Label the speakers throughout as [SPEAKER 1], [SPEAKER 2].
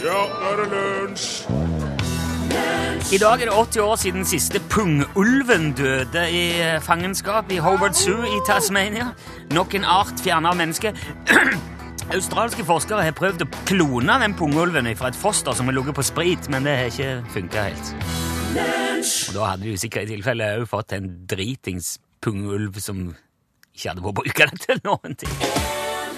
[SPEAKER 1] Nå er det lunsj!
[SPEAKER 2] I dag er det 80 år siden siste pungulven døde i eh, fangenskap i Hobart Zoo i Tasmania. Nok en art fjernet av mennesket. Australske forskere har prøvd å klone den pungulven fra et foster som har ligget på sprit, men det har ikke funka helt. Og da hadde du sikkert i tilfelle òg fått en dritings pungulv som ikke hadde vært bruka til noen ting.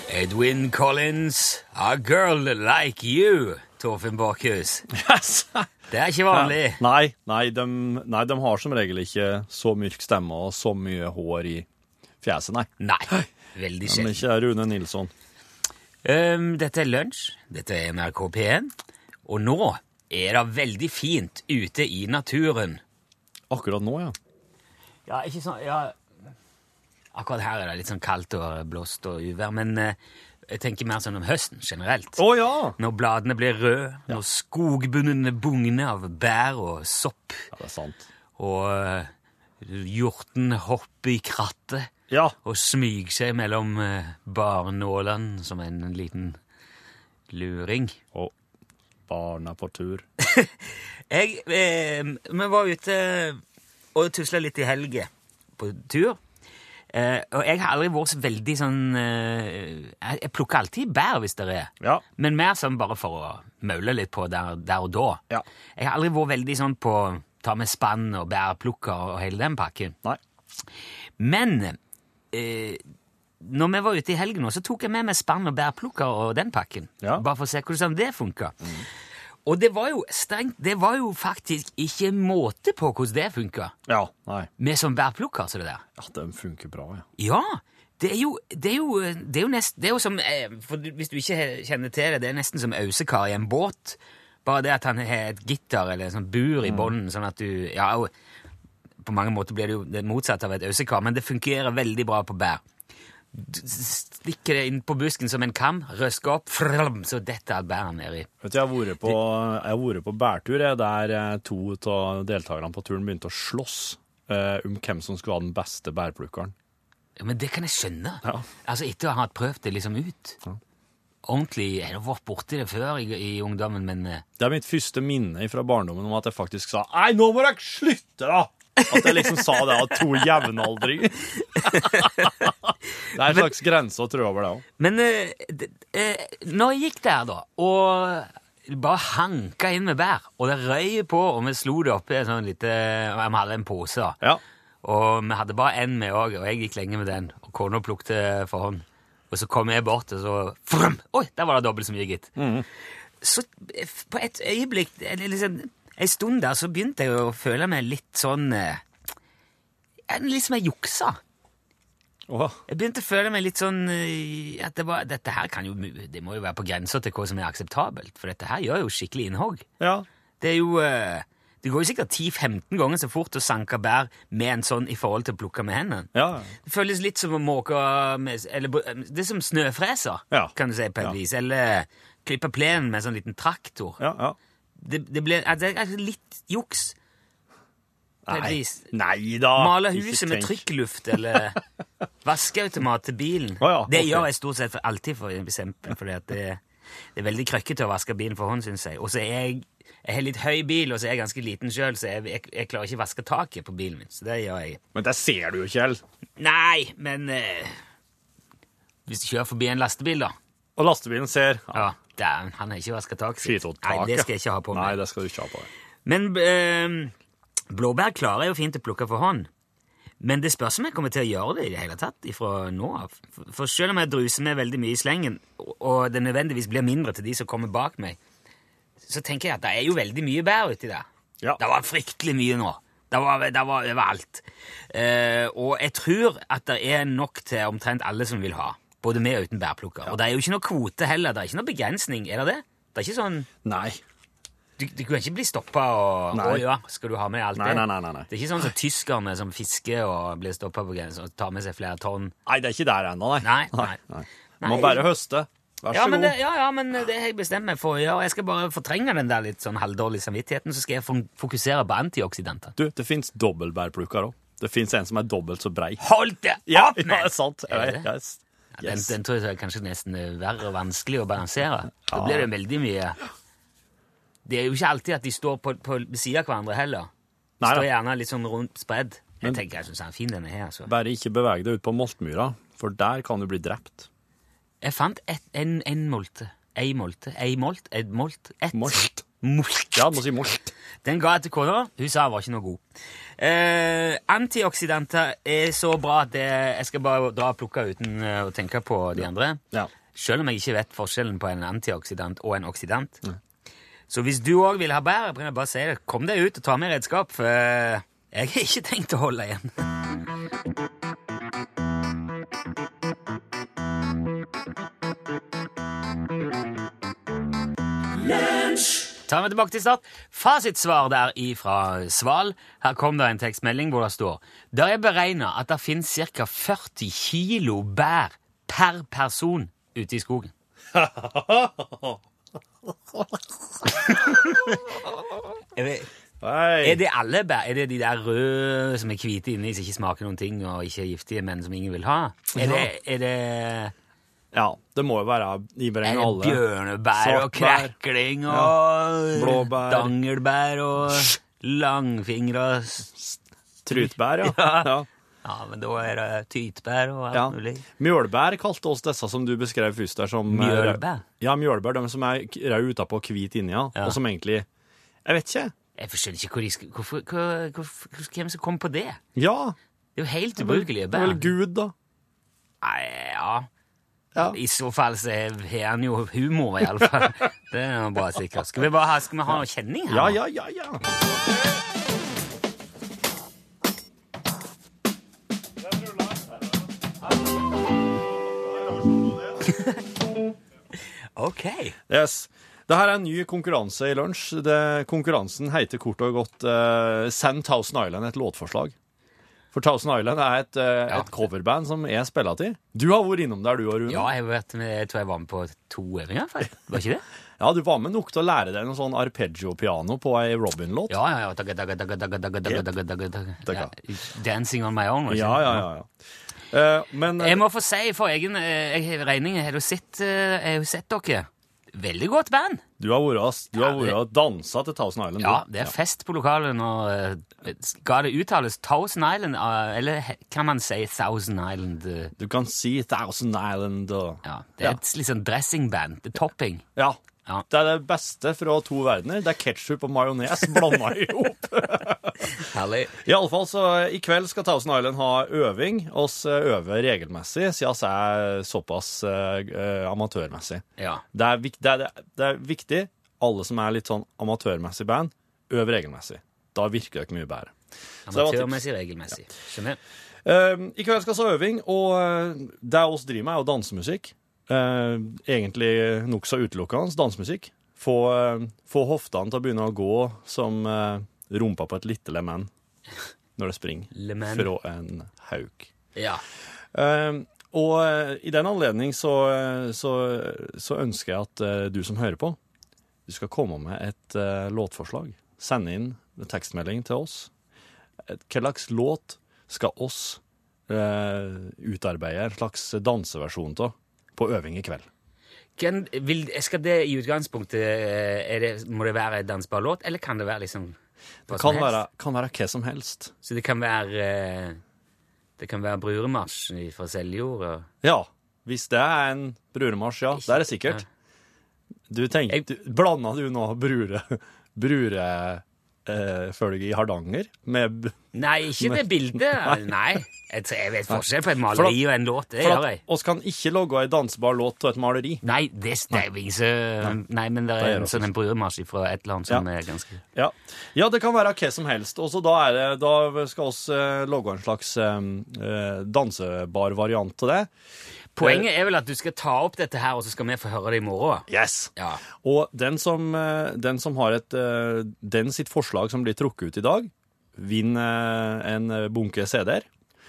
[SPEAKER 2] Edwin Collins, A Girl Like You, Torfinn Borchhus. Det er ikke vanlig.
[SPEAKER 3] Nei, nei de, nei, de har som regel ikke så mørk stemme og så mye hår i fjeset, nei.
[SPEAKER 2] Nei. Veldig
[SPEAKER 3] Men
[SPEAKER 2] sjelden.
[SPEAKER 3] ikke Rune Nilsson.
[SPEAKER 2] Um, dette er Lunsj. Dette er NRK P1. Og nå er det veldig fint ute i naturen.
[SPEAKER 3] Akkurat nå, ja.
[SPEAKER 2] Ja, ikke sånn ja. Akkurat her er det litt sånn kaldt og blåst og uvær, men eh, jeg tenker mer sånn om høsten generelt.
[SPEAKER 3] Å ja!
[SPEAKER 2] Når bladene blir røde, når skogbunnene bugner av bær og sopp,
[SPEAKER 3] Ja, det er sant.
[SPEAKER 2] og eh, hjorten hopper i krattet
[SPEAKER 3] Ja,
[SPEAKER 2] og smyger seg mellom eh, barnålene som en liten luring.
[SPEAKER 3] og barna på tur.
[SPEAKER 2] Jeg, eh, vi var ute eh, og tusla litt i helge på tur. Eh, og jeg har aldri vært så veldig sånn eh, Jeg jeg plukker alltid bær hvis det er.
[SPEAKER 3] Ja.
[SPEAKER 2] Men mer sånn bare for å maule litt på der, der og da.
[SPEAKER 3] Ja.
[SPEAKER 2] Jeg har aldri vært veldig sånn på ta med spann og bærplukker og hele den pakken.
[SPEAKER 3] Nei.
[SPEAKER 2] Men eh, når vi var ute i helgen, nå, så tok jeg med meg spann og bærplukker og den pakken.
[SPEAKER 3] Ja.
[SPEAKER 2] Bare for å se hvordan det funka. Og det var jo strengt, det var jo faktisk ikke måte på hvordan det funka.
[SPEAKER 3] Ja, nei.
[SPEAKER 2] Med som bærplukker, så det der.
[SPEAKER 3] Ja, de funker bra, ja.
[SPEAKER 2] Ja! Det er jo, det er jo, det er jo nesten Det er jo som eh, for du- Hvis du ikke he- kjenner til det, det er nesten som Ausekar i en båt. Bare det at han har et gitter eller en sånn bur
[SPEAKER 3] Mm.
[SPEAKER 2] i bånden, sånn at du Ja, og på mange måter blir det jo det motsatte av et ausekar, men det fungerer veldig bra på bær. Du s- stikker det inn på busken som en kam, røsker opp, frlam, så detter all bæren nedi.
[SPEAKER 3] Vet du, jeg har vært på, jeg har vært på bærtur jeg, der eh, to av deltakerne på turen begynte å slåss eh, om hvem som skulle ha den beste bærplukkeren.
[SPEAKER 2] Ja, Men det kan jeg skjønne.
[SPEAKER 3] Ja.
[SPEAKER 2] Altså Etter å ha prøvd det liksom ut.
[SPEAKER 3] Ja.
[SPEAKER 2] Ordentlig Jeg har vært borti det før i, i ungdommen, men eh,
[SPEAKER 3] Det er mitt første minne fra barndommen om at jeg faktisk sa Nei, nå må dere slutte, da! At jeg liksom sa det av to jevnaldringer. det er en slags grense å trå over, det òg.
[SPEAKER 2] Men eh, d- eh, når jeg gikk der, da, og bare hanka inn med bær, og det røy på, og vi slo det oppi en sånn lite og Vi hadde en pose, da.
[SPEAKER 3] Ja.
[SPEAKER 2] Og vi hadde bare én med òg, og jeg gikk lenge med den. Og kona plukte for hånd. Og så kom jeg bort, og så frum, Oi, der var det dobbelt så mye, gitt. Så eh, f- på et øyeblikk, eller liksom en stund der, så begynte jeg å føle meg litt sånn eh, ja, Litt som jeg juksa.
[SPEAKER 3] Åh,
[SPEAKER 2] Jeg begynte å føle meg litt sånn eh, at det var, dette her kan jo, det må jo være på grenser til hva som er akseptabelt, for dette her gjør jo skikkelig innhogg.
[SPEAKER 3] ja.
[SPEAKER 2] Det er jo eh, Det går jo sikkert 10-15 ganger så fort å sanke bær med en sånn i forhold til å plukke med hendene.
[SPEAKER 3] Ja.
[SPEAKER 2] Det føles litt som å måke med Eller br- det er som snøfreser,
[SPEAKER 3] Ja.
[SPEAKER 2] kan du si, på et
[SPEAKER 3] Ja.
[SPEAKER 2] vis. Eller klippe plenen med en sånn liten traktor.
[SPEAKER 3] ja, ja.
[SPEAKER 2] Det, det ble at det er altså litt juks. På et
[SPEAKER 3] Nei.
[SPEAKER 2] vis.
[SPEAKER 3] Nei da.
[SPEAKER 2] Male
[SPEAKER 3] Ikke
[SPEAKER 2] huset med
[SPEAKER 3] tenk.
[SPEAKER 2] trykkluft eller vaskeautomat til bilen.
[SPEAKER 3] Å ja,
[SPEAKER 2] Det
[SPEAKER 3] ok.
[SPEAKER 2] gjør jeg stort sett for alltid, for eksempel. Fordi at det, det er veldig krøkkete å vaske bilen for hånd, syns jeg. Og så er jeg jeg har litt høy bil, og så er jeg ganske liten sjøl, så jeg, jeg, jeg klarer ikke å vaske taket på bilen min. Så det gjør jeg.
[SPEAKER 3] Men det ser du jo, Kjell.
[SPEAKER 2] Nei, men eh, Hvis du kjører forbi en lastebil, da
[SPEAKER 3] Og lastebilen ser Ah, ja,
[SPEAKER 2] Ja, dæven, han har ikke vaska taket sitt.
[SPEAKER 3] skitått
[SPEAKER 2] Nei, det
[SPEAKER 3] tak,
[SPEAKER 2] skal jeg ikke ha på
[SPEAKER 3] Nei,
[SPEAKER 2] meg.
[SPEAKER 3] det skal du ikke ha på deg.
[SPEAKER 2] Men eh, blåbær klarer jeg jo fint å plukke for hånd. Men det spørs om jeg kommer til å gjøre det i det hele tatt ifra nå av. For- For selv om jeg druser med veldig mye i slengen, og- og det nødvendigvis blir mindre til de som kommer bak meg, så tenker jeg at det er jo veldig mye bær uti der.
[SPEAKER 3] Ja.
[SPEAKER 2] Det var fryktelig mye nå. Det var, det var overalt. Eh, og jeg tror at det er nok til omtrent alle som vil ha. Både med og uten bærplukker. Og det er jo ikke noe kvote heller. Det er ikke noe begrensning. Er det det? Det er ikke sånn
[SPEAKER 3] Nei.
[SPEAKER 2] du, du kan ikke bli stoppa og
[SPEAKER 3] Nei.
[SPEAKER 2] Å ja, skal du ha med alt
[SPEAKER 3] Nei,
[SPEAKER 2] det?
[SPEAKER 3] nei, nei, nei, nei.
[SPEAKER 2] Det er ikke sånn som tyskerne som fisker og blir stoppa på grensa og tar med seg flere tonn.
[SPEAKER 3] Nei, det er ikke der ennå, nei.
[SPEAKER 2] Nei, nei.
[SPEAKER 3] Må
[SPEAKER 2] Nei.
[SPEAKER 3] bare høste. Vær så
[SPEAKER 2] Ja, men
[SPEAKER 3] god.
[SPEAKER 2] det, ja, ja, men det har jeg bestemt meg for å gjøre. Jeg skal bare fortrenge den der litt sånn halvdårlige samvittigheten, så skal jeg fon- fokusere på antioksidanter.
[SPEAKER 3] Du, det fins dobbeltbærplukker òg. Det fins en som er dobbelt så brei.
[SPEAKER 2] Hold det
[SPEAKER 3] Ja,
[SPEAKER 2] opp,
[SPEAKER 3] ja,
[SPEAKER 2] men!
[SPEAKER 3] det er sant.
[SPEAKER 2] Er det det?
[SPEAKER 3] Jeg, jeg,
[SPEAKER 2] Ja, Den,
[SPEAKER 3] yes.
[SPEAKER 2] den tror jeg er kanskje nesten er verre og vanskelig å balansere. Da blir det veldig mye Det er jo ikke alltid at de står på, på siden av hverandre heller. De
[SPEAKER 3] Nei da.
[SPEAKER 2] står gjerne litt sånn rundt spredd. Jeg
[SPEAKER 3] Men-
[SPEAKER 2] tenker jeg syns han er fin, denne her. altså.
[SPEAKER 3] Bare ikke beveg deg ut på Moltmyra, for der kan du bli drept.
[SPEAKER 2] Jeg fant et, en, en molte. Ei molte. Ei molt. Et molt. Et.
[SPEAKER 3] Molt.
[SPEAKER 2] Molt.
[SPEAKER 3] Ja, du må si molt.
[SPEAKER 2] Den ga jeg til kona. Hun sa jeg var ikke noe god. Eh, antioksidanter er så bra at det, jeg skal bare dra og plukke uten eh, å tenke på de andre.
[SPEAKER 3] Ja.
[SPEAKER 2] Selv om jeg ikke vet forskjellen på en antioksidant og en oksidant. Så hvis du òg vil ha bedre, kan jeg bare si det. Kom deg ut og ta med redskap. For jeg har ikke tenkt å holde igjen. Tar vi tilbake til start. Fasitsvar der ifra Sval. Her kom det en tekstmelding hvor det står Det er beregna at det finnes ca. 40 kilo bær per person ute i skogen. er, det, er
[SPEAKER 3] Nei.
[SPEAKER 2] det alle bær? Er det de der røde som er hvite inni, som ikke smaker noen ting, og ikke er giftige, men som ingen vil ha? Er det, er det,
[SPEAKER 3] Ja, det må jo være
[SPEAKER 2] er
[SPEAKER 3] iberegna
[SPEAKER 2] det
[SPEAKER 3] alle.
[SPEAKER 2] bjørnebær og
[SPEAKER 3] Svartbær.
[SPEAKER 2] krekling og
[SPEAKER 3] Blåbær.
[SPEAKER 2] dangelbær og langfingre og
[SPEAKER 3] Trutbær, ja.
[SPEAKER 2] Ja.
[SPEAKER 3] ja.
[SPEAKER 2] Ja, men da er det tytbær og alt
[SPEAKER 3] ja.
[SPEAKER 2] mulig.
[SPEAKER 3] Mjølbær kalte oss disse som du beskrev først der. Som, eh,
[SPEAKER 2] Mjølbær?
[SPEAKER 3] Ja, mjølbær. De som er k- røde utapå og hvite inni, ja.
[SPEAKER 2] Ja.
[SPEAKER 3] Og som egentlig Jeg vet ikke.
[SPEAKER 2] Jeg forstår ikke hvor de skal, hvorfor, hvor, hvor, hvem som kom på det.
[SPEAKER 3] Ja.
[SPEAKER 2] Det er jo helt
[SPEAKER 3] vel-
[SPEAKER 2] ubrukelige
[SPEAKER 3] det er
[SPEAKER 2] bær.
[SPEAKER 3] Vel, Gud, da.
[SPEAKER 2] Nei, ja.
[SPEAKER 3] Ja.
[SPEAKER 2] I så fall så har han jo humor, i alle fall. Det er jo bare sikkert. Skal vi bare ha, skal vi ha noe kjenning her?
[SPEAKER 3] Ja,
[SPEAKER 2] nå?
[SPEAKER 3] ja, ja, ja.
[SPEAKER 2] Ok.
[SPEAKER 3] Yes. Det her er en ny konkurranse i lunsj. Det, konkurransen heter kort og godt eh, Send Thousand Island et låtforslag. For Thousand Island er et, eh, et coverband som jeg spiller til. Du har vært innom der, du og Rune.
[SPEAKER 2] Ja, jeg, vet, men jeg tror jeg var med på to øvinger, i hvert fall. Var ikke det?
[SPEAKER 3] Ja, du var med nok til å lære deg noe sånn arpeggio-piano på ei Robin-låt.
[SPEAKER 2] Ja, ja, ja. Dagga, dagga, dagga, dagga, dagga, dagga, dagga, dagga, dagga.
[SPEAKER 3] Dagga.
[SPEAKER 2] Ja, Dancing on my own, var ikke
[SPEAKER 3] ja,
[SPEAKER 2] det?
[SPEAKER 3] ja. ja, ja. Eh, men eh,
[SPEAKER 2] Jeg må få si for egen eh, jeg- regning Har du sett, eh, jeg har jo sett dere? Veldig godt band.
[SPEAKER 3] du har vært ass- du
[SPEAKER 2] Ja,
[SPEAKER 3] har
[SPEAKER 2] det-
[SPEAKER 3] vært og dansa til Thousand Island. du.
[SPEAKER 2] Ja, det er fest på lokalet når eh, Skal det uttales Thousand Island, eh, eller he- kan man si Thousand Island? eh,
[SPEAKER 3] Du kan si Thousand Island og
[SPEAKER 2] Ja, Det er et litt sånn dressingband. Det er topping.
[SPEAKER 3] Ja.
[SPEAKER 2] Ja.
[SPEAKER 3] Det er det beste fra to verdener. Det er ketsjup og majones blanda i hop.
[SPEAKER 2] Herlig.
[SPEAKER 3] I alle fall så eh, I kveld skal Thousand Island ha øving. Oss eh, øver regelmessig, siden vi er såpass eh, eh, amatørmessig.
[SPEAKER 2] Ja.
[SPEAKER 3] Det er, vik det, er, det er- det er viktig, alle som er litt sånn amatørmessig band, øv regelmessig. Da virker det ikke mye bedre. det var tips.
[SPEAKER 2] Amatørmessig, regelmessig. Skjønner?
[SPEAKER 3] Eh, I kveld skal vi ha øving, og eh, det oss driver med, er jo dansemusikk. Uh, egentlig nokså utelukkende dansemusikk. Få, eh, få hoftene til å begynne å gå som eh, rumpa på et lite lemen når det springer
[SPEAKER 2] Le man.
[SPEAKER 3] fra en hauk.
[SPEAKER 2] Ja.
[SPEAKER 3] Eh, og eh, i den anledning så, eh, så, så ønsker jeg at eh, du som hører på, du skal komme med et eh, låtforslag. Send inn en tekstmelding til oss. Et, hva slags låt skal oss eh, utarbeide en slags danseversjon av på øving i kveld?
[SPEAKER 2] Kan, vil, skal det i utgangspunktet eh, er det, Må det være en dansbar låt, eller kan det være liksom hva som
[SPEAKER 3] Kan
[SPEAKER 2] helst?
[SPEAKER 3] være, kan være hva som helst.
[SPEAKER 2] Så det kan være eh, Det kan være Bruremarsj fra Seljord og
[SPEAKER 3] Ja. Hvis det er en bruremarsj, ja. Det er det sikkert. Du
[SPEAKER 2] Jeg-
[SPEAKER 3] tenkte, Blanda du nå brure, brure eh, følge i Hardanger med b-
[SPEAKER 2] Nei, ikke det bildet. Nei. Jeg, tror- jeg vet forskjell på et maleri og en låt. Det
[SPEAKER 3] For
[SPEAKER 2] gjør
[SPEAKER 3] at
[SPEAKER 2] jeg.
[SPEAKER 3] oss kan ikke logge ei dansbar låt av et maleri.
[SPEAKER 2] Nei, det er ingen som Nei, men det
[SPEAKER 3] Det
[SPEAKER 2] er
[SPEAKER 3] gjør
[SPEAKER 2] en
[SPEAKER 3] det
[SPEAKER 2] sånn en bruremarsj fra et eller annet som er ganske
[SPEAKER 3] Ja, ja det kan være hva som helst. Og så da, er det- da skal oss eh, logge en slags eh, eh, dansebar variant av det.
[SPEAKER 2] Poenget er vel at du skal ta opp dette her, og så skal vi få høre det i morgen.
[SPEAKER 3] Yes!
[SPEAKER 2] Ja.
[SPEAKER 3] Og den som, eh, den som har et eh, Den sitt forslag som blir trukket ut i dag, vinner eh, en bunke CD-er.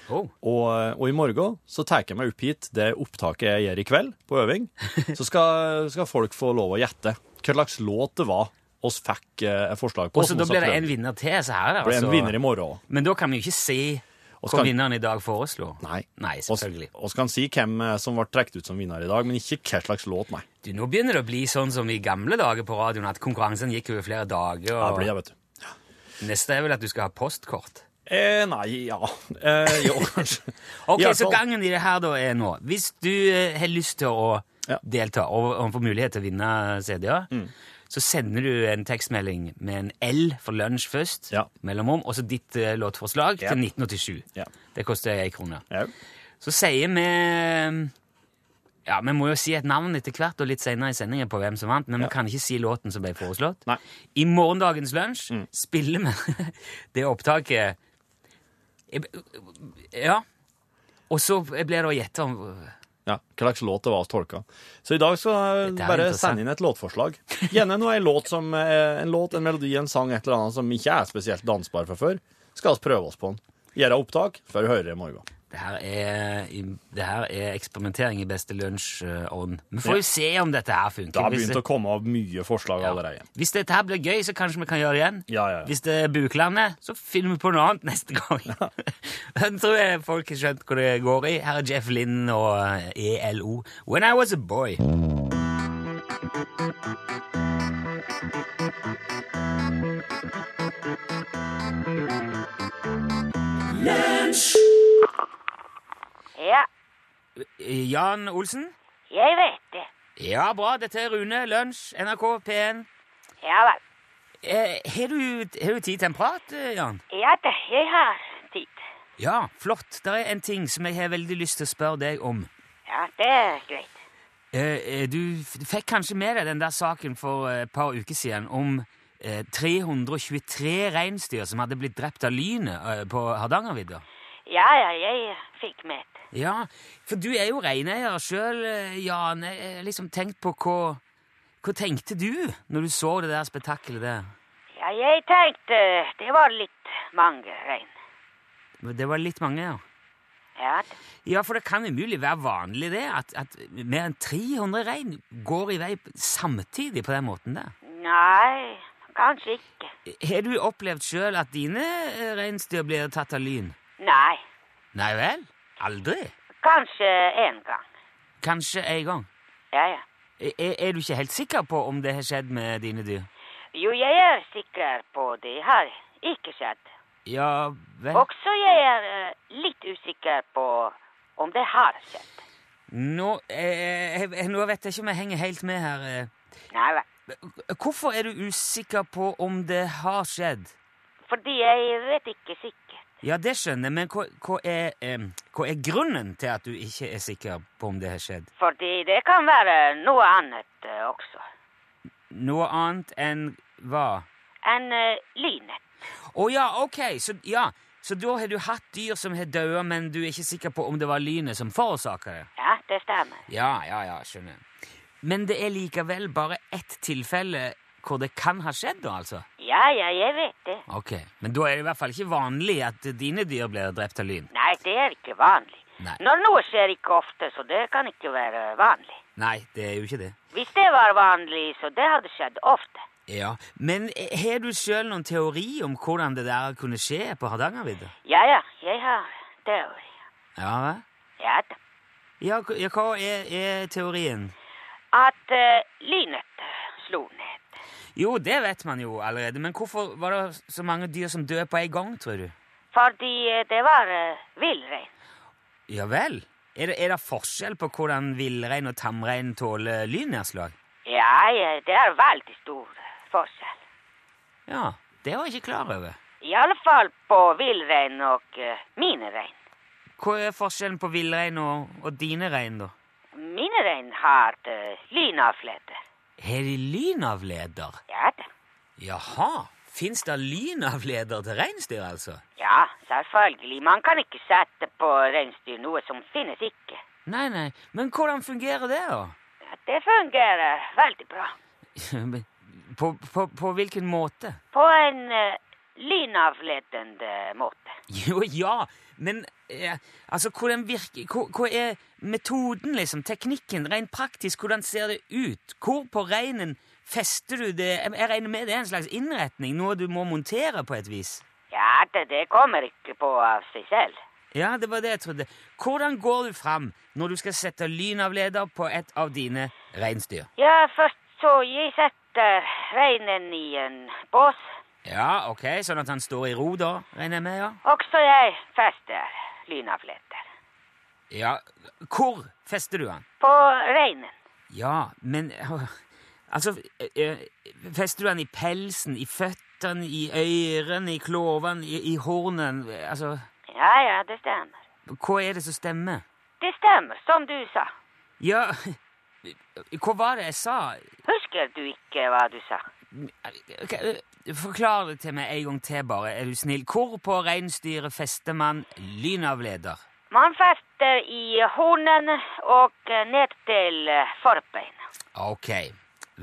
[SPEAKER 2] Oh.
[SPEAKER 3] Og, eh, og i morgen så tar jeg meg opp hit det opptaket jeg gjør i kveld på øving. Så skal, skal folk få lov å gjette hva slags låt det var oss fikk eh, et forslag på.
[SPEAKER 2] Og så da blir det en
[SPEAKER 3] vinner.
[SPEAKER 2] vinner til, så her er det
[SPEAKER 3] blir en
[SPEAKER 2] altså
[SPEAKER 3] vinner i morgen også.
[SPEAKER 2] Men da kan vi jo ikke si
[SPEAKER 3] Og så
[SPEAKER 2] Hva
[SPEAKER 3] kan-
[SPEAKER 2] vinneren i dag foreslo?
[SPEAKER 3] Nei.
[SPEAKER 2] Nei, selvfølgelig.
[SPEAKER 3] Vi kan si hvem eh, som ble trukket ut som vinner i dag, men ikke hva slags låt, nei.
[SPEAKER 2] Du, nå begynner det å bli sånn som i gamle dager på radioen, at konkurransen gikk over flere dager.
[SPEAKER 3] Det
[SPEAKER 2] Og
[SPEAKER 3] blir det, vet du.
[SPEAKER 2] Neste er vel at du skal ha postkort.
[SPEAKER 3] Eh, nei, ja eh, Jo, kanskje.
[SPEAKER 2] Ok,
[SPEAKER 3] I hvert
[SPEAKER 2] Så
[SPEAKER 3] fall-
[SPEAKER 2] gangen i det her da er nå Hvis du eh, har lyst til å
[SPEAKER 3] Ja. Mm.
[SPEAKER 2] delta og, og få mulighet til å vinne CD-er, så sender du en tekstmelding med en L for lunsj først,
[SPEAKER 3] Ja.
[SPEAKER 2] mellomom, og så ditt eh, låtforslag
[SPEAKER 3] Ja.
[SPEAKER 2] til 1987.
[SPEAKER 3] Ja.
[SPEAKER 2] Det koster ei krone.
[SPEAKER 3] Jau.
[SPEAKER 2] Så sier vi mm, Ja, vi må jo si et navn etter hvert og litt senere i sendingen på hvem som vant, men vi kan ikke si låten som ble foreslått.
[SPEAKER 3] Nei. Mm.
[SPEAKER 2] I morgendagens lunsj spiller vi det opptaket Ja. Og så blir det å gjette om øh,
[SPEAKER 3] Ja, hva slags låt det var vi tolka. Så i dag skal jeg
[SPEAKER 2] Dette er
[SPEAKER 3] bare
[SPEAKER 2] interessant.
[SPEAKER 3] sende inn et låtforslag. Gjerne noe en låt, som, eh, en låt, en melodi, en sang, et eller annet som ikke er spesielt dansbar fra før. Skal vi prøve oss på den. Gjøre opptak før vi hører det i morgen.
[SPEAKER 2] det her, er, det her er eksperimentering i beste lunsj-ånd. Vi får jo se om dette her funker.
[SPEAKER 3] Det har
[SPEAKER 2] Hvis-
[SPEAKER 3] begynt å komme av mye forslag
[SPEAKER 2] Ja.
[SPEAKER 3] allerede.
[SPEAKER 2] Hvis dette her blir gøy, så kanskje vi kan gjøre det igjen.
[SPEAKER 3] Ja, ja, ja.
[SPEAKER 2] Hvis det er buklandet, så finner vi på noe annet neste gang. Den tror jeg folk har skjønt hvor det går i. Her er Jeff Lynn og eh, ELO. When I was a boy.
[SPEAKER 1] Ja,
[SPEAKER 2] Jan Olsen?
[SPEAKER 1] jeg vet det.
[SPEAKER 2] Ja, bra. Dette er Rune. Lunsj, NRK P1.
[SPEAKER 1] Ja vel.
[SPEAKER 2] Eh, Har du, har du tid til en prat, eh, Jan?
[SPEAKER 1] Ja da, jeg har tid.
[SPEAKER 2] Ja, flott. Det er en ting som jeg har veldig lyst til å spørre deg om.
[SPEAKER 1] Ja, det er greit.
[SPEAKER 2] Eh, eh, du f- fikk kanskje med deg den der saken for eh, et par uker siden om eh, 323 reinsdyr som hadde blitt drept av lynet eh, på Hardangervidda?
[SPEAKER 1] Ja, ja, jeg fikk med det.
[SPEAKER 2] Ja, for du er jo reineier sjøl, Jan. Jeg har liksom tenkt på hva Hva tenkte du når du så det der spetakkelet der?
[SPEAKER 1] Ja, jeg tenkte det var litt mange rein.
[SPEAKER 2] Det var litt mange, ja.
[SPEAKER 1] Ja, da.
[SPEAKER 2] Ja, for det kan umulig være vanlig det, at, at mer enn 300 rein går i vei samtidig på den måten der.
[SPEAKER 1] nei, kanskje ikke.
[SPEAKER 2] Har du opplevd sjøl at dine eh, reinsdyr blir tatt av lyn?
[SPEAKER 1] Nei,
[SPEAKER 2] Nei vel? Aldri?
[SPEAKER 1] kanskje en gang.
[SPEAKER 2] Kanskje en gang.
[SPEAKER 1] Ja, ja.
[SPEAKER 2] Er, er du ikke helt sikker på om det har skjedd med dine dyr?
[SPEAKER 1] Jo, jeg er sikker på det har ikke skjedd.
[SPEAKER 2] Ja vel
[SPEAKER 1] Også jeg er eh, litt usikker på om det har skjedd.
[SPEAKER 2] Nå, eh, jeg- nå vet jeg ikke om jeg henger helt med her. eh.
[SPEAKER 1] Nei vel.
[SPEAKER 2] Hvorfor er du usikker på om det har skjedd?
[SPEAKER 1] Fordi jeg vet ikke sikkert.
[SPEAKER 2] Ja, det skjønner jeg, men hva, hva, er, em, hva er grunnen til at du ikke er sikker på om det har skjedd?
[SPEAKER 1] Fordi det kan være noe annet eh, også.
[SPEAKER 2] Noe annet enn hva?
[SPEAKER 1] Enn uh, lynet.
[SPEAKER 2] Å ja, ok, så, ja. så da har du hatt dyr som har daua, men du er ikke sikker på om det var lynet som forårsaka det?
[SPEAKER 1] Ja, det stemmer.
[SPEAKER 2] Ja, ja, ja, skjønner. Men det er likevel bare ett tilfelle hvor det kan ha skjedd, da, altså?
[SPEAKER 1] Ja, ja, jeg vet det.
[SPEAKER 2] Ok, Men da er det i hvert fall ikke vanlig at dine dyr blir drept av lyn?
[SPEAKER 1] Nei, det er ikke vanlig.
[SPEAKER 2] Nei.
[SPEAKER 1] Når noe skjer ikke ofte, så det kan ikke være vanlig.
[SPEAKER 2] Nei, det er jo ikke det.
[SPEAKER 1] Hvis det var vanlig, så det hadde skjedd ofte.
[SPEAKER 2] Ja, Men eh, har du sjøl noen teori om hvordan det der kunne skje på Hardangervidda?
[SPEAKER 1] Ja, ja, jeg har teori.
[SPEAKER 2] Ja, hva?
[SPEAKER 1] Ja da.
[SPEAKER 2] Ja, k- ja, hva er, er teorien?
[SPEAKER 1] At eh, lynet slo ned.
[SPEAKER 2] Jo, det vet man jo allerede, men hvorfor var det så mange dyr som døde på en gang, tror du?
[SPEAKER 1] Fordi eh, det var uh, villrein.
[SPEAKER 2] Ja vel? Er det, er det forskjell på hvordan villrein og tamrein tåler lynnedslag?
[SPEAKER 1] Ja, ja, det er veldig stor forskjell.
[SPEAKER 2] Ja, det var jeg ikke klar over.
[SPEAKER 1] I alle fall på villrein og uh, mine rein.
[SPEAKER 2] Hva er forskjellen på villrein og, og dine rein, da?
[SPEAKER 1] Mine rein har uh, lynavleder.
[SPEAKER 2] Har de lynavleder?
[SPEAKER 1] Ja da.
[SPEAKER 2] Jaha, fins det lynavleder til reinsdyr, altså?
[SPEAKER 1] Ja, selvfølgelig. Man kan ikke sette på reinsdyr noe som finnes ikke.
[SPEAKER 2] Nei, nei, men hvordan fungerer det, da?
[SPEAKER 1] Ja, det fungerer veldig bra.
[SPEAKER 2] Men På, på, på hvilken måte?
[SPEAKER 1] På en uh, lynavledende måte.
[SPEAKER 2] Jo, ja, men eh, altså, hvordan virker hva, hva er metoden, liksom? Teknikken? Rent praktisk, hvordan ser det ut? Hvor på reinen fester du det? Jeg jeg regner med det er en slags innretning, noe du må montere på et vis?
[SPEAKER 1] Ja, det, det kommer ikke på av seg selv.
[SPEAKER 2] Ja, det var det jeg trodde. Hvordan går du fram når du skal sette lynavleder på et av dine reinsdyr?
[SPEAKER 1] Ja, først så jeg setter reinen i en bås,
[SPEAKER 2] Ja, ok, sånn at han står i ro da, regner jeg med, ja?
[SPEAKER 1] og så jeg fester lynavleter
[SPEAKER 2] Ja, hvor fester du han?
[SPEAKER 1] på reinen.
[SPEAKER 2] Ja, men øh, Altså, øh, øh, fester du han i pelsen, i føttene, i ørene, i klovene, i, i hornene? Altså,
[SPEAKER 1] Ja, ja, det stemmer.
[SPEAKER 2] hva er det som stemmer?
[SPEAKER 1] Det stemmer, som du sa.
[SPEAKER 2] Ja, hva var det jeg sa?
[SPEAKER 1] Husker du ikke hva du sa?
[SPEAKER 2] Ok, øh, Forklar det til meg en gang til, bare, er du snill. Hvor på reinsdyret fester man lynavleder?
[SPEAKER 1] Man fester i hornen og eh, ned til eh, forbeinet.
[SPEAKER 2] Ok,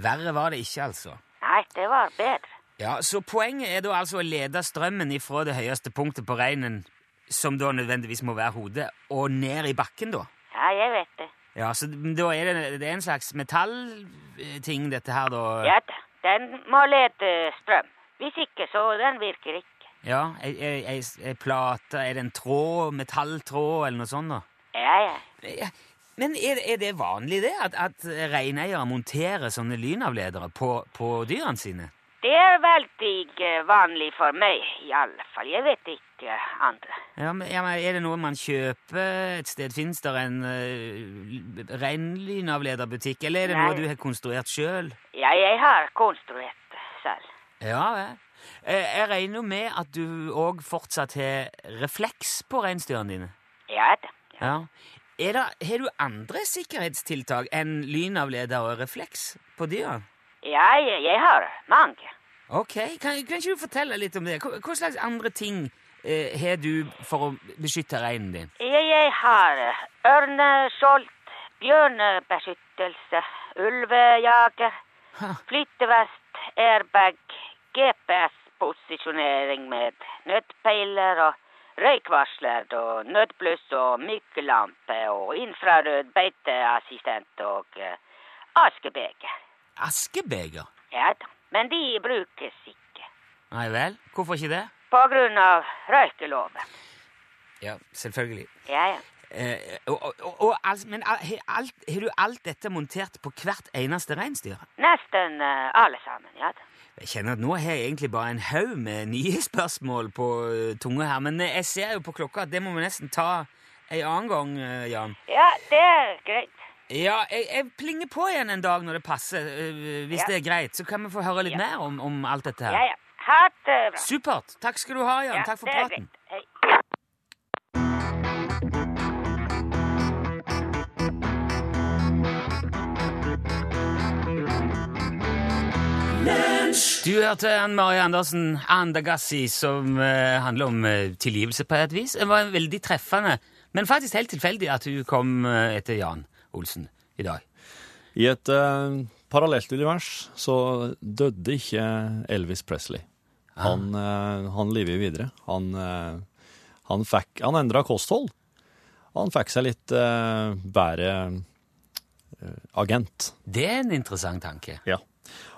[SPEAKER 2] verre var det ikke, altså.
[SPEAKER 1] Nei, det var bedre.
[SPEAKER 2] Ja, Så poenget er da altså å lede strømmen ifra det høyeste punktet på reinen, som da nødvendigvis må være hodet, og ned i bakken, da?
[SPEAKER 1] Ja, jeg vet det.
[SPEAKER 2] Ja, så da er det, det er en slags metallting, dette her, da?
[SPEAKER 1] Ja da, den må lede eh, strøm. Hvis ikke, så den virker ikke.
[SPEAKER 2] ja ei, ei, ei, ei plate, er det en tråd, metalltråd, eller noe sånt, da?
[SPEAKER 1] Ja, ja.
[SPEAKER 2] Ja, Men er, er det vanlig, det, at, at reineiere monterer sånne lynavledere på, på dyrene sine?
[SPEAKER 1] Det er veldig eh, vanlig for meg, i alle fall. Jeg vet ikke eh, andre.
[SPEAKER 2] Ja, men, ja, men Er det noe man kjøper et sted? Fins det en uh, reinlynavlederbutikk? Eller er det
[SPEAKER 1] Nei.
[SPEAKER 2] noe du har konstruert sjøl?
[SPEAKER 1] Ja, jeg har konstruert det selv.
[SPEAKER 2] Ja vel. Eh, Jeg regner jo med at du òg fortsatt har refleks på reinsdyrene dine.
[SPEAKER 1] Ja da.
[SPEAKER 2] Ja. Er det, har du andre sikkerhetstiltak enn lynavleder og refleks på dyra?
[SPEAKER 1] Ja, jeg, jeg har mange.
[SPEAKER 2] Ok, kan, kan ikke du fortelle litt om det? Hva, hva slags andre ting eh, har du for å beskytte reinen din?
[SPEAKER 1] Jeg, jeg har eh, ørneskjold, bjørnebeskyttelse, ulvejager,
[SPEAKER 2] Ha.
[SPEAKER 1] flyttevest, airbag, GPS-posisjonering med nødpeiler og røykvarsler og nødbluss og myklampe og infrarød beiteassistent og eh, askebeger.
[SPEAKER 2] Askebeger?
[SPEAKER 1] Ja da, men de brukes ikke
[SPEAKER 2] Nei vel, hvorfor ikke det?
[SPEAKER 1] på grunn av røykeloven.
[SPEAKER 2] Ja, selvfølgelig.
[SPEAKER 1] Ja, ja.
[SPEAKER 2] Eh, og, og, og, og, altså, men al- har alt, har du alt dette montert på hvert eneste reinsdyr?
[SPEAKER 1] Nesten eh, alle sammen, ja da.
[SPEAKER 2] Jeg kjenner at nå har jeg egentlig bare en haug med nye spørsmål på eh, tunga her, men eh, jeg ser jo på klokka at det må vi nesten ta en annen gang, eh, Jan.
[SPEAKER 1] Ja, det er greit.
[SPEAKER 2] Ja, jeg, jeg plinger på igjen en dag når det passer, eh, hvis
[SPEAKER 1] Ja.
[SPEAKER 2] det er greit. Så kan vi få høre litt
[SPEAKER 1] Ja.
[SPEAKER 2] mer om, om alt dette
[SPEAKER 1] Ja,
[SPEAKER 2] her.
[SPEAKER 1] ja. Ha det bra.
[SPEAKER 2] Supert. Takk skal du ha, Jan.
[SPEAKER 1] Ja,
[SPEAKER 2] Takk for
[SPEAKER 1] det er
[SPEAKER 2] praten.
[SPEAKER 1] greit. Hei.
[SPEAKER 2] Du hørte Anne Marie Andersen, Andergassi, som eh, handler om eh, tilgivelse på et vis. Det var veldig treffende, men faktisk helt tilfeldig at hun kom eh, etter Jan Olsen i dag.
[SPEAKER 3] I et eh, parallelt univers så døde ikke Elvis Presley. Han, eh, han lever videre. Han, eh, han, fikk, han endra kosthold. Han fikk seg litt eh, bedre eh, agent.
[SPEAKER 2] Det er en interessant tanke.
[SPEAKER 3] Ja.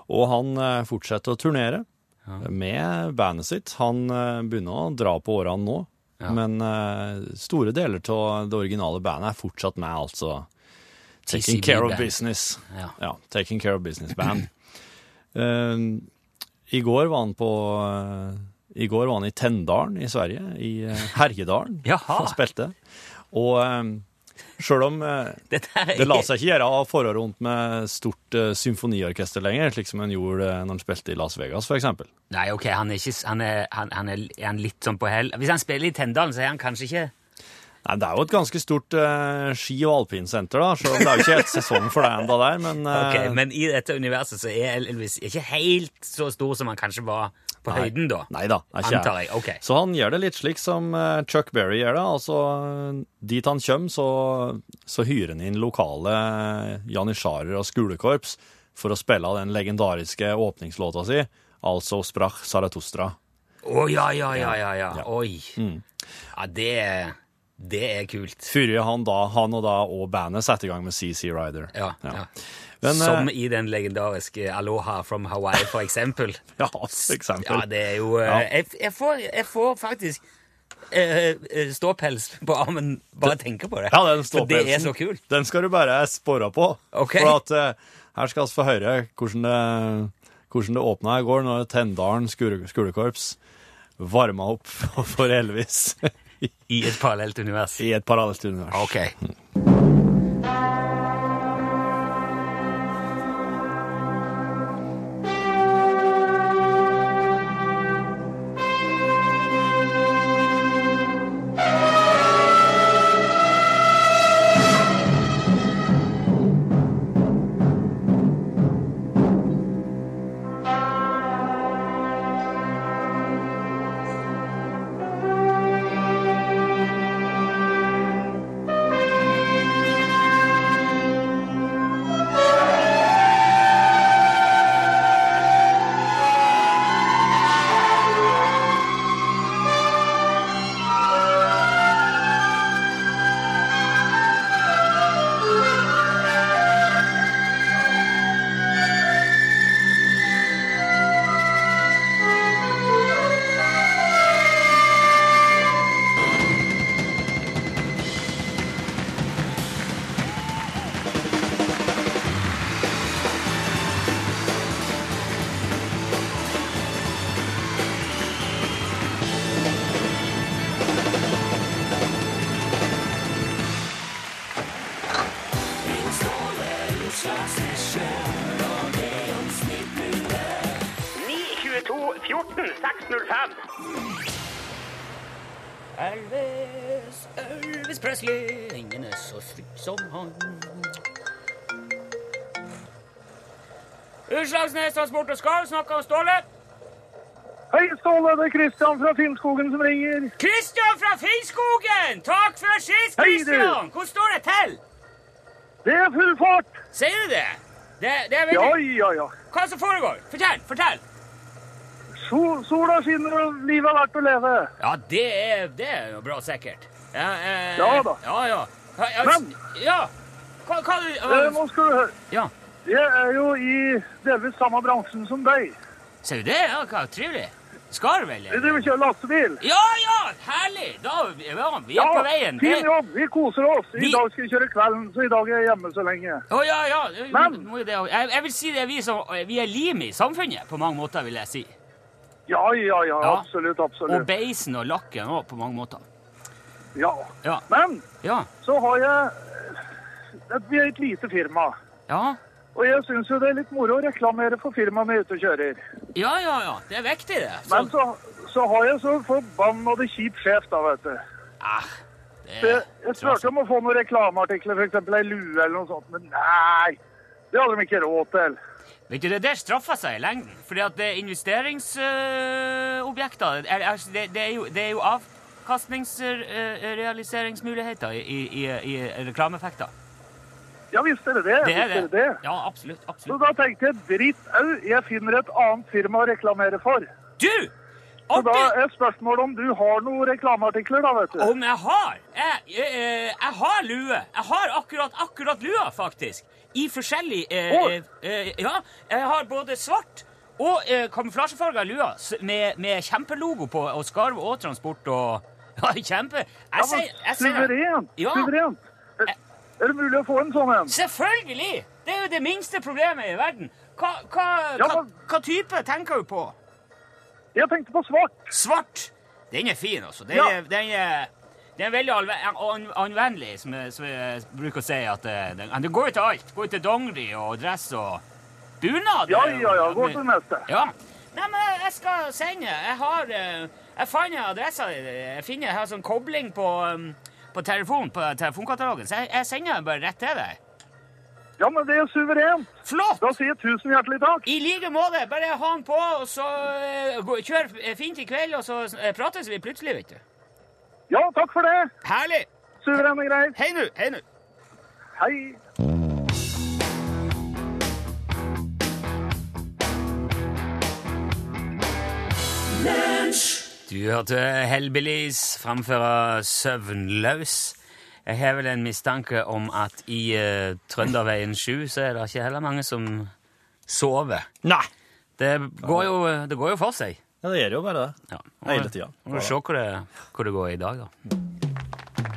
[SPEAKER 3] Og han eh, fortsetter å turnere med bandet sitt. Han eh, begynner å dra på årene nå, men eh, store deler av det originale bandet er fortsatt med, altså. Taking
[SPEAKER 2] TCB
[SPEAKER 3] care of
[SPEAKER 2] Band.
[SPEAKER 3] business.
[SPEAKER 2] Ja.
[SPEAKER 3] Ja, Taking Care of Business Band. Eh, I går var han på eh, I går var han i Tendalen i Sverige, i eh, Herjedalen,
[SPEAKER 2] Jaha.
[SPEAKER 3] og spilte. Og uh, sjøl om eh,
[SPEAKER 2] Dette her er
[SPEAKER 3] det la seg ikke gjøre å fare rundt med stort eh, symfoniorkester lenger, slik som en gjorde eh, når en spilte i Las Vegas, for eksempel.
[SPEAKER 2] Nei, ok, han er, ikke, han er, han, han er, er han litt sånn på hell. Hvis han spiller i Tendalen, så er han kanskje ikke
[SPEAKER 3] Nei, det er jo et ganske stort eh, ski- og alpinsenter, da, så det er jo ikke helt sesong for deg enda der, men, eh,
[SPEAKER 2] Ok, Men i dette universet så er Elvis ikke helt så stor som han kanskje var på høyden, da.
[SPEAKER 3] Nei da, er ikke jeg.
[SPEAKER 2] Antar jeg, ok.
[SPEAKER 3] Så han gjør det litt slik som eh, Chuck Berry gjør det. Altså, eh, dit han kommer, så, så hyrer han inn lokale janisjarer og skolekorps for å spille den legendariske åpningslåta si, altså Sprach Zarathustra.
[SPEAKER 2] Å ja, ja, ja, ja, ja. Oi.
[SPEAKER 3] Mm.
[SPEAKER 2] Ja, det er, det er kult.
[SPEAKER 3] Før han, da, han og da og bandet setter i gang med CC Rider.
[SPEAKER 2] Ja, ja.
[SPEAKER 3] Men,
[SPEAKER 2] Som
[SPEAKER 3] eh,
[SPEAKER 2] i den legendariske Aloha from Hawaii, for eksempel.
[SPEAKER 3] ja, for eksempel.
[SPEAKER 2] Ja, det er jo eh, jeg, jeg, får, jeg får faktisk eh, eh, ståpels på armen bare av å tenke på det.
[SPEAKER 3] Ja, den
[SPEAKER 2] For det er
[SPEAKER 3] ståpelsen.
[SPEAKER 2] så kult.
[SPEAKER 3] Den skal du bare spore på.
[SPEAKER 2] Ok.
[SPEAKER 3] For at, eh, her skal vi få høre hvordan det, hvordan det åpna i går når Tendalen skole, skolekorps varma opp for Elvis
[SPEAKER 2] I et parallelt univers.
[SPEAKER 3] i et parallelt univers.
[SPEAKER 2] Ok. Elvis, Elvis Presley, ingen er så stygg som han. Utslagsnes Transport og Skar snakker om Ståle.
[SPEAKER 4] Hei, Ståle. Det er Kristian fra Finnskogen som ringer.
[SPEAKER 2] Kristian fra Finnskogen! Takk for sist,
[SPEAKER 4] Hei, du.
[SPEAKER 2] Kristian! Hvordan står det til?
[SPEAKER 4] Det er full fart!
[SPEAKER 2] Sier du det? Det, det er
[SPEAKER 4] Ja,
[SPEAKER 2] veldig...
[SPEAKER 4] ja, ja.
[SPEAKER 2] Hva som foregår? Fortell, fortell!
[SPEAKER 4] Sol, sola skinner, og livet er verdt å leve.
[SPEAKER 2] Ja, det er, det er jo bra sikkert. Ja, eh,
[SPEAKER 4] Ja da.
[SPEAKER 2] Ja, ja. Ja, ja,
[SPEAKER 4] Men-
[SPEAKER 2] Ja! Hva, hva du...
[SPEAKER 4] Eh, nå skal du høre.
[SPEAKER 2] Ja,
[SPEAKER 4] Jeg er jo i delvis samme bransjen som deg.
[SPEAKER 2] sier du det? Ja, hva trivelig. Skar, vel?
[SPEAKER 4] Vi
[SPEAKER 2] eller?
[SPEAKER 4] driver og kjører lastebil.
[SPEAKER 2] Ja, ja! Herlig! Da ja, vi er på veien.
[SPEAKER 4] fin
[SPEAKER 2] Det...
[SPEAKER 4] jobb. Vi koser oss. I
[SPEAKER 2] Vi-
[SPEAKER 4] dag skal vi kjøre kvelden, så i dag er jeg hjemme så lenge.
[SPEAKER 2] Å, ja, ja. jo,
[SPEAKER 4] Men-
[SPEAKER 2] må jo det også. jeg, jeg vil si det er vi som Vi er lim i samfunnet, på mange måter, vil jeg si.
[SPEAKER 4] Ja, ja, ja.
[SPEAKER 2] Ja.
[SPEAKER 4] Absolutt,
[SPEAKER 2] Og
[SPEAKER 4] absolutt.
[SPEAKER 2] beisen og lakken òg, på mange måter.
[SPEAKER 4] Ja.
[SPEAKER 2] Ja.
[SPEAKER 4] Men
[SPEAKER 2] Ja.
[SPEAKER 4] så har jeg eh, et- Vi er et lite firma.
[SPEAKER 2] Ja,
[SPEAKER 4] Og jeg syns jo det er litt moro å reklamere for firmaet vi er ute og kjører.
[SPEAKER 2] ja, ja. ja. Det er viktig, det. Sånn- Så-
[SPEAKER 4] Men så, så har jeg så forbannede kjip sjef, da, vet du.
[SPEAKER 2] Ah, det
[SPEAKER 4] Så jeg,
[SPEAKER 2] er
[SPEAKER 4] jeg spurte om å få noen reklameartikler, f.eks. ei lue eller noe sånt, men nei! Det hadde de ikke råd til.
[SPEAKER 2] Vet du, Det der straffer seg i lengden. fordi at det er investeringsobjekter Eh, er, er, det, det, er jo, det er jo avkastningsrealiseringsmuligheter i, i, i, i reklameeffekter.
[SPEAKER 4] Ja visst er det det.
[SPEAKER 2] Det er
[SPEAKER 4] visst er
[SPEAKER 2] det.
[SPEAKER 4] det. det.
[SPEAKER 2] Ja, absolutt.
[SPEAKER 4] Så
[SPEAKER 2] absolutt.
[SPEAKER 4] da tenkte jeg dritt au, jeg finner et annet firma å reklamere for.
[SPEAKER 2] Du!
[SPEAKER 4] Så da
[SPEAKER 2] Artig!
[SPEAKER 4] er spørsmålet om du har noen reklameartikler, da, vet du.
[SPEAKER 2] Om jeg har jeg, jeg, eh, jeg har lue. Jeg har akkurat, akkurat lua, faktisk. I forskjellig eh,
[SPEAKER 4] Oi.
[SPEAKER 2] eh, Ja. Jeg har både svart og eh, kamuflasjefarga lua s- med, med kjempelogo på og skarv og transport og Ja, kjempe. Jeg
[SPEAKER 4] men
[SPEAKER 2] sier- jeg sier-
[SPEAKER 4] Suverent!
[SPEAKER 2] Ja.
[SPEAKER 4] Suverent! Er, er det mulig å få en sånn en?
[SPEAKER 2] Selvfølgelig! Det er jo det minste problemet i verden. Hva, hva,
[SPEAKER 4] Ja,
[SPEAKER 2] hva,
[SPEAKER 4] men-
[SPEAKER 2] hva type tenker du på?
[SPEAKER 4] Jeg tenkte på svart.
[SPEAKER 2] Svart! Den er fin, altså. Den,
[SPEAKER 4] Ja.
[SPEAKER 2] er, den, er, den er veldig allve- an- anvendelig, som jeg, som jeg bruker å si. At eh, den, den går jo til alt. Går jo til dongeri og dress og bunad.
[SPEAKER 4] Ja, ja, ja. Går til det meste.
[SPEAKER 2] Ja. Nei, men jeg- jeg skal sende. Jeg har eh, Jeg fant adressa di. Jeg finner jeg har sånn kobling på, um, på telefon, på telefonkatalogen, så jeg, jeg sender den bare rett til deg.
[SPEAKER 4] Ja, men det er suverent.
[SPEAKER 2] Flott!
[SPEAKER 4] Da sier jeg tusen hjertelig takk.
[SPEAKER 2] I like måte. Bare ha den på, og så eh, gå- kjør eh, fint i kveld, og så eh, prates vi plutselig, vet du.
[SPEAKER 4] Ja, takk for det.
[SPEAKER 2] Herlig.
[SPEAKER 4] Suverene greier.
[SPEAKER 2] Hei nå. Hei nå.
[SPEAKER 4] Hei.
[SPEAKER 2] Du hørte Hellbillies framføre Søvnløs. Jeg har vel en mistanke om at i eh, Trønderveien 7 så er det ikke heller mange som sover.
[SPEAKER 3] Nei.
[SPEAKER 2] Det går jo, det går jo for seg.
[SPEAKER 3] Ja, det gjør jo bare det.
[SPEAKER 2] Ja.
[SPEAKER 3] Hele tida.
[SPEAKER 2] Nå må vi se hvor det, hvor det går i dag, da.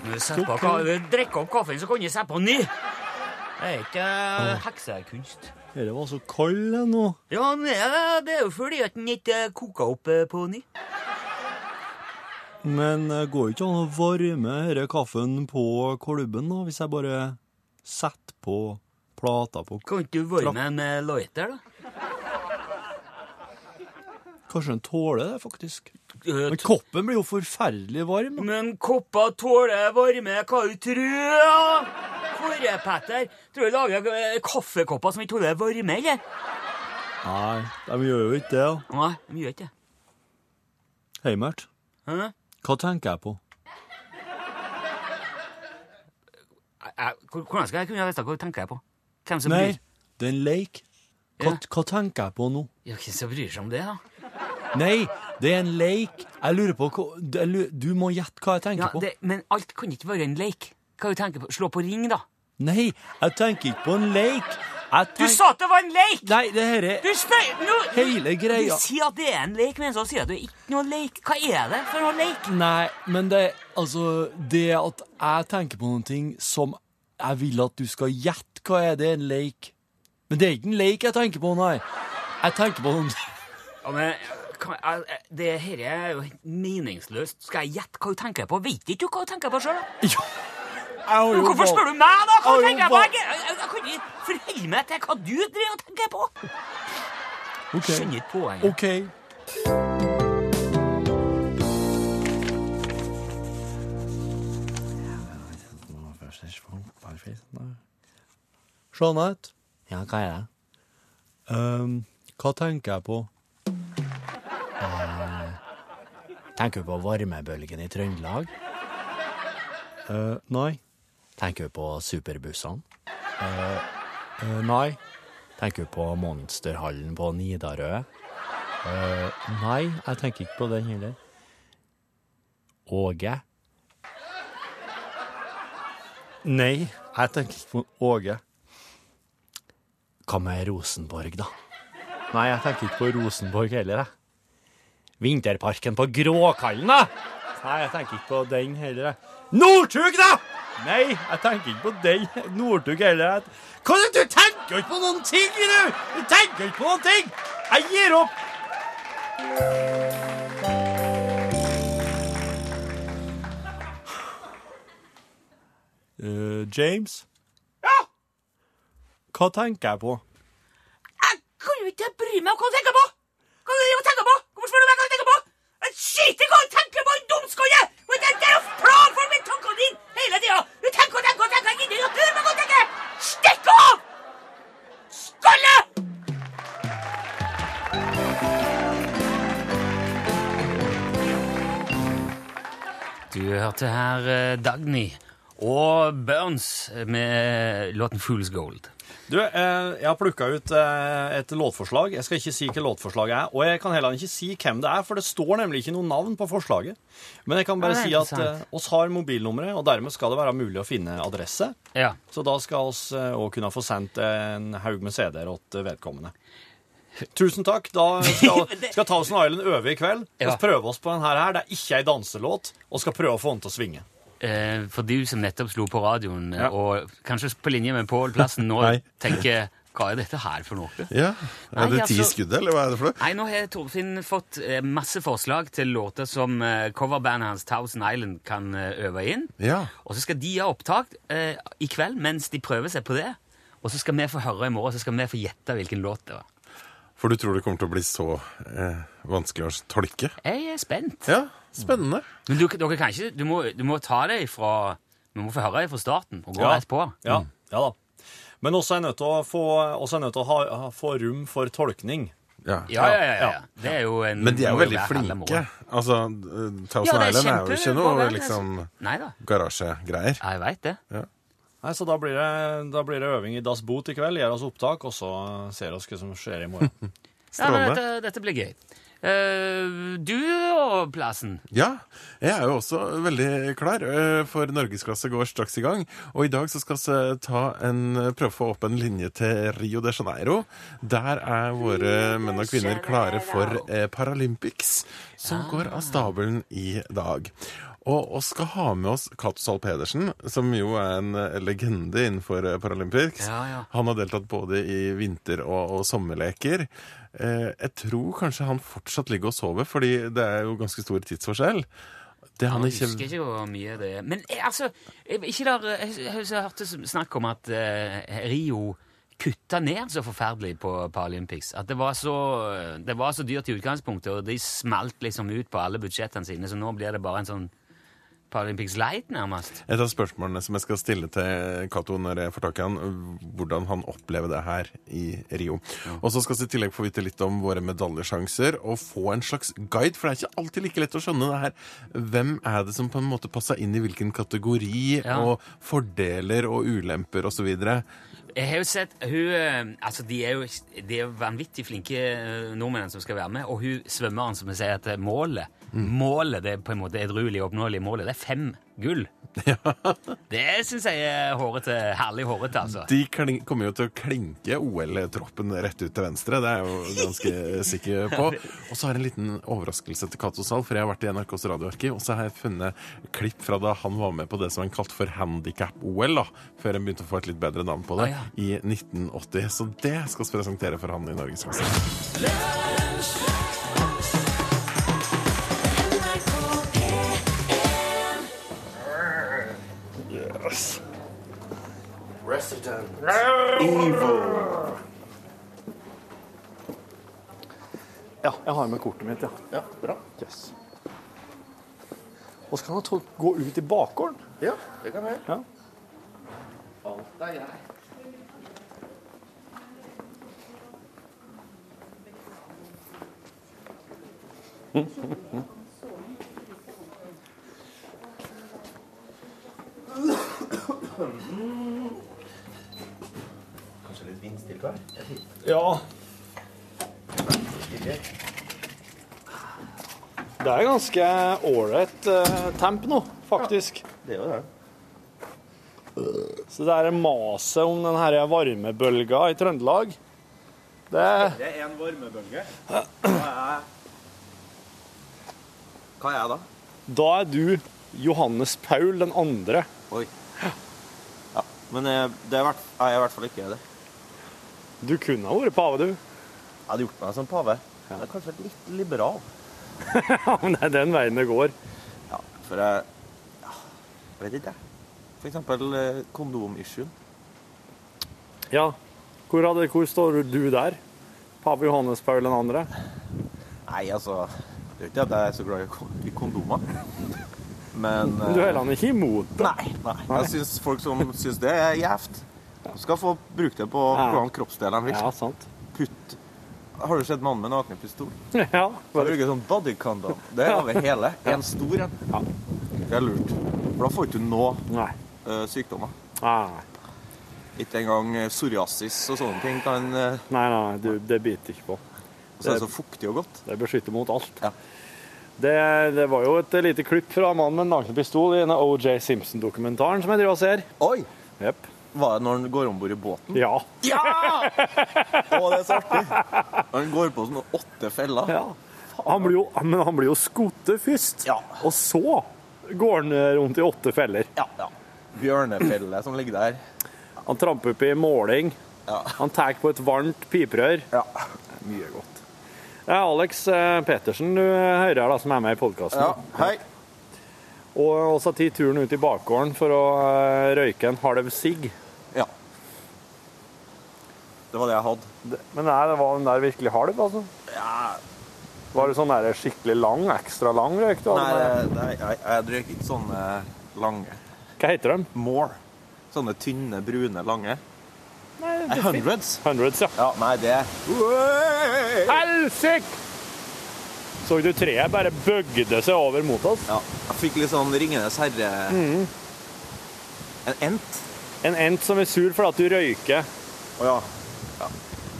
[SPEAKER 2] Drikke opp kaffen, så kan jeg sette på ny! Det er ikke heksekunst.
[SPEAKER 3] Dette var så kald nå.
[SPEAKER 2] Ja, men det er- det er jo fordi at den ikke koker opp eh, på ny.
[SPEAKER 3] Men eh, går det ikke an å varme denne kaffen på klubben, da, hvis jeg bare setter på plata på
[SPEAKER 2] Kan ikke du varme en eh, lighter, da?
[SPEAKER 3] Kanskje den tåler det, faktisk.
[SPEAKER 2] Eh,
[SPEAKER 3] Men koppen blir jo forferdelig varm.
[SPEAKER 2] Men kopper tåler varme, hva du tror? Forre, Petter, tror du lager eh, kaffekopper som ikke tåler varme, eller?
[SPEAKER 3] Nei, de gjør jo ikke det. da.
[SPEAKER 2] Nei, de gjør ikke det.
[SPEAKER 3] Hei, Mert.
[SPEAKER 2] Hæ?
[SPEAKER 3] Hva tenker jeg på?
[SPEAKER 2] Jeg- jeg- Hvordan skal jeg kunne vite hva du tenker på? Hvem som
[SPEAKER 3] Nei,
[SPEAKER 2] bryr
[SPEAKER 3] det er en leik. Hva,
[SPEAKER 2] Ja.
[SPEAKER 3] hva tenker jeg på nå?
[SPEAKER 2] Ja, hvem som bryr seg om det, da?
[SPEAKER 3] Nei, det er en leik. Jeg lurer på hva jeg lurer, Du må gjette hva jeg tenker
[SPEAKER 2] Ja,
[SPEAKER 3] på.
[SPEAKER 2] det, men alt kan ikke være en leik. Hva du tenker på? Slå på ring, da.
[SPEAKER 3] Nei, jeg tenker ikke på en leik. Jeg
[SPEAKER 2] Du
[SPEAKER 3] tenk-
[SPEAKER 2] sa at det var en leik!
[SPEAKER 3] Nei, det her er
[SPEAKER 2] Du spør... Nå,
[SPEAKER 3] hele
[SPEAKER 2] Du
[SPEAKER 3] greia.
[SPEAKER 2] sier at det er en lek, men så sier du ikke noe lek. Hva er det for noe lek?
[SPEAKER 3] Nei, men det Altså, det at jeg tenker på noen ting som jeg vil at du skal gjette hva er, det er en leik. Men det er ikke en leik jeg tenker på, nei. Jeg tenker på noen
[SPEAKER 2] Ja, men kan, jeg- jeg- Det her er jo helt meningsløst. Skal jeg gjette hva du tenker på? Vet ikke du hva du tenker på sjøl?
[SPEAKER 3] Jo. Jeg har jo
[SPEAKER 2] Hvorfor
[SPEAKER 3] valgt-
[SPEAKER 2] spør du meg, da? Hva
[SPEAKER 3] Ja,
[SPEAKER 2] du tenker
[SPEAKER 3] jo,
[SPEAKER 2] på?
[SPEAKER 3] hva-
[SPEAKER 2] Jeg, jeg, jeg kan ikke forholde meg til hva du driver og tenker på.
[SPEAKER 3] Ok.
[SPEAKER 2] Skjønner ikke poenget.
[SPEAKER 3] OK. Jeanette? Ja, hva er det? Ehm, hva tenker jeg på? Eh, tenker du på varmebølgen i Trøndelag? Eh, nei. Tenker du på superbussene? eh, nei. Tenker du på monsterhallen på Nidarø? Eh, nei, jeg tenker ikke på den heller. Åge? Nei, jeg tenker ikke på Åge. Hva med Rosenborg, da? Nei, jeg tenker ikke på Rosenborg heller, jeg. Vinterparken på Gråkallen, da! Nei, jeg tenker ikke på den heller, jeg. Northug, da! Nei, jeg tenker ikke på den Northug heller. jeg. Hva er det du tenker jo ikke på noen ting, du! Du tenker jo ikke på noen ting! Jeg gir opp! Eh, James? Ja? Hva tenker jeg på?
[SPEAKER 2] Jeg kan jo ikke bry meg om hva du tenker på! Hva du driver og tenker på? Hvorfor spør du meg hva du tenker på? Jeg skiter i hva du tenker på, din dumskolle! Og Det det er jo plan for mine tanker dine hele tida! Du tenker og tenker og tenker! Jeg gidder ikke å høre på hva du tenker! Stikk av! Skalle! Du hørte her eh, Dagny og Burns med låten Fool's Gold.
[SPEAKER 3] Du, eh, jeg har plukka ut eh, et låtforslag. Jeg skal ikke si hva låtforslaget er. Og jeg kan heller ikke si hvem det er, for det står nemlig ikke noe navn på forslaget. Men jeg kan bare
[SPEAKER 2] Ja, det
[SPEAKER 3] si
[SPEAKER 2] er
[SPEAKER 3] at eh, oss har mobilnummeret, og dermed skal det være mulig å finne adresse.
[SPEAKER 2] Ja.
[SPEAKER 3] Så da skal oss eh, også kunne få sendt en haug med CD-er til eh, vedkommende. Tusen takk. Da skal, skal Thousand Island øve i kveld. Vi
[SPEAKER 2] Ja.
[SPEAKER 3] prøve oss på denne her. Det er ikke ei danselåt, og skal prøve å få den til å svinge.
[SPEAKER 2] Eh, for du som nettopp slo på radioen, eh,
[SPEAKER 3] Ja.
[SPEAKER 2] og kanskje på linje med Pål Plassen nå
[SPEAKER 5] Nei.
[SPEAKER 2] tenker hva er dette her for noe?
[SPEAKER 5] Ja.
[SPEAKER 2] Nei,
[SPEAKER 5] Er det ti
[SPEAKER 2] altså-
[SPEAKER 5] skudd, eller hva er det for noe?
[SPEAKER 2] Nei, nå har Torfinn fått eh, masse forslag til låter som eh, coverbandet hans Thousand Island kan eh, øve inn.
[SPEAKER 5] Ja.
[SPEAKER 2] Og så skal de ha opptak eh, i kveld mens de prøver seg på det. Og så skal vi få høre i morgen, så skal vi få gjette hvilken låt det var.
[SPEAKER 5] For du tror det kommer til å bli så eh, vanskelig å tolke?
[SPEAKER 2] Jeg er spent.
[SPEAKER 5] Ja, spennende.
[SPEAKER 2] Men du, dere kan ikke, du må, du må ta det ifra Du må få høre det fra starten og gå rett på. Mm.
[SPEAKER 3] Ja, ja da. Men også er nødt til å få, også er nødt til å ha, ha, få rom for tolkning.
[SPEAKER 5] Ja.
[SPEAKER 2] Ja, ja, ja. ja. Det er jo en
[SPEAKER 5] Men de er jo
[SPEAKER 2] må jo
[SPEAKER 5] veldig
[SPEAKER 2] være alle morgen.
[SPEAKER 5] flinke. Altså, eh, Thousand
[SPEAKER 2] Ja, det er
[SPEAKER 5] Island er jo
[SPEAKER 2] kjempe- altså.
[SPEAKER 5] ikke
[SPEAKER 2] bra
[SPEAKER 5] noe
[SPEAKER 2] band,
[SPEAKER 5] liksom
[SPEAKER 2] Nei da.
[SPEAKER 5] garasjegreier.
[SPEAKER 2] Jeg veit det.
[SPEAKER 5] Ja.
[SPEAKER 6] Nei, så da blir, det, da blir det øving i Das Boot i kveld. Gjør oss opptak, og så ser oss hva som skjer i morgen.
[SPEAKER 7] Ja, men
[SPEAKER 5] Strålende.
[SPEAKER 7] dette, dette blir gøy. Eh, du og plassen.
[SPEAKER 5] Ja, jeg er jo også veldig klar, eh, for norgesklasse går straks i gang. Og i dag så skal vi eh, ta en, prøve å få opp en linje til Rio de Janeiro. Der er våre menn og kvinner klare for eh, Paralympics, som
[SPEAKER 7] Ah.
[SPEAKER 5] går av stabelen i dag. Og vi skal ha med oss Katzahl Pedersen, som jo er en eh, legende innenfor eh, Paralympics.
[SPEAKER 7] Ja, ja.
[SPEAKER 5] Han har deltatt både i vinter- og, og sommerleker. Eh, jeg tror kanskje han fortsatt ligger og sover, fordi det er jo ganske stor tidsforskjell. Det han
[SPEAKER 7] Jeg husker
[SPEAKER 5] ikke...
[SPEAKER 7] ikke hvor mye det er. Men eh, altså, eh, ikke der, eh, jeg, jeg, jeg hørte s- snakk om at eh, Rio kutta ned så forferdelig på Paralympics. At det var, så, eh, det var så dyrt i utgangspunktet, og de smalt liksom ut på alle budsjettene sine, så nå blir det bare en sånn Paralympics light, nærmest.
[SPEAKER 5] Et av spørsmålene som jeg skal stille til Cato når jeg får tak i han, hvordan han opplever det her i Rio. Og så skal vi i tillegg få vite litt om våre medaljesjanser og få en slags guide, for det er ikke alltid like lett å skjønne det her. Hvem er det som på en måte passer inn i hvilken kategori,
[SPEAKER 7] Ja.
[SPEAKER 5] og fordeler og ulemper osv.
[SPEAKER 7] Jeg har jo sett hun eh, Altså, de er jo de er jo vanvittig flinke eh, nordmennene som skal være med, og hun svømmeren som sier at eh, målet Målet, det er på en måte edruelig oppnåelige målet, det er fem gull. Det syns jeg er hårete. Herlig hårete, altså.
[SPEAKER 5] De kling, kommer jo til å klinke OL-troppen rett ut til venstre, det er jeg jo ganske sikker på. Og så har jeg en liten overraskelse til Cato Zahl, for jeg har vært i NRKs radioarkiv, og så har jeg funnet klipp fra da han var med på det som han kalte for Handikap-OL, da, før han begynte å få et litt bedre navn på det,
[SPEAKER 7] Ah,
[SPEAKER 5] i 1980. Så det skal vi presentere for han i Norgesklasse.
[SPEAKER 8] Resident Evil.
[SPEAKER 3] Ja, jeg har med kortet mitt, ja.
[SPEAKER 8] Ja, bra.
[SPEAKER 3] Yes. Og så kan han to- gå ut i bakgården.
[SPEAKER 8] Ja, det kan jeg.
[SPEAKER 3] Ja.
[SPEAKER 8] Alt er greit. Kanskje litt vindstille kar?
[SPEAKER 3] Ja. Det er ganske ålreit eh, temp nå, faktisk.
[SPEAKER 8] Det er jo det.
[SPEAKER 3] Så det er maset om den her varmebølga i Trøndelag. Det
[SPEAKER 8] Det er en varmebølge. Hva er Hva er jeg da?
[SPEAKER 3] Da er du Johannes Paul den andre.
[SPEAKER 8] Oi. Ja, men eh, det er hvert, jeg er i hvert fall ikke det.
[SPEAKER 3] Du kunne ha vært pave, du.
[SPEAKER 8] Jeg hadde gjort meg som pave. Jeg er kanskje litt liberal.
[SPEAKER 3] Ja, men det er den veien det går.
[SPEAKER 8] Ja, for jeg ja, Jeg vet ikke, jeg. For eksempel eh, kondomissuen.
[SPEAKER 3] Ja. Hvor, hadde, hvor står du der? Pave Johannes Paul den andre?
[SPEAKER 8] Nei, altså Det er jo ikke at jeg er så glad i kon- i kondomer.
[SPEAKER 3] Men
[SPEAKER 8] Men
[SPEAKER 3] Du er
[SPEAKER 8] eh,
[SPEAKER 3] heller ikke imot det.
[SPEAKER 8] Nei. nei. Jeg syns folk som syns det, er gjevt. Du skal få bruke det på
[SPEAKER 3] Ja.
[SPEAKER 8] hvordan kroppsdeler de vil.
[SPEAKER 3] Ja, sant.
[SPEAKER 8] Putt Har du sett mannen med nakenpistol?
[SPEAKER 3] Ja,
[SPEAKER 8] Jeg bruker sånn bodycondom. Det er over hele. En stor en.
[SPEAKER 3] Ja.
[SPEAKER 8] Det er lurt. For da får du ikke nå
[SPEAKER 3] Nei. Ah,
[SPEAKER 8] eh, sykdommer.
[SPEAKER 3] Nei,
[SPEAKER 8] Ikke engang eh, psoriasis og sånne ting kan eh,
[SPEAKER 3] nei, nei du, det biter ikke på.
[SPEAKER 8] Og så er det så fuktig og godt.
[SPEAKER 3] Det beskytter mot alt.
[SPEAKER 8] Ja.
[SPEAKER 3] Det, det var jo et lite klipp fra mannen med en nakenpistol i denne OJ Simpson-dokumentaren som jeg driver og ser.
[SPEAKER 8] Oi!
[SPEAKER 3] Jep.
[SPEAKER 8] Var det når han går om bord i båten?
[SPEAKER 3] Ja.
[SPEAKER 8] Ja! Å, det er så artig. Han går på sånn åtte feller.
[SPEAKER 3] ja. Han blir jo, men han blir jo skutt først,
[SPEAKER 8] Ja.
[SPEAKER 3] og så går han rundt i åtte feller.
[SPEAKER 8] Ja. ja. Bjørnefelle som ligger der.
[SPEAKER 3] Han tramper opp i måling.
[SPEAKER 8] Ja.
[SPEAKER 3] Han tar på et varmt piprør.
[SPEAKER 8] Ja.
[SPEAKER 3] Mye godt. Det er Alex eh, Petersen du hører her da, som er med i podkasten.
[SPEAKER 8] ja. Hei.
[SPEAKER 3] Og også tatt turen ut i bakgården for å eh, røyke en halv sigg.
[SPEAKER 8] Ja. Det var det jeg hadde.
[SPEAKER 3] Det- Men nei, det var den der virkelig halv, altså? Var det sånn der skikkelig lang, ekstra lang røyk du hadde?
[SPEAKER 8] Nei,
[SPEAKER 3] med?
[SPEAKER 8] det- det- jeg, jeg drikker ikke sånne lange.
[SPEAKER 3] Hva heter de?
[SPEAKER 8] More. Sånne tynne, brune, lange. Nei, hundreds.
[SPEAKER 3] Hundreds, ja.
[SPEAKER 8] Ja, nei, det Ja,
[SPEAKER 3] Helsike! Så du treet bare bøgde seg over mot oss?
[SPEAKER 8] Mm. jeg fikk litt sånn Ringenes herre En ent.
[SPEAKER 3] En ent som er sur fordi at du røyker.
[SPEAKER 8] Å ja. ja.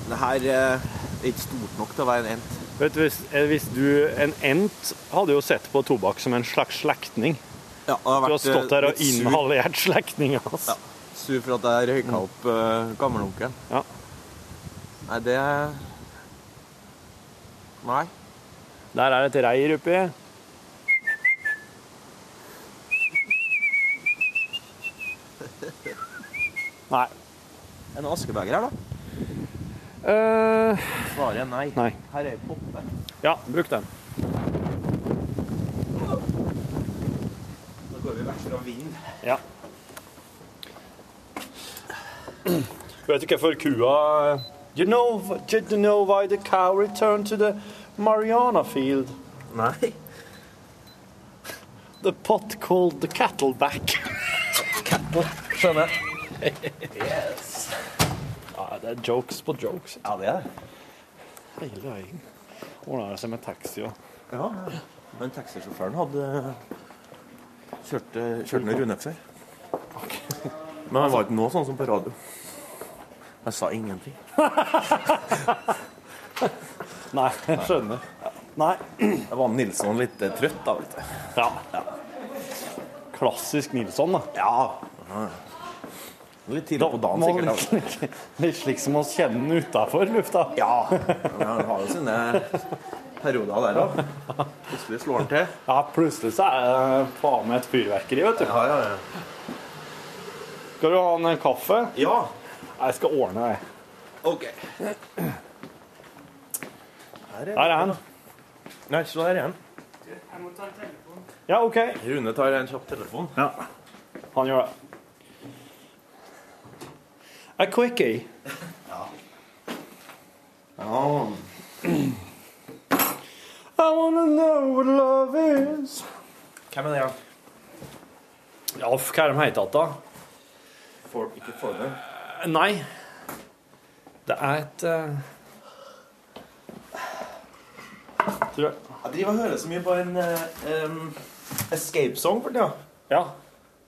[SPEAKER 8] Det her eh, er ikke stort nok til å være en ent.
[SPEAKER 3] Vet du, hvis, eh, hvis du, En ent hadde jo sett på tobakk som en slags slektning.
[SPEAKER 8] Ja, det
[SPEAKER 3] Du har
[SPEAKER 8] vært, eh,
[SPEAKER 3] stått her
[SPEAKER 8] litt
[SPEAKER 3] og
[SPEAKER 8] sur-
[SPEAKER 3] inhalert slektninga hans.
[SPEAKER 8] Ja. Sur for at jeg røyka opp uh, gammelonkelen.
[SPEAKER 3] Mm. Ja.
[SPEAKER 8] Nei, det Nei.
[SPEAKER 3] Der er et reir oppi. Nei.
[SPEAKER 8] En askebeger her, da?
[SPEAKER 3] Eh,
[SPEAKER 8] Svaret er nei.
[SPEAKER 3] Nei.
[SPEAKER 8] Her er poppe.
[SPEAKER 3] ja, bruk den.
[SPEAKER 8] Da går vi vekk fra vinden.
[SPEAKER 3] Ja. Vet du hvorfor kua eh, you know, Did you know why the cow returned to the Mariana field?
[SPEAKER 8] Nei.
[SPEAKER 3] The pot called the cattle back.
[SPEAKER 8] Skjønner.
[SPEAKER 3] Ja, det er jokes på jokes.
[SPEAKER 8] Ja, det er det.
[SPEAKER 3] Hele veien. Ordner det seg med taxi og
[SPEAKER 8] Ja. Men taxisjåføren hadde kjørt, eh, kjørt med Rune før. Men han var ikke noe sånn som på radio. Jeg sa ingenting.
[SPEAKER 3] Nei, jeg skjønner. Nei.
[SPEAKER 8] Da var Nilsson litt eh, trøtt, da, vet du.
[SPEAKER 3] Ja. Klassisk Nilsson, da.
[SPEAKER 8] Ja. Litt tidlig på dagen,
[SPEAKER 3] Må-
[SPEAKER 8] sikkert. da, vet du.
[SPEAKER 3] Litt slik som oss kjenner den utafor lufta.
[SPEAKER 8] Ja. Men han har jo sine perioder der òg. Plutselig slår han til.
[SPEAKER 3] Ja, plutselig så er det faen meg et fyrverkeri, vet du.
[SPEAKER 8] Ja, ja, ja.
[SPEAKER 3] Skal du ha en kaffe?
[SPEAKER 8] ja.
[SPEAKER 3] Jeg skal ordne det.
[SPEAKER 8] OK.
[SPEAKER 3] Der er han.
[SPEAKER 8] Nei, slå der igjen.
[SPEAKER 3] Ja, OK.
[SPEAKER 8] Rune tar en kjapp telefon.
[SPEAKER 3] Han gjør det. A quickie. I wanna know what love is.
[SPEAKER 8] Hvem er det igjen?
[SPEAKER 3] Ja, f- hva er de heter da?
[SPEAKER 8] For, ikke Fornøy.
[SPEAKER 3] Nei. Det er et uh... Tror jeg.
[SPEAKER 8] Jeg driver og hører så mye på en eh, em, escape song for tida.
[SPEAKER 3] Ja.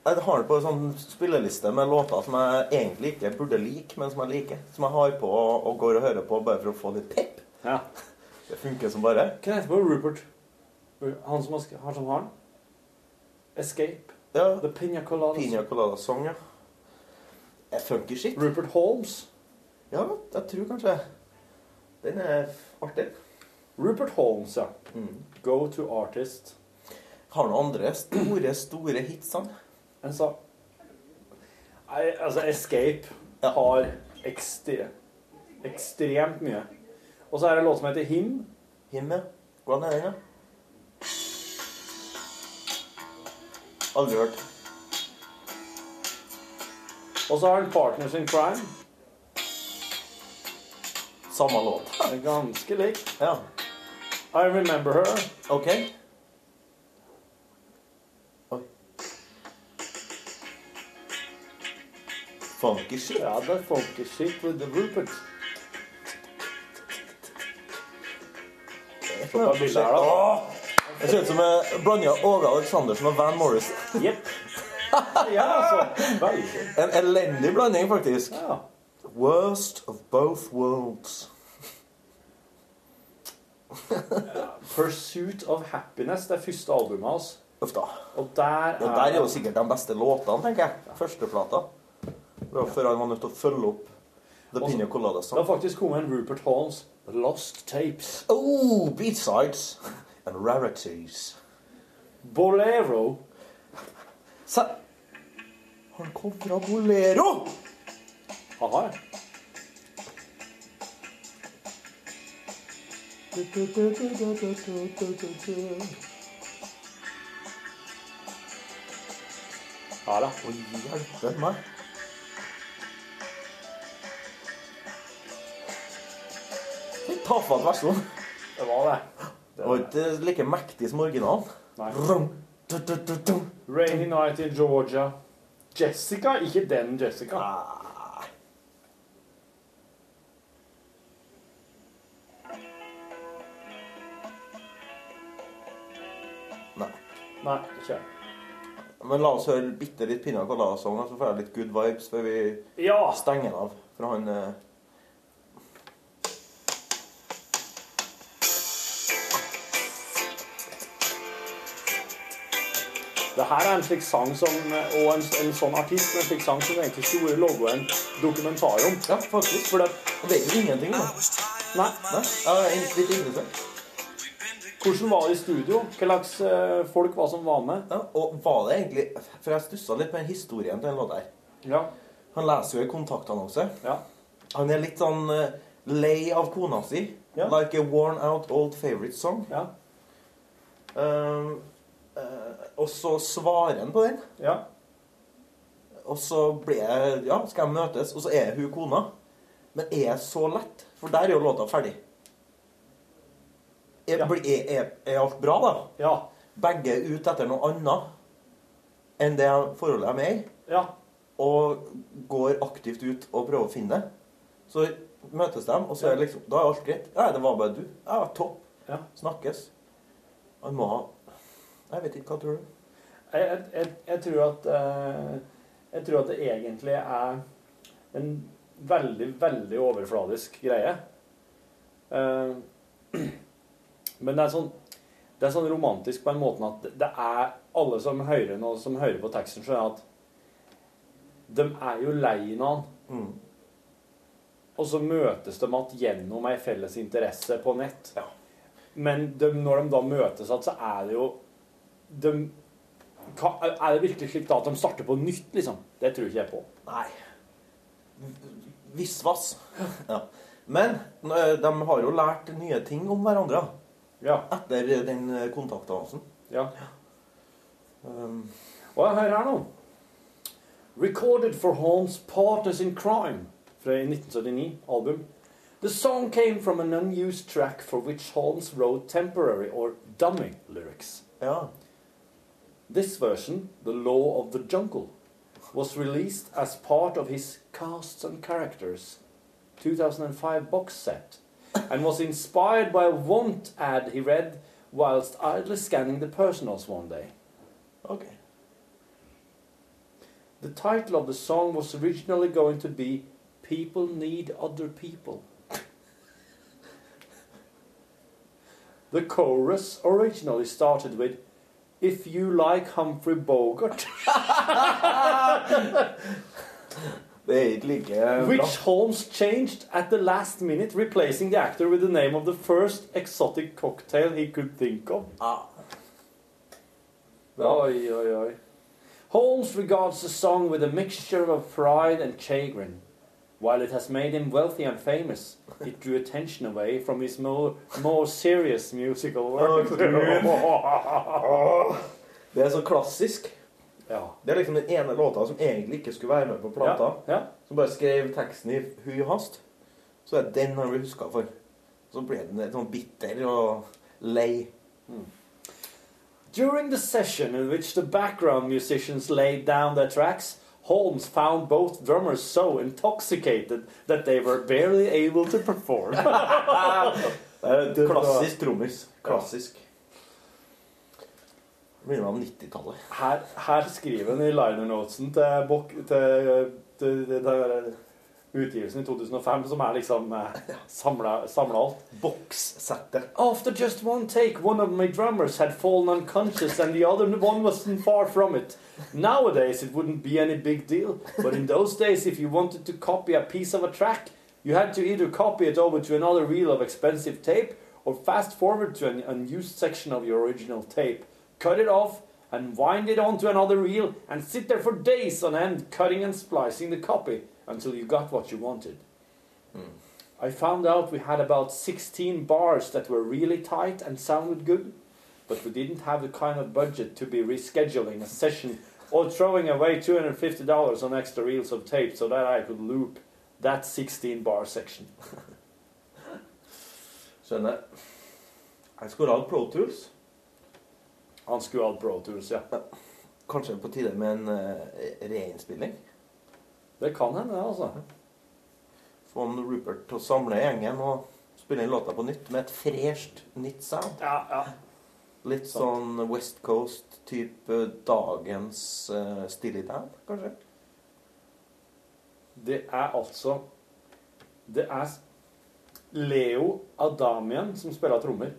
[SPEAKER 8] Jeg har det på en sånn spilleliste med låter som jeg egentlig ikke burde like, men som jeg liker. Som jeg har på og, og går og hører på bare for å få litt pep.
[SPEAKER 3] ja.
[SPEAKER 8] Det funker som bare.
[SPEAKER 3] Hva heter det? Rupert? Han som har han som har den? Escape?
[SPEAKER 8] Ja.
[SPEAKER 3] The Pina Colada?
[SPEAKER 8] Pina Colada Song, ja. Eh, Funky shit.
[SPEAKER 3] Rupert Holmes?
[SPEAKER 8] Ja, jeg tror kanskje Den er artig.
[SPEAKER 3] Rupert Holmes, ja. Mm. Go to artist.
[SPEAKER 8] Har noen andre store, store hits, han.
[SPEAKER 3] En sa Nei, altså, Escape
[SPEAKER 8] Ja.
[SPEAKER 3] har ekstre, ekstremt mye. Og så er det en låt som heter Him.
[SPEAKER 8] Himmel. Hvordan er den, da? Aldri hørt.
[SPEAKER 3] Og så har han Partners in Crime.
[SPEAKER 8] Samme låt.
[SPEAKER 3] Det er ganske likt.
[SPEAKER 8] Ja.
[SPEAKER 3] I remember her.
[SPEAKER 8] OK. Oi. Funky shit.
[SPEAKER 3] Ja, det er funky shit with the Rupert.
[SPEAKER 8] Det
[SPEAKER 3] på bildet her, da.
[SPEAKER 8] ser ut som en blanding av Åge Aleksandersen og Van Morris.
[SPEAKER 3] Jepp. Ja, altså. Veldig.
[SPEAKER 8] En elendig blanding, faktisk.
[SPEAKER 3] Ja.
[SPEAKER 8] Worst of both worlds.
[SPEAKER 3] Pursuit of Happiness, det er første albumet hans.
[SPEAKER 8] Uff da.
[SPEAKER 3] Og der
[SPEAKER 8] Det der er jo sikkert de beste låtene, tenker jeg. Førsteplata. Det var før han var nødt til å følge opp The
[SPEAKER 3] Også-
[SPEAKER 8] Pina Colada
[SPEAKER 3] Det har
[SPEAKER 8] Song.
[SPEAKER 3] faktisk kommet en Rupert Holmes Lost Tapes.
[SPEAKER 8] Oh, B-sides and rarities.
[SPEAKER 3] Bolero.
[SPEAKER 8] Se Han kom fra Bolero!
[SPEAKER 3] Aha. Ja da.
[SPEAKER 8] Oi, hjelpe meg. Litt tafatt versjon.
[SPEAKER 3] Det var det.
[SPEAKER 8] Det var ikke like mektig som originalen.
[SPEAKER 3] Nei.
[SPEAKER 8] Rum, du, du, du, du.
[SPEAKER 3] Rainy Night in Georgia. Jessica? Ikke den Jessica.
[SPEAKER 8] Nei.
[SPEAKER 3] Nei, ikke
[SPEAKER 8] Men la oss høre bitte litt Pina Colada-sang, så får jeg litt good vibes før vi
[SPEAKER 3] Ja!
[SPEAKER 8] stenger den av. For han eh,
[SPEAKER 3] Det her er en slik sang som, og en, en sånn artist med en slik sang som det egentlig skulle vært laget en dokumentar om.
[SPEAKER 8] Ja, faktisk. For det jeg vet jo ingenting, da.
[SPEAKER 3] Nei,
[SPEAKER 8] Nei, jeg er egentlig litt interessert.
[SPEAKER 3] hvordan var det i studio? Hva slags eh, folk var som var med?
[SPEAKER 8] Ja, og var det egentlig For jeg stussa litt med historien til den låta her.
[SPEAKER 3] Ja,
[SPEAKER 8] Han leser jo en kontaktannonse.
[SPEAKER 3] ja.
[SPEAKER 8] Han er litt sånn eh, lei av kona si.
[SPEAKER 3] Ja.
[SPEAKER 8] Like a worn out old favorite song.
[SPEAKER 3] Ja,
[SPEAKER 8] Um, eh, og så svarer han på den.
[SPEAKER 3] ja.
[SPEAKER 8] Og så blir jeg Ja, skal jeg møtes? Og så er hun kona. Men er jeg så lett? For der er jo låta ferdig. Er,
[SPEAKER 3] Ja.
[SPEAKER 8] blir- er, er, er alt bra, da?
[SPEAKER 3] Ja,
[SPEAKER 8] Begge er ute etter noe annet enn det forholdet de er i.
[SPEAKER 3] ja.
[SPEAKER 8] og går aktivt ut og prøver å finne det. Så møtes de, og så er det liksom, da er alt greit. Nei, det var bare du. Ja, topp.
[SPEAKER 3] Ja.
[SPEAKER 8] Snakkes. Han må ha Jeg vet ikke, hva tror du?
[SPEAKER 3] Jeg, jeg, jeg, jeg tror at eh, Jeg tror at det egentlig er en veldig, veldig overfladisk greie. Eh, men det er sånn Det er sånn romantisk på en måte at det er alle som hører noe, som hører på teksten, skjønner at de er jo lei av han.
[SPEAKER 8] Mm.
[SPEAKER 3] Og så møtes de igjen gjennom ei felles interesse på nett.
[SPEAKER 8] Ja.
[SPEAKER 3] Men de, når de da møtes igjen, så er det jo de, hva, Er det virkelig slik da at de starter på nytt, liksom? Det tror ikke jeg på.
[SPEAKER 8] Nei. Visvas. Ja. Men eh, de har jo lært nye ting om hverandre
[SPEAKER 3] Ja.
[SPEAKER 8] etter den eh, kontaktannonsen.
[SPEAKER 3] ja.
[SPEAKER 8] Um,
[SPEAKER 3] Og jeg hører her nå. Recorded for Holmes' Partners in Crime fra 1979, album. The song came from an unused track for which Holmes wrote temporary or dummy lyrics.
[SPEAKER 8] ja.
[SPEAKER 3] This version, The Law of the Jungle, was released as part of his Casts and Characters 2005 box set and was inspired by a want ad he read whilst idly scanning the personals one day.
[SPEAKER 8] OK.
[SPEAKER 3] The title of the song was originally going to be People Need Other People. the chorus originally started with If You Like Humphrey Bogart.
[SPEAKER 8] Det er ikke like bra.
[SPEAKER 3] Which Holmes changed at the last minute, replacing the actor with the name of the first exotic cocktail he could think of.
[SPEAKER 8] Ah.
[SPEAKER 3] Oi, oi, oi. Holmes regards the song with a mixture of pride and chagrin. While it has made him wealthy and famous, it drew attention away from his more, more serious musical work.
[SPEAKER 8] Det er så klassisk.
[SPEAKER 3] ja.
[SPEAKER 8] Det er liksom den ene låta som egentlig ikke skulle være med på plata.
[SPEAKER 3] Ja, ja.
[SPEAKER 8] Som bare skrev teksten i hui og hast. Så er det den han blir huska for. Så ble den litt sånn bitter og lei.
[SPEAKER 3] During the session in which the background musicians laid down their tracks, Holmes found both drummers so intoxicated that they were barely able to perform. Eh,
[SPEAKER 8] Klassisk trommis. Klassisk. Minner meg om 90-tallet.
[SPEAKER 3] her, her skriver han i liner notesen til, bok, til, til, til, til utgivelsen i 2005, som er liksom eh, samla samla alt.
[SPEAKER 8] Bokssettet.
[SPEAKER 3] After just one take, one of my drummers had fallen unconscious and the other one wasn't far from it. Nowadays, it wouldn't be any big deal, but in those days, if you wanted to copy a piece of a track, you had to either copy it over to another reel of expensive tape or fast forward to an unused section of your original tape, cut it off, and wind it onto another reel and sit there for days on end cutting and splicing the copy until you got what you wanted. I found out we had about 16 bars that were really tight and sounded good, but we didn't have the kind of budget to be rescheduling a session or throwing away $250 on extra reels of tape so that I could loop that 16 bar section.
[SPEAKER 8] Skjønner. Jeg skulle hatt Pro Tools.
[SPEAKER 3] Han skulle hatt Pro Tools, ja.
[SPEAKER 8] Kanskje på tide med en eh, reinnspilling.
[SPEAKER 3] Det kan hende, det, altså.
[SPEAKER 8] Få han Rupert til å samle gjengen og spille inn låta på nytt med et fresht nytt sound.
[SPEAKER 3] Ja, ja.
[SPEAKER 8] Litt sånn West Coast-type dagens uh, Steely Dan, kanskje?
[SPEAKER 3] Det er altså Det er Leo Adamian som spiller trommer.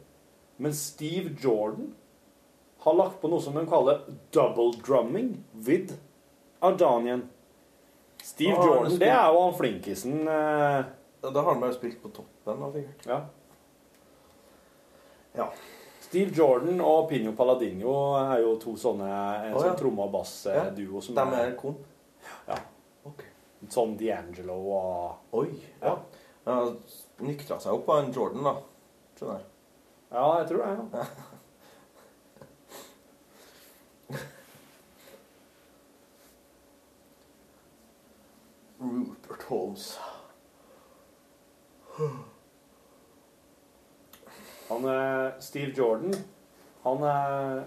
[SPEAKER 3] Men Steve Jordan har lagt på noe som de kaller double drumming with Adamian. Steve
[SPEAKER 8] Ah, det
[SPEAKER 3] Jordan,
[SPEAKER 8] skal-
[SPEAKER 3] det er jo han flinkisen eh,
[SPEAKER 8] Da da har han bare spilt på toppen, da, sikkert.
[SPEAKER 3] Ja.
[SPEAKER 8] Ja.
[SPEAKER 3] Steve Jordan og Pino Paladino er jo to sånne En
[SPEAKER 8] Å,
[SPEAKER 3] sånn
[SPEAKER 8] ja.
[SPEAKER 3] tromme- og bassduo som
[SPEAKER 8] De er komp.
[SPEAKER 3] Ja.
[SPEAKER 8] Ok.
[SPEAKER 3] Sånn D'Angelo og
[SPEAKER 8] Oi. Ja. ja. Nyktra seg opp av en Jordan, da. Skjønner jeg.
[SPEAKER 3] Ja, jeg tror det. ja.
[SPEAKER 8] Rupert Holmes.
[SPEAKER 3] Han er Steve Jordan. Han er,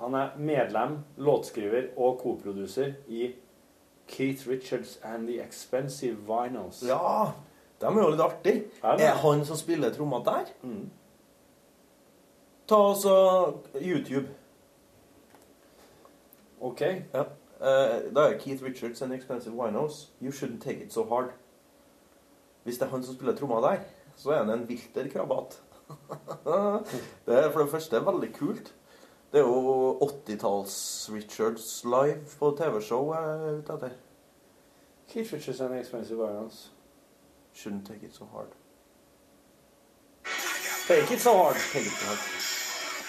[SPEAKER 3] han er medlem, låtskriver og koproduser i Keith Richards and The Expensive Vinyls.
[SPEAKER 8] Ja! De er jo litt artige.
[SPEAKER 3] Er
[SPEAKER 8] Er,
[SPEAKER 3] det?
[SPEAKER 8] han som spiller tromma der?
[SPEAKER 3] Mm.
[SPEAKER 8] Ta altså YouTube.
[SPEAKER 3] OK.
[SPEAKER 8] Ja. Eh, da er Keith Richards and Expensive Winos. You shouldn't take it so hard. Hvis det er han som spiller tromma der, så er han en vilter krabat. det er for det første veldig kult. Det er jo 80-talls-Richards live på TV-show jeg er ute etter.
[SPEAKER 3] Keith Richards and The Expensive Vinyls.
[SPEAKER 8] Shouldn't take it so hard.
[SPEAKER 3] Take it so hard.
[SPEAKER 8] Take it so hard.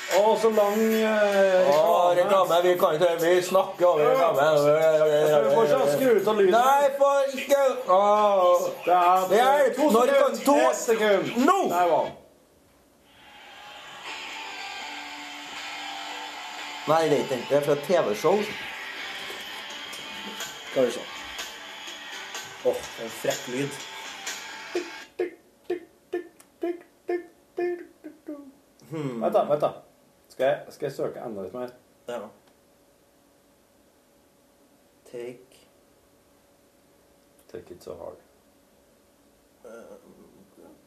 [SPEAKER 3] Å, så lang eh,
[SPEAKER 8] Å, reklame! Vi kan ikke Vi snakker over
[SPEAKER 3] Så Vi får ikke
[SPEAKER 8] reklame.
[SPEAKER 3] skru ut av lyden.
[SPEAKER 8] Nei, for ikke Åh.
[SPEAKER 3] Det er,
[SPEAKER 8] Det er-
[SPEAKER 3] to
[SPEAKER 8] når kan
[SPEAKER 3] sekunder.
[SPEAKER 8] to-
[SPEAKER 3] Ett sekund.
[SPEAKER 8] Nå!
[SPEAKER 3] Der var den.
[SPEAKER 8] Nei, det er ikke den. Det er fra et TV-show. Skal vi se. Åh, det er en frekk lyd.
[SPEAKER 3] Vent, da. vent da. Skal jeg, skal jeg søke enda litt mer?
[SPEAKER 8] Ja. Take
[SPEAKER 3] Take it so hard.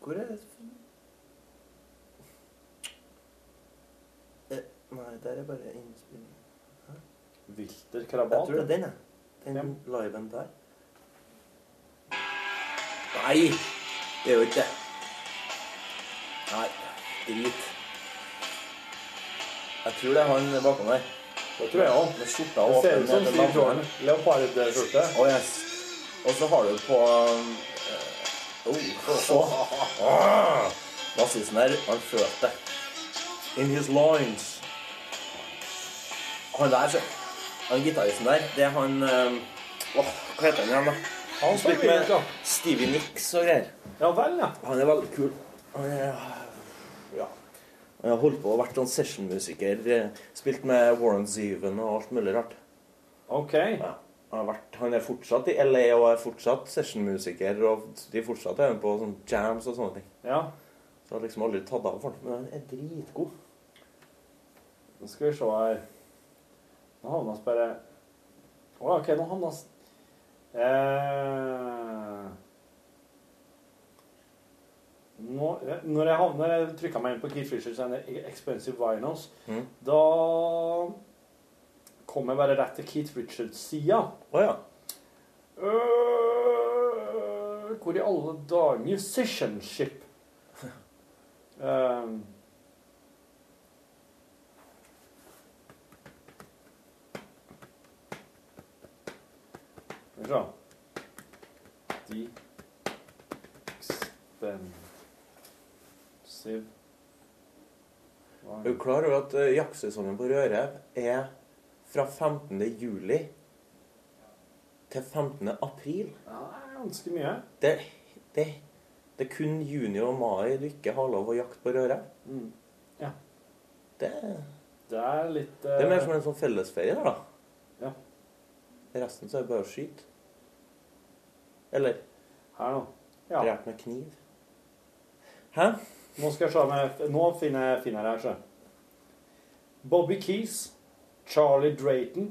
[SPEAKER 8] Hvor er det Eh, Nei, der er bare innspilling.
[SPEAKER 3] Vilter
[SPEAKER 8] Jeg
[SPEAKER 3] krabat.
[SPEAKER 8] tror det er den, jeg. Den liven der. Nei! Det er jo ikke det. Nei, drit. Jeg tror det er han bakom der.
[SPEAKER 3] Det tror jeg òg.
[SPEAKER 8] Med skjorta
[SPEAKER 3] Det ser
[SPEAKER 8] åpen.
[SPEAKER 3] ut som
[SPEAKER 8] ned til
[SPEAKER 3] Steve Jordan.
[SPEAKER 8] lampen.
[SPEAKER 3] Leopardskjorte.
[SPEAKER 8] Å, yes. Og så har du på um, eh, oh, så. Ah, Bassisten her, han følte det. In his lines. Han der, så. Han gitaristen der, det er han um, åh, Hva heter han igjen, da?
[SPEAKER 3] Han
[SPEAKER 8] Han
[SPEAKER 3] spiller
[SPEAKER 8] spilte
[SPEAKER 3] med
[SPEAKER 8] med Stevie Nicks og greier.
[SPEAKER 3] Ja vel, ja.
[SPEAKER 8] Han er veldig kul. Han er, ja. Han har holdt på og vært sånn sessionmusiker. eh, Spilt med Warren Zeven og alt mulig rart.
[SPEAKER 3] OK.
[SPEAKER 8] Ja. Han, har vært, han er fortsatt i LA og er fortsatt sessionmusiker. Og de fortsatt er han på sånn jams og sånne ting.
[SPEAKER 3] Ja.
[SPEAKER 8] Så har liksom aldri tatt av for han. Men han er dritgod.
[SPEAKER 3] Nå skal vi se her Nå havna vi bare Å, OK, nå havna vi eh... Nå, når jeg havner Jeg trykka meg inn på Keith Richards and the Expensive Vinyls.
[SPEAKER 8] Mhm.
[SPEAKER 3] Da kom jeg bare rett til Keith Richards-sida.
[SPEAKER 8] Å ja.
[SPEAKER 3] Øh, hvor i alle dager Musicianship. Ehm. Skal vi se De Expensive
[SPEAKER 8] Er du klar over at eh, jaktsesongen på Rødrev er fra 15. juli til 15. april?
[SPEAKER 3] Ja, det er ganske mye.
[SPEAKER 8] Det, det, det er kun juni og mai du ikke har lov å jakte på Rødrev.
[SPEAKER 3] Ja.
[SPEAKER 8] Det, det
[SPEAKER 3] Det er litt eh,
[SPEAKER 8] er mer som en sånn fellesferie der, da.
[SPEAKER 3] ja.
[SPEAKER 8] Resten så er det bare å skyte. Eller
[SPEAKER 3] Her nå. Ja.
[SPEAKER 8] drepe med kniv. Hæ?
[SPEAKER 3] Nå skal jeg se om jeg Nå finner jeg finner jeg her, sjø. Bobby Keys, Charlie Drayton,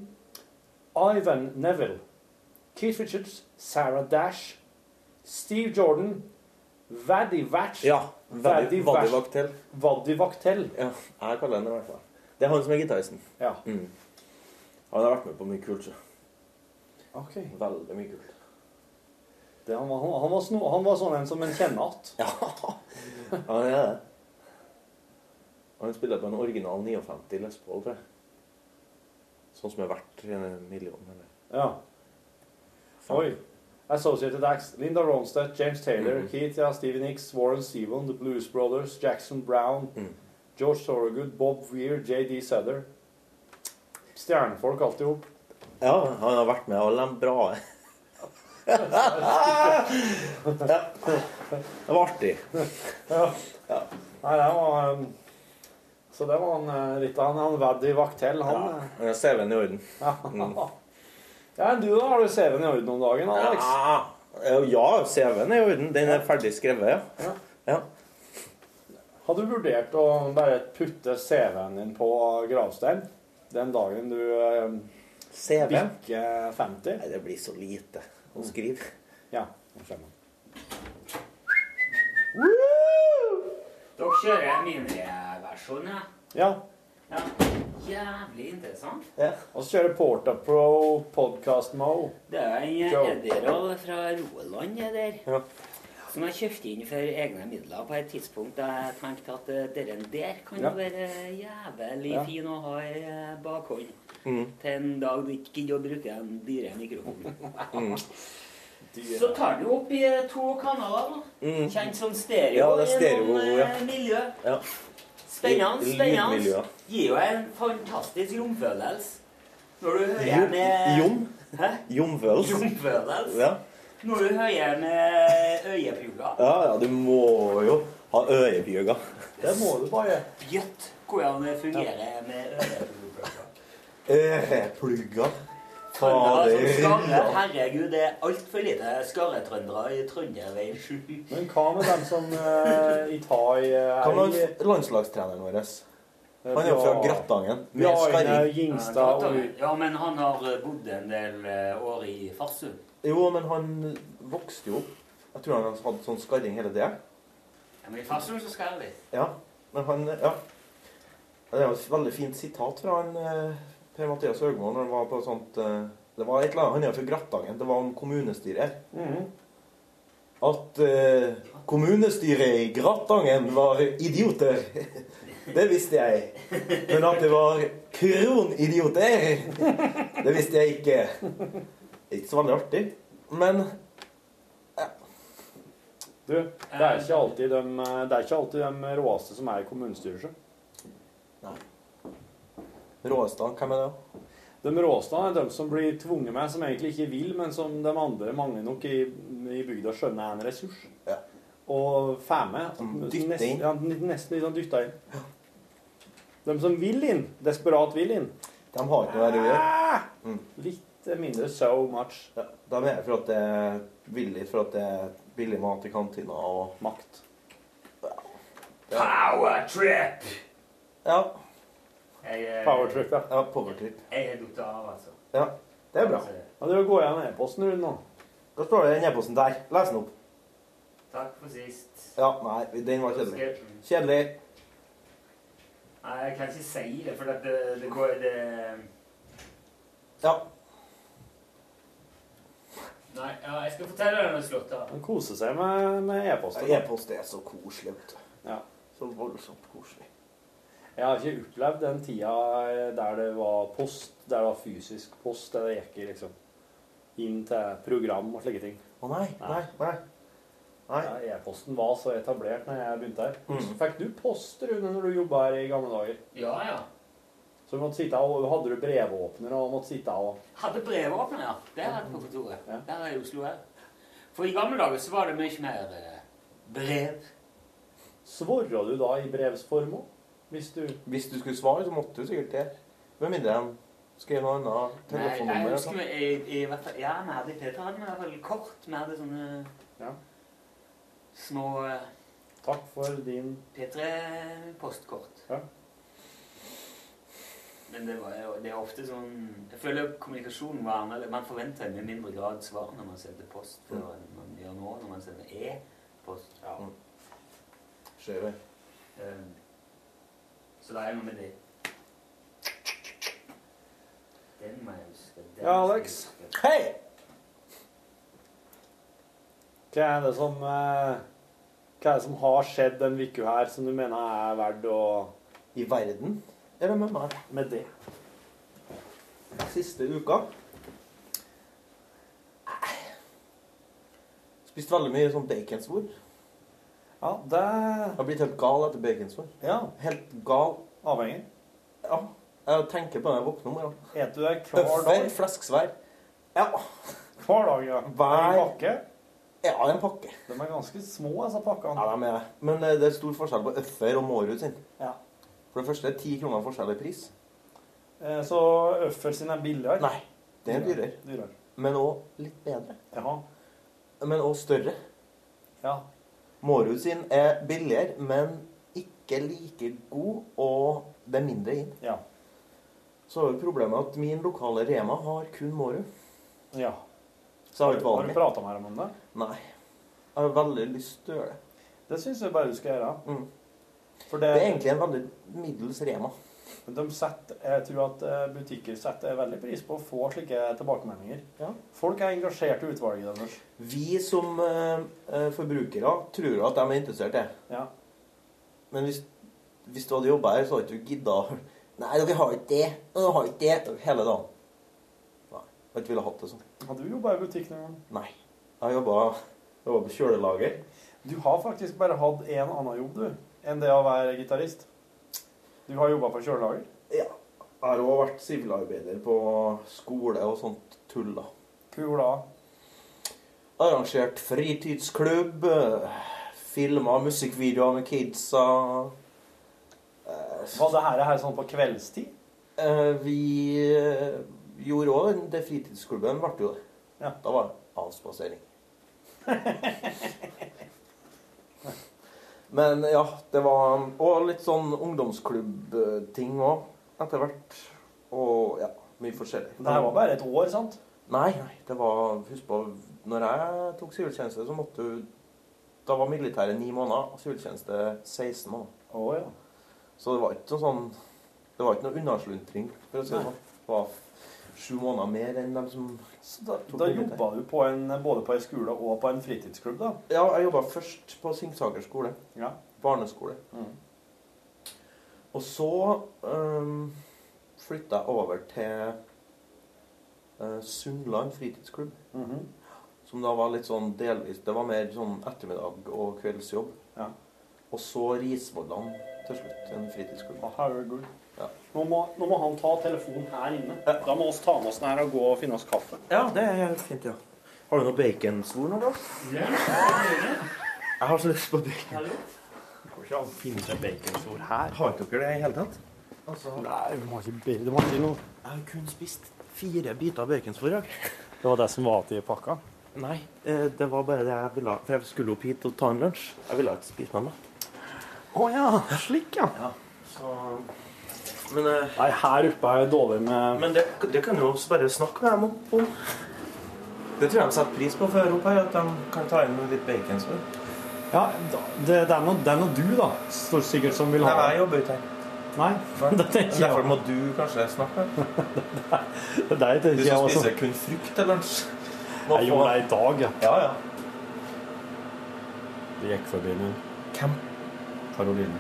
[SPEAKER 3] Ivan Neville, Keith Richards, Sarah Dash, Steve Jordan, Vaddy Vatch
[SPEAKER 8] Ja. Vaddi
[SPEAKER 3] Vaddi
[SPEAKER 8] vaktel.
[SPEAKER 3] Vaddy Vaktel.
[SPEAKER 8] Ja, jeg kaller den det i hvert fall. Det er han som er gitaristen.
[SPEAKER 3] Ja.
[SPEAKER 8] Mm. Han har vært med på mye kult. så.
[SPEAKER 3] Ok.
[SPEAKER 8] Veldig mye kult.
[SPEAKER 3] Det, han, var, han, var sno, han var sånn en som en kjenner att.
[SPEAKER 8] Ja, han er det. Han spiller på en original 59 Les Paul, tror jeg. Sånn som er verdt en million, eller
[SPEAKER 3] Ja. Oi. Associated Acts, Linda Ronstadt, James Taylor,
[SPEAKER 8] Mhm.
[SPEAKER 3] Keita, Stevie Nicks, Warren Zevon, The Blues Brothers, Jackson Brown,
[SPEAKER 8] Mhm.
[SPEAKER 3] George Thorogood, Bob Weir, J.D. Sutter. Stjernefolk alt i hop.
[SPEAKER 8] Ja, han har vært med alle de bra. ja. Det var artig.
[SPEAKER 3] Ja.
[SPEAKER 8] Ja.
[SPEAKER 3] Nei, det var um, Så det var han eh, litt av han, han Vaddy Vaktell, han.
[SPEAKER 8] Ja. men CV-en i orden.
[SPEAKER 3] Ja. Mm. ja, du da har du CV-en i orden om dagen, Alex.
[SPEAKER 8] Ja, ja CV-en er i orden. Den er ferdig skrevet, ja. ja.
[SPEAKER 3] Har du vurdert å bare putte CV-en din på gravstein den dagen du eh,
[SPEAKER 8] CV-en?
[SPEAKER 3] bikker 50?
[SPEAKER 8] Nei, det blir så lite å skrive.
[SPEAKER 3] Ja, nå skjønner jeg.
[SPEAKER 7] Dere kjører miniversjon, ja?
[SPEAKER 3] Ja,
[SPEAKER 7] ja. Jævlig interessant.
[SPEAKER 8] Ja.
[SPEAKER 3] og så kjører Porta Pro Podcast Mo.
[SPEAKER 7] Det er
[SPEAKER 3] Jo.
[SPEAKER 7] en Edderall fra Roland det der.
[SPEAKER 8] Ja.
[SPEAKER 7] Som jeg kjøpte inn for egne midler på et tidspunkt da jeg tenkte at eh, deren der kan
[SPEAKER 3] Ja.
[SPEAKER 7] jo være jævlig
[SPEAKER 3] Ja.
[SPEAKER 7] fin å ha i eh, bakhånd.
[SPEAKER 8] Mm.
[SPEAKER 7] Til en dag du ikke gidder å bruke en dyre mikrofon.
[SPEAKER 8] Mm.
[SPEAKER 3] De,
[SPEAKER 7] Så tar den jo opp i eh, to kanaler. da.
[SPEAKER 8] Mm.
[SPEAKER 7] Kjent som stereo,
[SPEAKER 8] Ja, det er
[SPEAKER 7] i
[SPEAKER 8] stereo,
[SPEAKER 7] noen eh,
[SPEAKER 8] ja.
[SPEAKER 7] miljø.
[SPEAKER 8] Ja.
[SPEAKER 7] Spennende,
[SPEAKER 8] I- i
[SPEAKER 7] spennende.
[SPEAKER 8] lydmiljø.
[SPEAKER 7] Gir jo en fantastisk romfølelse. Når du hører
[SPEAKER 8] Jom,
[SPEAKER 7] med
[SPEAKER 8] Jom,
[SPEAKER 7] Hæ?
[SPEAKER 8] Jom Vøls.
[SPEAKER 7] Romfølelse.
[SPEAKER 8] Ja.
[SPEAKER 7] Når du hører med øyepjuger.
[SPEAKER 8] Ja, ja, du må jo ha øyebjøga.
[SPEAKER 3] det må du bare.
[SPEAKER 7] Gjøtt hvordan det fungerer med øyepjuger.
[SPEAKER 8] Øyeplugga.
[SPEAKER 7] Trøndere som
[SPEAKER 8] Ja.
[SPEAKER 7] skarrer. Herregud, det er altfor lite skarretrøndere i Trønderveien 7.
[SPEAKER 3] Men hva med dem som eh, ikke har eh,
[SPEAKER 8] Hva med
[SPEAKER 3] elg?
[SPEAKER 8] landslagstreneren vår?
[SPEAKER 3] Eh,
[SPEAKER 8] Han er jo fra
[SPEAKER 3] Bjar-
[SPEAKER 8] Grattangen. Med
[SPEAKER 3] Bjarne
[SPEAKER 8] skarring.
[SPEAKER 3] Gingstad og
[SPEAKER 7] Ja, men han har bodd en del eh, år i Farsund.
[SPEAKER 8] Jo, men han vokste jo opp. Jeg tror han hadde sånn skarring hele tida.
[SPEAKER 7] Ja, men i Farsund så skarrer vi.
[SPEAKER 8] Ja. Men han Ja. Det er jo et veldig fint sitat fra han eh, Per Mathias Høgmo når han var på sånt eh, Det var et eller annet Han er jo fra Grattangen. Det var om kommunestyret.
[SPEAKER 3] Mhm.
[SPEAKER 8] at eh, kommunestyret i Grattangen var idioter. Det visste jeg. Men at det var kronidioter, det visste jeg ikke. Ikke så veldig artig. Men
[SPEAKER 3] Du, det er ikke alltid de, eh, det er ikke alltid de råeste som er i kommunestyret. sjø.
[SPEAKER 8] Råestad, hvem er det?
[SPEAKER 3] De råeste er de som blir tvunget med, som egentlig ikke vil, men som de andre mange nok i, i bygda skjønner er en ressurs.
[SPEAKER 8] Ja.
[SPEAKER 3] Og får med.
[SPEAKER 8] Mm, dytte
[SPEAKER 3] Nesten-
[SPEAKER 8] inn.
[SPEAKER 3] Ja, nesten litt sånn dytta inn. De som vil inn, desperat vil inn,
[SPEAKER 8] De har ikke noe her å gjøre.
[SPEAKER 3] litt mindre so much eh,
[SPEAKER 8] Ja, De er her for at det er billig, for at det er billig mat i kantina og
[SPEAKER 3] makt.
[SPEAKER 7] Power trip!
[SPEAKER 8] Ja,
[SPEAKER 7] Jeg, eh,
[SPEAKER 3] Powertrip, ja.
[SPEAKER 8] ja powertrip.
[SPEAKER 7] Jeg er dukta av, altså.
[SPEAKER 8] Ja, det er bra.
[SPEAKER 7] Altså,
[SPEAKER 3] Ja, det er å gå gjennom e-posten rundt nå.
[SPEAKER 8] Da står det i den e-posten der. Les den opp.
[SPEAKER 7] Takk for sist.
[SPEAKER 8] Ja, nei, den var kjedelig.
[SPEAKER 7] Skal-
[SPEAKER 8] Kjedelig.
[SPEAKER 7] Nei, jeg kan ikke si det, for at det, det går det,
[SPEAKER 8] Ja.
[SPEAKER 7] Nei, ja, jeg skal fortelle deg noe, Slåtta.
[SPEAKER 3] Han koser seg med, med e-posten.
[SPEAKER 8] Ja, E-post er så koselig, vet du.
[SPEAKER 3] Ja.
[SPEAKER 8] Så voldsomt koselig.
[SPEAKER 3] Jeg har ikke opplevd den tida eh, der det var post, der det var fysisk post, der det gikk i liksom inn til program og slike ting.
[SPEAKER 8] Å nei, nei,
[SPEAKER 3] Nei.
[SPEAKER 8] nei. Nei.
[SPEAKER 3] Ja, E-posten var så etablert når jeg begynte her.
[SPEAKER 8] Mm.
[SPEAKER 3] Fikk du post, Rune, når du jobba her i gamle dager?
[SPEAKER 7] Ja, ja.
[SPEAKER 3] Så du måtte sitte og hadde du brevåpner og måtte sitte og
[SPEAKER 7] Hadde brevåpner, ja. Det hadde jeg på kontoret.
[SPEAKER 3] Ja.
[SPEAKER 7] Der er i Oslo her. For i gamle dager så var det mye mer eh, brev.
[SPEAKER 3] Svorra du da i brevsform òg? Hvis du
[SPEAKER 8] Hvis du skulle svare, så måtte du sikkert det. Med mindre han skrev noe annet
[SPEAKER 7] Nei, jeg
[SPEAKER 8] telefonnummer.
[SPEAKER 3] sånn.
[SPEAKER 7] husker vi, i, i, hvert fall- Ja, vi hadde i Peter hadde vi i hvert fall kort. Vi hadde sånne
[SPEAKER 3] Ja.
[SPEAKER 7] små eh,
[SPEAKER 3] Takk for din
[SPEAKER 7] P3-postkort.
[SPEAKER 3] Ja.
[SPEAKER 7] Men det, var, jo- det er ofte sånn Jeg føler kommunikasjonen var annerledes. Man forventer i mye mindre grad svar når man sender post, for enn man gjør nå når man sender e-post.
[SPEAKER 3] Ja.
[SPEAKER 8] Skjøver.
[SPEAKER 7] Eh, Så det er noe med det.
[SPEAKER 9] Alex?
[SPEAKER 8] Hei!
[SPEAKER 9] Hva er det som eh, Hva er det som har skjedd den uka her som du mener er verdt å
[SPEAKER 8] I verden eller med meg?
[SPEAKER 9] Med det.
[SPEAKER 8] Siste uka Spist veldig mye sånn baconsvor.
[SPEAKER 9] Ja, det
[SPEAKER 8] Jeg har blitt helt gal etter baconsvor.
[SPEAKER 9] Ja,
[SPEAKER 8] Helt gal.
[SPEAKER 9] avhengig.
[SPEAKER 8] Ja. Jeg tenker på det når jeg våkner om morgenen.
[SPEAKER 9] Eter du det hver
[SPEAKER 8] Bøffer,
[SPEAKER 9] dag?
[SPEAKER 8] flesksvær. Ja.
[SPEAKER 9] Hver dag, ja.
[SPEAKER 8] Hver-
[SPEAKER 9] En pakke.
[SPEAKER 8] ja, det er en pakke.
[SPEAKER 9] De er ganske små, disse
[SPEAKER 8] Ja,
[SPEAKER 9] pakkene.
[SPEAKER 8] det er med det. Men eh, det er stor forskjell på Øffer og Mårud sin.
[SPEAKER 9] Ja.
[SPEAKER 8] For det første er ti kroner forskjell i pris.
[SPEAKER 9] Eh, Så Øffel sin er billigere?
[SPEAKER 8] Nei, det er dyrere.
[SPEAKER 9] Dyrere.
[SPEAKER 8] Men òg litt bedre.
[SPEAKER 9] Ja.
[SPEAKER 8] Men òg større.
[SPEAKER 9] ja.
[SPEAKER 8] Mårud sin er billigere, men ikke like god, og det er mindre inn.
[SPEAKER 9] Ja.
[SPEAKER 8] Så er jo problemet at min lokale Rema har kun Mårud.
[SPEAKER 9] ja.
[SPEAKER 8] Så jeg har
[SPEAKER 9] Har
[SPEAKER 8] ikke valget
[SPEAKER 9] du prata med dem om det?
[SPEAKER 8] Nei. Jeg har veldig lyst til å gjøre det.
[SPEAKER 9] Det syns jeg bare du skal gjøre.
[SPEAKER 8] Mm.
[SPEAKER 9] For
[SPEAKER 8] Det
[SPEAKER 9] det,
[SPEAKER 8] er egentlig en veldig middels Rema.
[SPEAKER 9] de setter, jeg tror at eh, butikker setter veldig pris på å få slike tilbakemeldinger.
[SPEAKER 8] Ja.
[SPEAKER 9] Folk er engasjert i utvalget deres.
[SPEAKER 8] Vi som eh, eh, forbrukere tror at de er interessert i det.
[SPEAKER 9] Ja.
[SPEAKER 8] Men hvis, hvis du hadde jobba her, så hadde du ikke gidda. Nei, dere har ikke det. Dere har ikke det. Hele dagen. Nei. Jeg hadde ikke ville hatt det sånn.
[SPEAKER 9] Hadde du jobba i butikk noen gang?
[SPEAKER 8] Nei. Jeg jobba på kjølelager.
[SPEAKER 9] Du har faktisk bare hatt en annen jobb, du, enn det å være gitarist. Du har jobba på kjølelager.
[SPEAKER 8] Ja. Jeg har òg vært sivilarbeider på skole og sånt tull, da.
[SPEAKER 9] Kula.
[SPEAKER 8] Arrangert fritidsklubb. Filma musikkvideoer med kidsa. Eh,
[SPEAKER 9] Var det her, her sånn på kveldstid?
[SPEAKER 8] Eh, vi eh, gjorde òg den det fritidsklubben, ble jo det.
[SPEAKER 9] Ja.
[SPEAKER 8] Da var det avspasering. Men ja, det var Og litt sånn ungdomsklubbting òg, etter hvert. Og ja, mye forskjellig.
[SPEAKER 9] Det her var bare et år, sant?
[SPEAKER 8] Nei, nei, det var Husk på, når jeg tok siviltjeneste, så måtte du Da var militæret ni måneder, og siviltjeneste 16 måneder.
[SPEAKER 9] Å ja.
[SPEAKER 8] Så det var ikke noe sånn Det var ikke noe unnasluntring, for å si det sånn. Det var sju måneder mer enn dem som
[SPEAKER 9] Så da,
[SPEAKER 8] Tok
[SPEAKER 9] da
[SPEAKER 8] du litt
[SPEAKER 9] jobba du på en, både på ei skole og på en fritidsklubb, da?
[SPEAKER 8] Ja, jeg jobba først på Singsaker skole.
[SPEAKER 9] Ja.
[SPEAKER 8] Barneskole.
[SPEAKER 9] Mhm.
[SPEAKER 8] Og så um, flytta jeg over til eh, Sundland fritidsklubb.
[SPEAKER 9] Mhm.
[SPEAKER 8] Som da var litt sånn delvis Det var mer sånn ettermiddag og kveldsjobb.
[SPEAKER 9] Ja.
[SPEAKER 8] Og så Risvollan til slutt. En fritidsklubb.
[SPEAKER 9] Å, herregud.
[SPEAKER 8] Ja.
[SPEAKER 9] Nå, må, nå må han ta telefonen her inne. Da må oss ta med oss den her og gå og finne oss kaffe.
[SPEAKER 8] Ja, det er helt fint, ja. Har du noe baconsvor nå, da? Jeg har så lyst på bacon.
[SPEAKER 9] Går ikke an å finne seg baconsvor her.
[SPEAKER 8] Har ikke dere det i hele tatt?
[SPEAKER 9] Nei, du må ikke, du må ikke noe.
[SPEAKER 8] Altså- Jeg har kun spist fire biter baconsvor. jeg.
[SPEAKER 9] Det var det som var til pakka.
[SPEAKER 8] Nei, eh, det var bare det jeg ville ha. For jeg skulle opp hit og ta en lunsj. Jeg ville ikke spise med meg.
[SPEAKER 9] Å ja, slik ja.
[SPEAKER 8] Så... Men, eh,
[SPEAKER 9] Nei, her oppe er jeg dårlig med
[SPEAKER 8] men det, det kan jo også bare snakke med dem opp om. Det tror jeg de setter pris på før opp her, at de kan ta inn litt baconsvor.
[SPEAKER 9] Ja, da- det, det er noe det er noe du, da, står sikkert som vil
[SPEAKER 8] Nei,
[SPEAKER 9] ha
[SPEAKER 8] men jeg jobber ikke her.
[SPEAKER 9] Nei, det tenker
[SPEAKER 8] Derfor
[SPEAKER 9] jeg
[SPEAKER 8] må du kanskje snakke med dem.
[SPEAKER 9] Det er
[SPEAKER 8] Du
[SPEAKER 9] tenker jeg
[SPEAKER 8] som
[SPEAKER 9] også.
[SPEAKER 8] spiser kun frukt til lunsj. Må
[SPEAKER 9] Jeg
[SPEAKER 8] få-
[SPEAKER 9] gjorde det i dag, ja.
[SPEAKER 8] Ja, ja.
[SPEAKER 9] Det gikk forbi nå.
[SPEAKER 8] Hvem?
[SPEAKER 9] Karoline.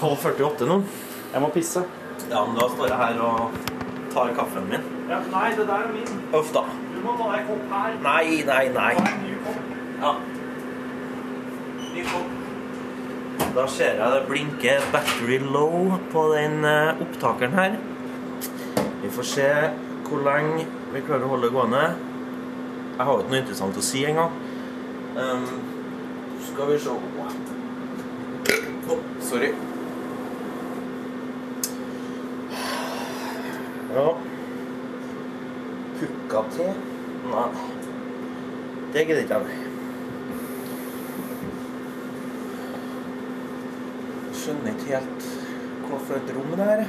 [SPEAKER 8] 12.48 nå.
[SPEAKER 9] Jeg må pisse.
[SPEAKER 8] Ja, men da står jeg her og tar kaffen min.
[SPEAKER 9] nei, det der er min.
[SPEAKER 8] Uff da.
[SPEAKER 9] Du må ta deg kopp her.
[SPEAKER 8] Nei, nei, nei.
[SPEAKER 9] Ta en ny kopp.
[SPEAKER 8] Ja. Ny kopp. Da ser jeg det blinker battery low på den eh, opptakeren her. Vi får se hvor lenge vi klarer å holde det gående. Jeg har jo ikke noe interessant å si engang. Um, skal vi se Å, Sorry. Ja Pukka-te? Nei. Det gidder ikke jeg. Skjønner ikke helt hva for et rom det er.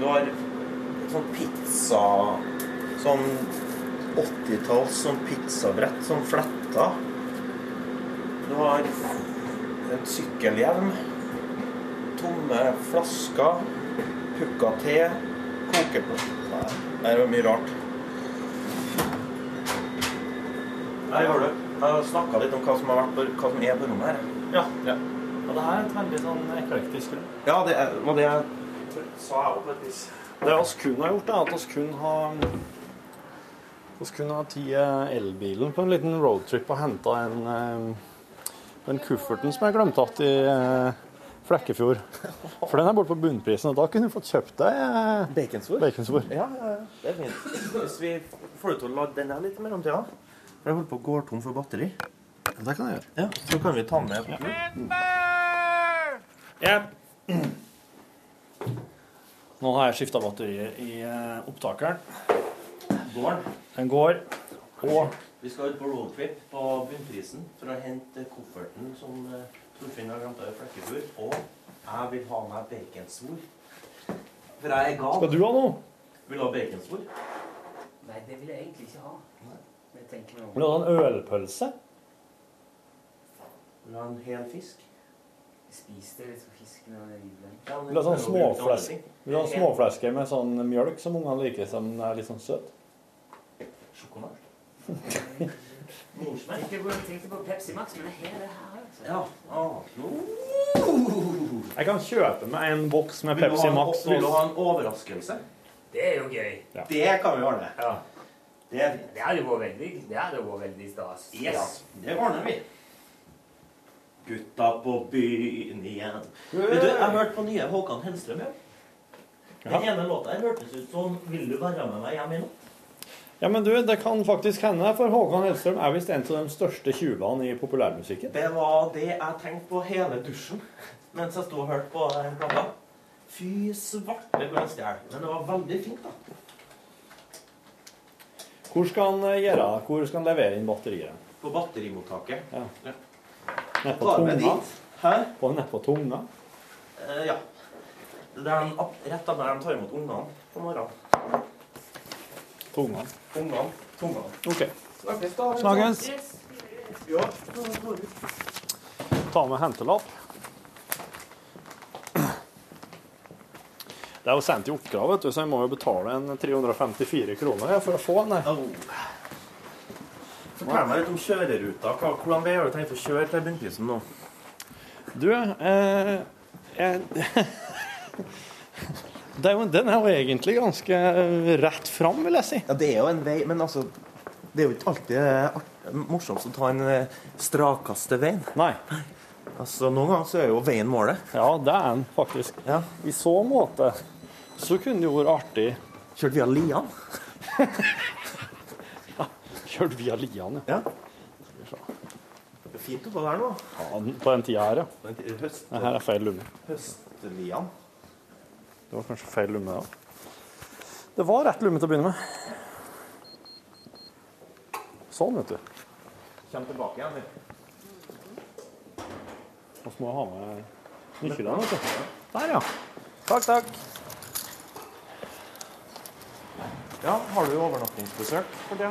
[SPEAKER 8] Du har et sånn pizza Sånn 80-talls sånn pizzabrett, sånn fletta. Du har en sykkelhjelm. Tomme flasker. Pukka te, kokepott Nei, det var mye rart. Her har du. Jeg har snakka litt om hva som, har vært på, hva som er på rommet her.
[SPEAKER 10] Ja. Og det her er et veldig sånn eklektisk rom.
[SPEAKER 8] Ja, det er- var det jeg sa jeg opp et vis.
[SPEAKER 3] Det oss kun har gjort, er at oss kun har oss kun har tatt elbilen på en liten roadtrip og henta en, eh, den kufferten som jeg glemte igjen i eh, Flekkefjord. For den er borte på bunnprisen, og da kunne du fått kjøpt deg eh,
[SPEAKER 8] Baconsvor?
[SPEAKER 3] baconsvor.
[SPEAKER 8] Ja, ja, ja. det er fint. Hvis vi får du til å lade den her litt i mellomtida For jeg holder på å gå tom for batteri.
[SPEAKER 3] Det kan jeg gjøre.
[SPEAKER 8] Ja, Så kan vi ta den med på tur.
[SPEAKER 3] Nå har jeg skifta batteriet i eh, opptakeren. Går den? Den går. Og
[SPEAKER 8] Vi skal ut på roadtrip på Bunnprisen for å hente kofferten som eh, Torfinn har glemt av i Flekkefjord. Og jeg vil ha meg baconsvor. For jeg er gal.
[SPEAKER 3] skal du ha noe?
[SPEAKER 8] Vil du ha baconsvor?
[SPEAKER 7] Nei, det vil jeg egentlig ikke ha. Jeg tenker meg om.
[SPEAKER 3] Vil du ha en ølpølse?
[SPEAKER 8] Vil du ha en hel fisk?
[SPEAKER 7] Spis det litt for fisken og ribben.
[SPEAKER 8] Ja, men
[SPEAKER 3] Vil du ha sånn
[SPEAKER 8] prøver å bruke andre
[SPEAKER 3] småflesk?
[SPEAKER 8] ting.
[SPEAKER 3] Vil du ha småfleske med sånn mjølk som ungene liker, som er litt sånn søt?
[SPEAKER 8] Sjokolade? Morsmelk?
[SPEAKER 7] Jeg tenkte på Pepsi Max, men jeg har det her. altså.
[SPEAKER 8] Ja. Ah, no.
[SPEAKER 3] Jeg kan kjøpe meg en boks med
[SPEAKER 8] Vil du
[SPEAKER 3] Pepsi
[SPEAKER 8] ha en-
[SPEAKER 3] Max.
[SPEAKER 8] Vil du ha en overraskelse?
[SPEAKER 7] Det er jo gøy.
[SPEAKER 8] Det kan vi ordne.
[SPEAKER 7] Ja.
[SPEAKER 8] Det er fint.
[SPEAKER 7] Det hadde jo vært veldig, det hadde vært veldig stas.
[SPEAKER 8] Yes, det ordner vi. Gutta på byen igjen. Vet du, Jeg hørte på nye Håkan Hellstrøm. Ja. Den ene låta her hørtes ut som 'Vil du være med meg hjem i natt'?
[SPEAKER 3] Ja, men du, det kan faktisk hende, for Håkan Hellstrøm er visst en av de største tjuvene i populærmusikken.
[SPEAKER 8] Det var det jeg tenkte på hele dusjen mens jeg sto og hørte på den plata. Fy svarte hvor han stjal. Men det var veldig fint, da.
[SPEAKER 3] Hvor skal han eh, gjøre Hvor skal han levere inn batteriet?
[SPEAKER 8] På batterimottaket.
[SPEAKER 3] Ja.
[SPEAKER 8] Ja.
[SPEAKER 3] Nedpå
[SPEAKER 8] Tar med
[SPEAKER 3] tunga?
[SPEAKER 8] dit. Hæ?
[SPEAKER 3] På nedpå tunga?
[SPEAKER 8] Eh, ja. Det er den app- rett av der de tar imot ungene på morgenen.
[SPEAKER 3] Tunga.
[SPEAKER 8] Ungene. Tungene.
[SPEAKER 3] OK.
[SPEAKER 8] Snakkes, da. sånn.
[SPEAKER 3] Snakkes.
[SPEAKER 8] Ja.
[SPEAKER 3] Ta med hentelapp. Det er jo sendt i oppgave, vet du, så jeg må jo betale en 354 kroner jeg, for å få den. her.
[SPEAKER 8] Au. Fortell meg litt om kjøreruta. Hva, hvordan vei har du tenkt å kjøre til bunnprisen nå?
[SPEAKER 3] Du, eh, jeg, det er jo, den er jo egentlig ganske rett fram, vil jeg si.
[SPEAKER 8] Ja, Det er jo en vei, men altså Det er jo ikke alltid eh, art- morsomst å ta en eh, strakaste veien.
[SPEAKER 3] Nei.
[SPEAKER 8] Altså, Noen ganger så er jo veien målet.
[SPEAKER 3] Ja, det er den faktisk.
[SPEAKER 8] Ja.
[SPEAKER 3] I så måte så kunne det jo vært artig
[SPEAKER 8] Kjørt via Lian.
[SPEAKER 3] kjørt via Lian, ja.
[SPEAKER 8] Ja. Det er Fint oppå der nå.
[SPEAKER 3] Ja, den- På den tida her, ja.
[SPEAKER 8] Men det er Høst,
[SPEAKER 3] Det her er feil lomme.
[SPEAKER 8] høstlian.
[SPEAKER 3] Det var kanskje feil lomme, da. Det var rett lomme til å begynne med. Sånn, vet du.
[SPEAKER 8] Kjem tilbake igjen. vi.
[SPEAKER 3] Og så må jeg ha med nøklene, vet du. Der, ja. Takk, takk.
[SPEAKER 8] Ja, Har du overnattingsbesøk for det?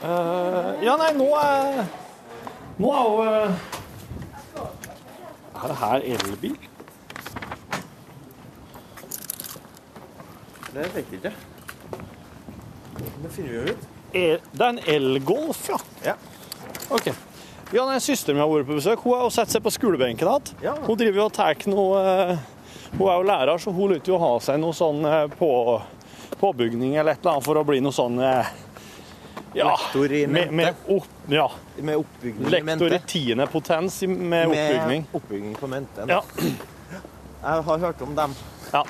[SPEAKER 3] Eh, ja, nei, nå er Nå er jo eh, Er det her elbil?
[SPEAKER 8] Det vet jeg ikke. Det finner vi jo ut.
[SPEAKER 3] El, det er en elgolf, ja.
[SPEAKER 8] Ja.
[SPEAKER 3] OK. Ja, nei, Søsteren min har vært på besøk. Hun har jo satt seg på skolebenken igjen.
[SPEAKER 8] Ja.
[SPEAKER 3] Hun driver jo og tar noe eh, Hun er jo lærer, så hun lurte jo å ha seg noe sånn eh, på, påbygning eller et eller annet for å bli noe sånn eh, ja,
[SPEAKER 8] Lektor i
[SPEAKER 3] med, med opp, ja,
[SPEAKER 8] Med oppbygning
[SPEAKER 3] lektor i tiende potens i- med oppbygning.
[SPEAKER 8] Med oppbygning på mente.
[SPEAKER 3] Ja.
[SPEAKER 8] Jeg har hørt om dem.
[SPEAKER 3] Ja.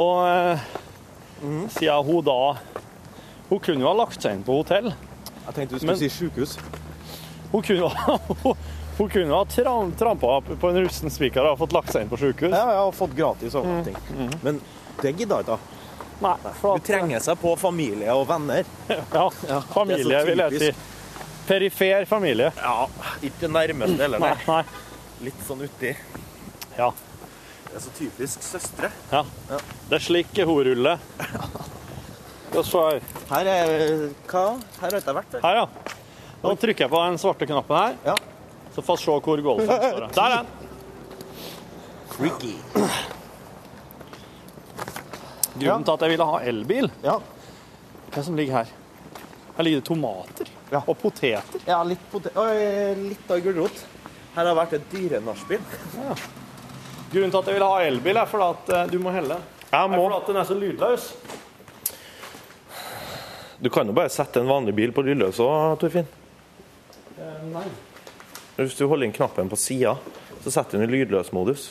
[SPEAKER 3] Og eh,
[SPEAKER 8] Mhm.
[SPEAKER 3] siden hun da Hun kunne jo ha lagt seg inn på hotell.
[SPEAKER 8] Jeg tenkte du
[SPEAKER 3] skulle Men-
[SPEAKER 8] si sjukehus.
[SPEAKER 3] Hun kunne, ha- hun kunne ha tram, trampa på en rusten spiker og fått lagt seg inn på sjukehus.
[SPEAKER 8] Ja, jeg har fått gratis
[SPEAKER 3] Mm.
[SPEAKER 8] overnatting. Men det gidder jeg ikke. da.
[SPEAKER 3] Nei, for at,
[SPEAKER 8] Du trenger seg på familie og venner.
[SPEAKER 3] ja,
[SPEAKER 8] Ja, det
[SPEAKER 3] familie,
[SPEAKER 8] er så
[SPEAKER 3] vil jeg si. Perifer familie.
[SPEAKER 8] Ja, Ikke det nærmeste heller,
[SPEAKER 3] Nei,
[SPEAKER 8] nei.
[SPEAKER 3] nei.
[SPEAKER 8] Litt sånn uti.
[SPEAKER 3] Ja.
[SPEAKER 8] Det er så typisk søstre.
[SPEAKER 3] ja. Det er slik hun ruller. Ja, så her.
[SPEAKER 8] Her er Hva? Her har ikke jeg vært før.
[SPEAKER 3] her, ja. Nå trykker jeg på den svarte knappen her,
[SPEAKER 8] Ja.
[SPEAKER 3] så får vi se hvor golfen står. Der er den.
[SPEAKER 8] Freaky.
[SPEAKER 11] Grunnen til at jeg ville ha elbil, hva som ligger her? Her ligger det tomater og poteter.
[SPEAKER 8] Ja, litt, pote Oi, litt av gulrot. Her har vært et dyrenachspiel.
[SPEAKER 11] Grunnen til at jeg ville ha elbil, er fordi at eh, du må helle. Jeg må. Er fordi at den er så lydløs.
[SPEAKER 8] Du kan jo bare sette en vanlig bil på lydløs òg, Torfinn.
[SPEAKER 11] nei.
[SPEAKER 8] Hvis du holder inn knappen på sida, så setter den i lydløsmodus.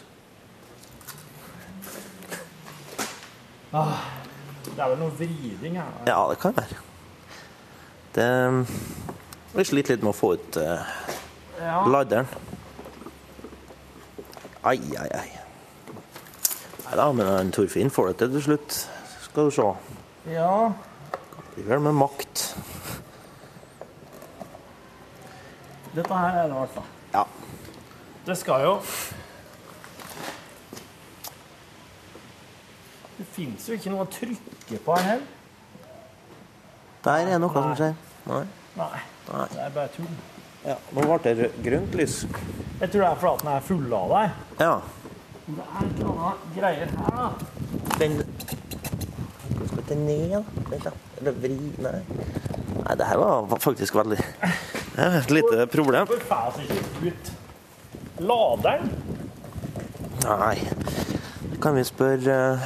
[SPEAKER 3] Ah, Det er vel noe vriding her. da.
[SPEAKER 8] Ja, det kan være. Det Vi sliter litt med å få ut eh,
[SPEAKER 3] Ja.
[SPEAKER 8] laderen. Ai, ai, ai. Nei da, men han Torfinn får det til til slutt. Skal du se.
[SPEAKER 3] ja.
[SPEAKER 8] Det blir vel med makt.
[SPEAKER 3] Dette her er det i hvert fall.
[SPEAKER 8] Ja.
[SPEAKER 3] Det skal jo Det fins jo ikke noe å trykke på her heller.
[SPEAKER 8] Der er noe som skjer. Nei.
[SPEAKER 3] Nei. Det er bare tull.
[SPEAKER 8] Ja, nå ble det rød- grønt lys.
[SPEAKER 3] Jeg tror det er fordi at den er full av deg.
[SPEAKER 8] Ja.
[SPEAKER 3] Det er et eller annet greier her, da.
[SPEAKER 8] Den Skal vi ned, da? Vent, da. Eller vri Nei. Nei, det her var faktisk veldig Det er et lite problem.
[SPEAKER 3] Hvorfor får jeg ikke ut laderen?
[SPEAKER 8] Nei. Kan vi spørre eh,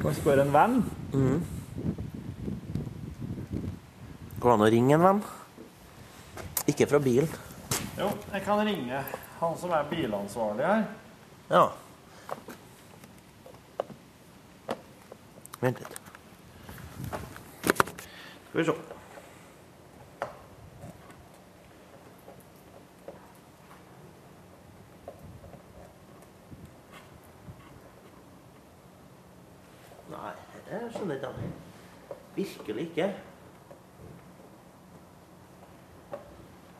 [SPEAKER 3] Kan jeg spørre en venn?
[SPEAKER 8] Mm. Går det an å ringe en venn? Ikke fra bilen.
[SPEAKER 3] Jo, jeg kan ringe han som er bilansvarlig her.
[SPEAKER 8] Ja. Vent litt. Skal vi se. Nei, det skjønner ikke jeg. Virkelig ikke.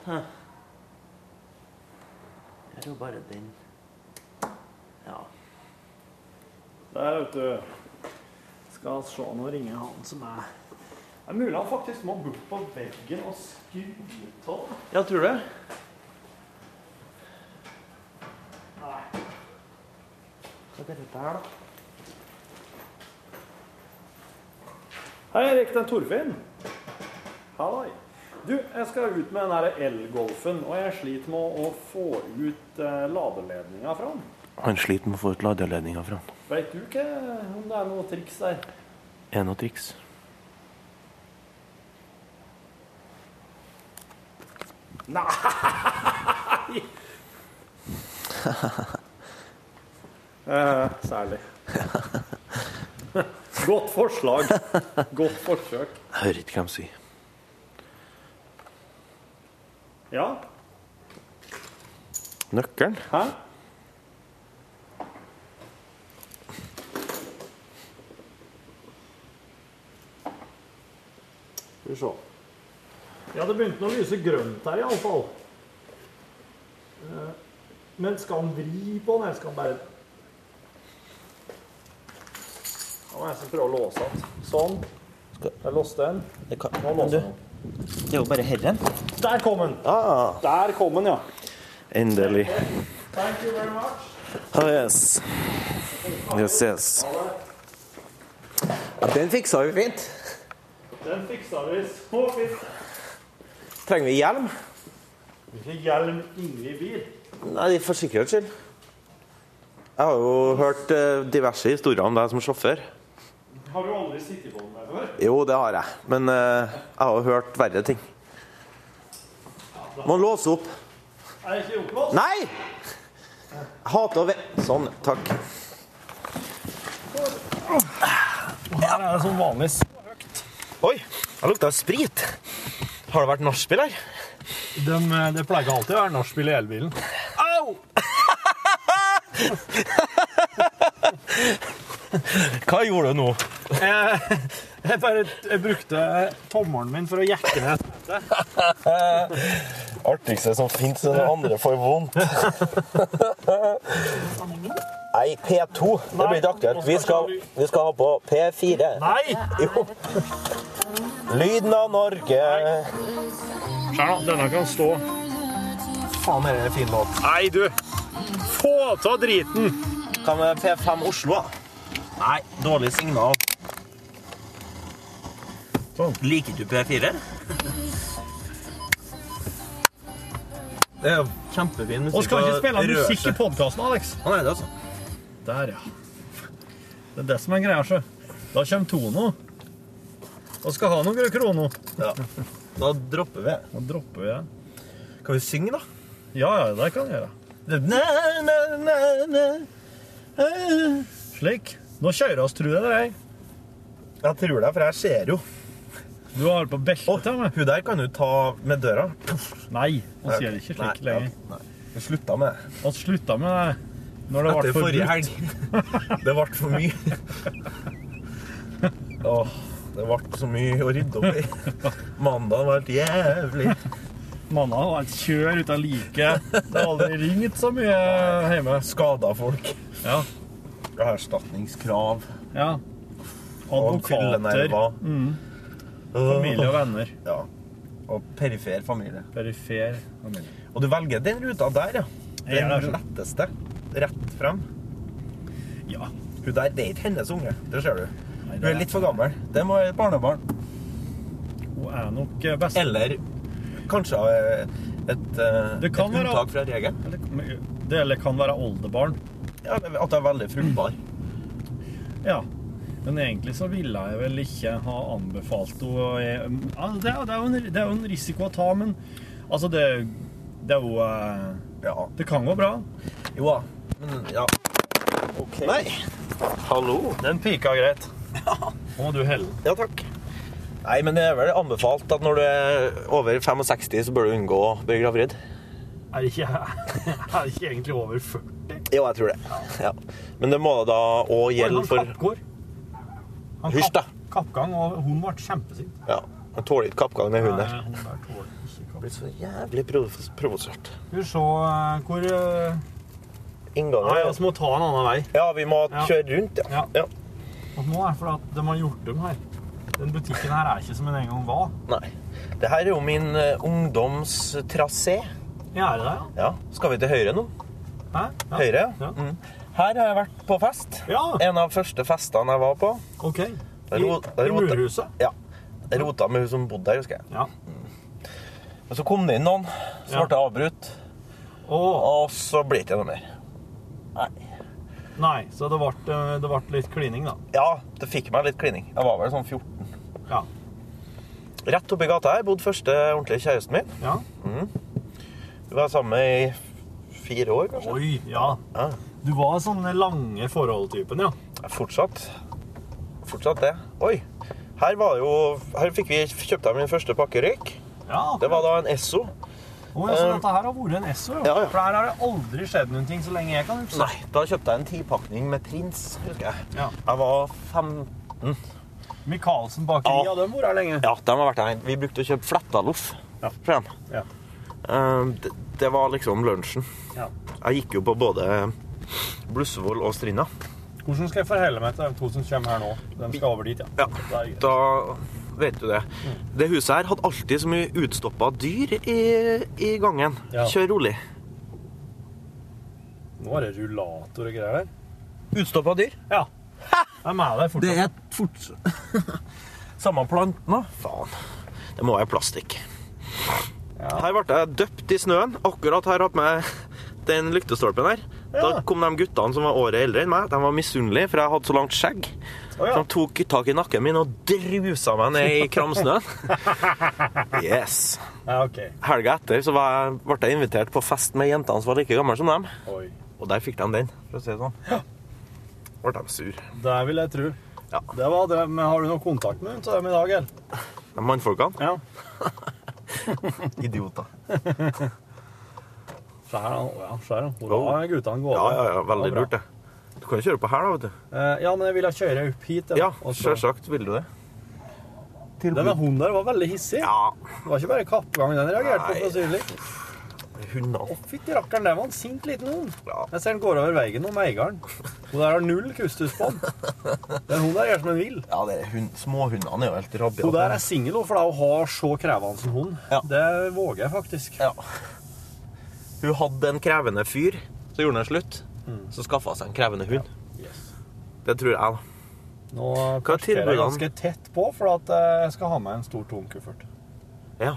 [SPEAKER 8] Hæ. Jeg tror bare den Ja.
[SPEAKER 3] Der, vet du. Skal se nå ringe han som er Det er mulig han faktisk må bort på veggen og skru av.
[SPEAKER 8] Ja, tror du det?
[SPEAKER 3] Nei.
[SPEAKER 8] Hva er dette her, da?
[SPEAKER 3] Hei, Erik. Det er Torfinn. Halloi. Du, jeg skal ut med den der elgolfen, og jeg sliter med å få ut eh, ladeledninga fra den.
[SPEAKER 8] Han sliter med å få ut ladeledninga fra han.
[SPEAKER 3] Veit du ikke om det er noe triks der?
[SPEAKER 8] Er det noe triks?
[SPEAKER 3] Eh, særlig. Godt forslag. Godt forsøk.
[SPEAKER 8] Jeg hører ikke hva de sier.
[SPEAKER 3] Ja.
[SPEAKER 8] Nøkkelen?
[SPEAKER 3] Hæ? Skal vi se. Ja, det begynte å lyse grønt her iallfall. Eh, Men skal han vri på den, eller skal han bare Da må jeg nesten prøve å låse den. Sånn. Jeg låste den.
[SPEAKER 8] Det, kan,
[SPEAKER 3] Nå
[SPEAKER 8] du,
[SPEAKER 3] låser jeg den.
[SPEAKER 8] det er jo bare herren.
[SPEAKER 3] Der kom den!
[SPEAKER 8] Ah,
[SPEAKER 3] Der kom den, ja.
[SPEAKER 8] endelig.
[SPEAKER 3] Thank you very much.
[SPEAKER 8] Ah, yes. Yes, yes. Ja, Den fiksa vi fint.
[SPEAKER 3] Den fiksa vi så fint.
[SPEAKER 8] Trenger vi hjelm?
[SPEAKER 3] Vi fikk hjelm inni bil.
[SPEAKER 8] Nei, for sikkerhets skyld. Jeg har jo hørt eh, diverse historier om deg som sjåfør.
[SPEAKER 3] Har du aldri sittet på den der før?
[SPEAKER 8] Jo, det har jeg. Men eh, jeg har jo hørt verre ting. Må låse opp.
[SPEAKER 3] Er det ikke gjort noe?
[SPEAKER 8] Nei! Jeg hater å vente Sånn, takk.
[SPEAKER 3] Her er det som vanlig.
[SPEAKER 8] Oi, det lukta sprit. Har det vært nachspiel her?
[SPEAKER 3] De, eh, det pleier alltid å være nachspiel i elbilen.
[SPEAKER 8] Au! Hva gjorde du nå?
[SPEAKER 3] Jeg, Eh, jeg bare jeg brukte tommelen min for å jekke ned.
[SPEAKER 8] Artigste som fins, når andre får vondt. Nei, P2. Det blir ikke aktuelt. Vi skal, vi skal ha på P4.
[SPEAKER 3] Nei!
[SPEAKER 8] Jo. Lyden av Norge.
[SPEAKER 3] Skjær nå, denne kan stå.
[SPEAKER 8] Faen, er det en fin låt.
[SPEAKER 3] Nei, du! Få ta driten!
[SPEAKER 8] Hva med P5 Oslo, da? Nei, dårlig signal. Sånn. Liker du P4? Det er jo kjempefin musikk.
[SPEAKER 3] Og skal ikke
[SPEAKER 8] og
[SPEAKER 3] spille
[SPEAKER 8] rører
[SPEAKER 3] musikk i
[SPEAKER 8] seg.
[SPEAKER 3] podkasten, Alex.
[SPEAKER 8] Å, nei, det er sånn.
[SPEAKER 3] Der, ja. Det er det som er greia, sjø. Da kommer Tono. Og skal ha noen kroner.
[SPEAKER 8] Ja. Da dropper vi.
[SPEAKER 3] Da dropper vi det.
[SPEAKER 8] Kan vi synge, da?
[SPEAKER 3] Ja, ja, det kan jeg gjøre.
[SPEAKER 8] Na, na, na, na.
[SPEAKER 3] Slik. Nå kjører oss, tror jeg det er.
[SPEAKER 8] Jeg tror det, for jeg ser jo.
[SPEAKER 3] Du har på beltet til meg.
[SPEAKER 8] Hun der kan du ta med døra.
[SPEAKER 3] Nei, vi gjør ikke slik
[SPEAKER 8] Nei,
[SPEAKER 3] lenger.
[SPEAKER 8] Ja, nei. Vi slutta med det.
[SPEAKER 3] Vi slutta med det når det ble
[SPEAKER 8] Etter forrige
[SPEAKER 3] forbudt.
[SPEAKER 8] helg. Det ble for mye. Åh, det ble så mye å rydde opp i. Mandagen ble jævlig.
[SPEAKER 3] Manna var et kjør uten like. Det har aldri ringt så mye hjemme.
[SPEAKER 8] Skada folk.
[SPEAKER 3] Ja.
[SPEAKER 8] Erstatningskrav.
[SPEAKER 3] ja.
[SPEAKER 8] Og
[SPEAKER 3] Advokater.
[SPEAKER 8] fyllenerver.
[SPEAKER 3] Mm. Familie og venner.
[SPEAKER 8] Ja. Og perifer familie.
[SPEAKER 3] Perifer familie. altså.
[SPEAKER 8] Og du velger den ruta der, ja.
[SPEAKER 3] Jeg gjør det,
[SPEAKER 8] Den letteste. Rett frem.
[SPEAKER 3] Ja.
[SPEAKER 8] Hun der, det er ikke hennes unge. Det ser du.
[SPEAKER 3] Nei,
[SPEAKER 8] Hun
[SPEAKER 3] det
[SPEAKER 8] er litt for gammel. Det må være et barnebarn.
[SPEAKER 3] Hun er nok eh, best.
[SPEAKER 8] Eller kanskje eh, et, eh,
[SPEAKER 3] Det
[SPEAKER 8] et
[SPEAKER 3] kan være-
[SPEAKER 8] unntak fra regelen.
[SPEAKER 3] Eller, det eller kan være oldebarn.
[SPEAKER 8] Ja, at det er veldig fruktbar.
[SPEAKER 3] Ja. Men egentlig så ville jeg vel ikke ha anbefalt henne å- ja, det, er- det, er jo en, det er jo en risiko å ta, men altså det, det er jo eh,
[SPEAKER 8] Ja.
[SPEAKER 3] Det kan gå bra.
[SPEAKER 8] Jo da.
[SPEAKER 3] Mm.
[SPEAKER 8] Men ja. Nei. Hallo.
[SPEAKER 3] Den pika greit. Nå må du helle den.
[SPEAKER 8] Ja, takk. Nei, men det er vel anbefalt at når du er over 65, så bør du unngå Børge Gravrid.
[SPEAKER 3] Er det ikke, er det ikke egentlig over 40?
[SPEAKER 8] Jo, jeg tror det. Ja. Men det må da òg gjelde for
[SPEAKER 3] Kappgård. Han
[SPEAKER 8] Hysj, da.
[SPEAKER 3] Kappgang, og hun ble kjempesint.
[SPEAKER 8] Ja. Han tåler ikke kappgang, den hunden der.
[SPEAKER 3] Nei, hun der tåler ikke kappgang.
[SPEAKER 8] Blir så jævlig provo- provosert.
[SPEAKER 3] Skal vi se eh, hvor eh, Nei,
[SPEAKER 8] Inngangen
[SPEAKER 3] vi må ta en annen vei.
[SPEAKER 8] Ja, vi må
[SPEAKER 3] Ja.
[SPEAKER 8] kjøre rundt, ja. ja.
[SPEAKER 3] Og nå er det fordi at de har gjort dem her. Den butikken her er ikke som den en gang var.
[SPEAKER 8] Nei. Det her er jo min eh, ungdomstrasé.
[SPEAKER 3] Ja, er det det, ja?
[SPEAKER 8] Ja. Skal vi til høyre nå?
[SPEAKER 3] Hæ? Ja.
[SPEAKER 8] Høyre,
[SPEAKER 3] Ja.
[SPEAKER 8] ja. Mm. Her har jeg vært på fest.
[SPEAKER 3] Ja,
[SPEAKER 8] En av første festene jeg var på.
[SPEAKER 3] OK.
[SPEAKER 8] Det
[SPEAKER 3] I,
[SPEAKER 8] er ro- det
[SPEAKER 3] i
[SPEAKER 8] er rotet.
[SPEAKER 3] murhuset.
[SPEAKER 8] Ja. Jeg rota med hun som bodde der, husker jeg.
[SPEAKER 3] Ja.
[SPEAKER 8] Men så kom det inn noen, så
[SPEAKER 3] Ja.
[SPEAKER 8] ble jeg avbrutt,
[SPEAKER 3] Å,
[SPEAKER 8] og så ble det ikke noe mer.
[SPEAKER 3] nei. Så det ble, eh, det ble litt klining, da.
[SPEAKER 8] Ja, det fikk meg litt klining. Jeg var vel sånn 14.
[SPEAKER 3] Ja.
[SPEAKER 8] Rett oppi gata her bodde første ordentlige kjæresten min. Mm.
[SPEAKER 3] ja.
[SPEAKER 8] Vi var sammen i fire år, kanskje.
[SPEAKER 3] Oi, ja.
[SPEAKER 8] Ja.
[SPEAKER 3] Du var sånn lange forhold-typen, ja.
[SPEAKER 8] Fortsatt. Fortsatt det. Oi. Her var jo Her fikk vi kjøpt av min første pakke røyk.
[SPEAKER 3] ja
[SPEAKER 8] Det var da en Esso.
[SPEAKER 3] Å, ja, så dette her har vært en Esso, ja.
[SPEAKER 8] Ja, ja.
[SPEAKER 3] For her har det aldri skjedd noen ting så lenge jeg kan huske.
[SPEAKER 8] Nei, da kjøpte jeg en tipakning med Prins, husker jeg.
[SPEAKER 3] Ja.
[SPEAKER 8] Jeg var fem...
[SPEAKER 3] Michaelsen bakeri,
[SPEAKER 8] Ja.
[SPEAKER 3] ja, den var her lenge.
[SPEAKER 8] Ja, de har vært her. Vi brukte å kjøpe flettaloff
[SPEAKER 3] Ja.
[SPEAKER 8] fra dem.
[SPEAKER 3] Ja.
[SPEAKER 8] Eh, det, det var liksom lunsjen.
[SPEAKER 3] Ja.
[SPEAKER 8] Jeg gikk jo på både Blussevoll og Strinda.
[SPEAKER 3] Hvordan skal jeg forholde meg til de to som kommer her nå? De skal over dit, ja.
[SPEAKER 8] Ja.
[SPEAKER 3] Det er greit.
[SPEAKER 8] Da vet du det.
[SPEAKER 3] Mm.
[SPEAKER 8] Det huset her hadde alltid så mye utstoppa dyr i, i gangen.
[SPEAKER 3] Ja.
[SPEAKER 8] Kjør rolig.
[SPEAKER 3] Nå er det rullator og greier der.
[SPEAKER 8] Utstoppa dyr?
[SPEAKER 3] Ja. Jeg er med deg fortsatt.
[SPEAKER 8] er fortsatt Samme planten, da. Faen. Det må være plastikk. Her ble jeg døpt i snøen. Akkurat her oppe med den lyktestolpen her.
[SPEAKER 3] Ja.
[SPEAKER 8] Da kom de guttene som var året eldre enn meg. De var misunnelige, for jeg hadde så langt skjegg.
[SPEAKER 3] Å, ja.
[SPEAKER 8] Så de tok tak i nakken min og drusa meg ned i kramsnøen. Yes.
[SPEAKER 3] Ja, ok.
[SPEAKER 8] Helga etter så var jeg, ble jeg invitert på fest med jentene som var like gamle som dem.
[SPEAKER 3] Oi.
[SPEAKER 8] Og der fikk de den, for å si det sånn. Ble de sur.
[SPEAKER 3] Det vil jeg tro.
[SPEAKER 8] Ja.
[SPEAKER 3] Det var det. Men har du noe kontakt med dem til dem i dag, eller?
[SPEAKER 8] De mannfolkene.
[SPEAKER 3] Ja.
[SPEAKER 8] Idioter.
[SPEAKER 3] Se her, da. Å, ja. Se her, da.
[SPEAKER 8] Wow.
[SPEAKER 3] Da er guttene gående.
[SPEAKER 8] Ja, ja, ja. Veldig
[SPEAKER 3] Det er bra.
[SPEAKER 8] lurt, det. Du kan jo kjøre på her, da, vet du.
[SPEAKER 3] Eh, ja, men jeg ville kjøre opp hit.
[SPEAKER 8] Ja,
[SPEAKER 3] og så-
[SPEAKER 8] selvsagt vil du det.
[SPEAKER 3] Denne hunden der var veldig hissig.
[SPEAKER 8] Ja,
[SPEAKER 3] Det var ikke bare kappgang den reagerte på,
[SPEAKER 8] Nei.
[SPEAKER 3] for å si det litt.
[SPEAKER 8] hundene.
[SPEAKER 3] Å, fytti rakkeren, det var en sint liten hund.
[SPEAKER 8] Ja.
[SPEAKER 3] Jeg ser den går over veien om eieren. Hun der har null kustus på den. Den hunden der gjør som den vil.
[SPEAKER 8] Ja, det er hund, småhundene er jo helt rabiate.
[SPEAKER 3] Hun der er singel, for det er hun har så krevende som hund.
[SPEAKER 8] Ja.
[SPEAKER 3] Det våger jeg faktisk.
[SPEAKER 8] Ja. Hun hadde en krevende fyr, så gjorde han slutt. som skaffa seg en krevende hund. Mm. Det tror jeg, da.
[SPEAKER 3] Nå
[SPEAKER 8] Hva er
[SPEAKER 3] parkerer jeg ganske
[SPEAKER 8] tilbudene?
[SPEAKER 3] tett på, for at eh, jeg skal ha med en stor, tung kuffert.
[SPEAKER 8] Ja.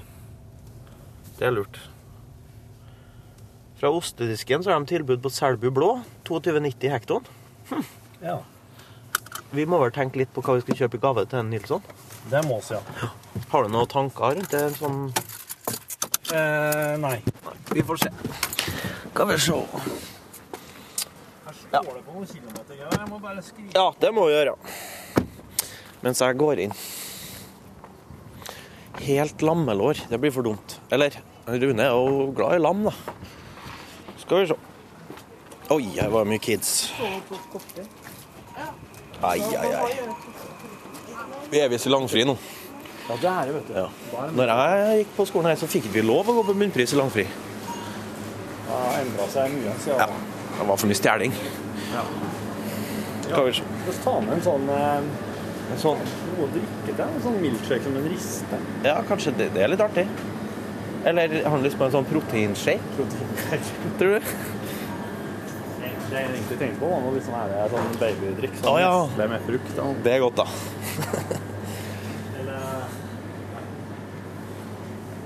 [SPEAKER 8] Det er lurt. Fra ostedisken så har de tilbud på Selbu blå. 22,90 hektoen. Hm.
[SPEAKER 3] Ja.
[SPEAKER 8] Vi må vel tenke litt på hva vi skal kjøpe i gave til Nilsson.
[SPEAKER 3] Det må vi, ja.
[SPEAKER 8] Har du noen tanker rundt det? en Sånn
[SPEAKER 3] Eh, nei.
[SPEAKER 8] Vi får se. Skal vi se
[SPEAKER 3] Her står det på noen kilometer. Ja, jeg må bare skrive
[SPEAKER 8] Ja, det må vi gjøre. Mens jeg går inn. Helt lammelår. Det blir for dumt. Eller Rune er jo glad i lam, da. Skal vi se. Oi, her var det mye kids. Ai, ai, ai. Vi er visst i langfri nå.
[SPEAKER 12] Ja, det er det, vet du.
[SPEAKER 8] Ja. Når jeg gikk på skolen her, så fikk vi lov å gå på bunnpris i langfri.
[SPEAKER 3] Det har endra seg mye siden
[SPEAKER 8] Ja. Det var for mye stjeling. Skal vi se.
[SPEAKER 3] Vi tar med en sånn eh,
[SPEAKER 8] En sånn.
[SPEAKER 3] noe å drikke til. En sånn milkshake som en riste.
[SPEAKER 8] Ja, kanskje det, det er litt artig. Eller har du lyst på en sånn proteinshake,
[SPEAKER 3] Proteinshake.
[SPEAKER 8] tror du?
[SPEAKER 3] Det jeg egentlig tenkte på, var noe litt sånn her, eh, sånn babydrikk. Sånn
[SPEAKER 8] Å, ja.
[SPEAKER 3] nesle med frukt. Da.
[SPEAKER 8] Det er godt, da.
[SPEAKER 3] Eller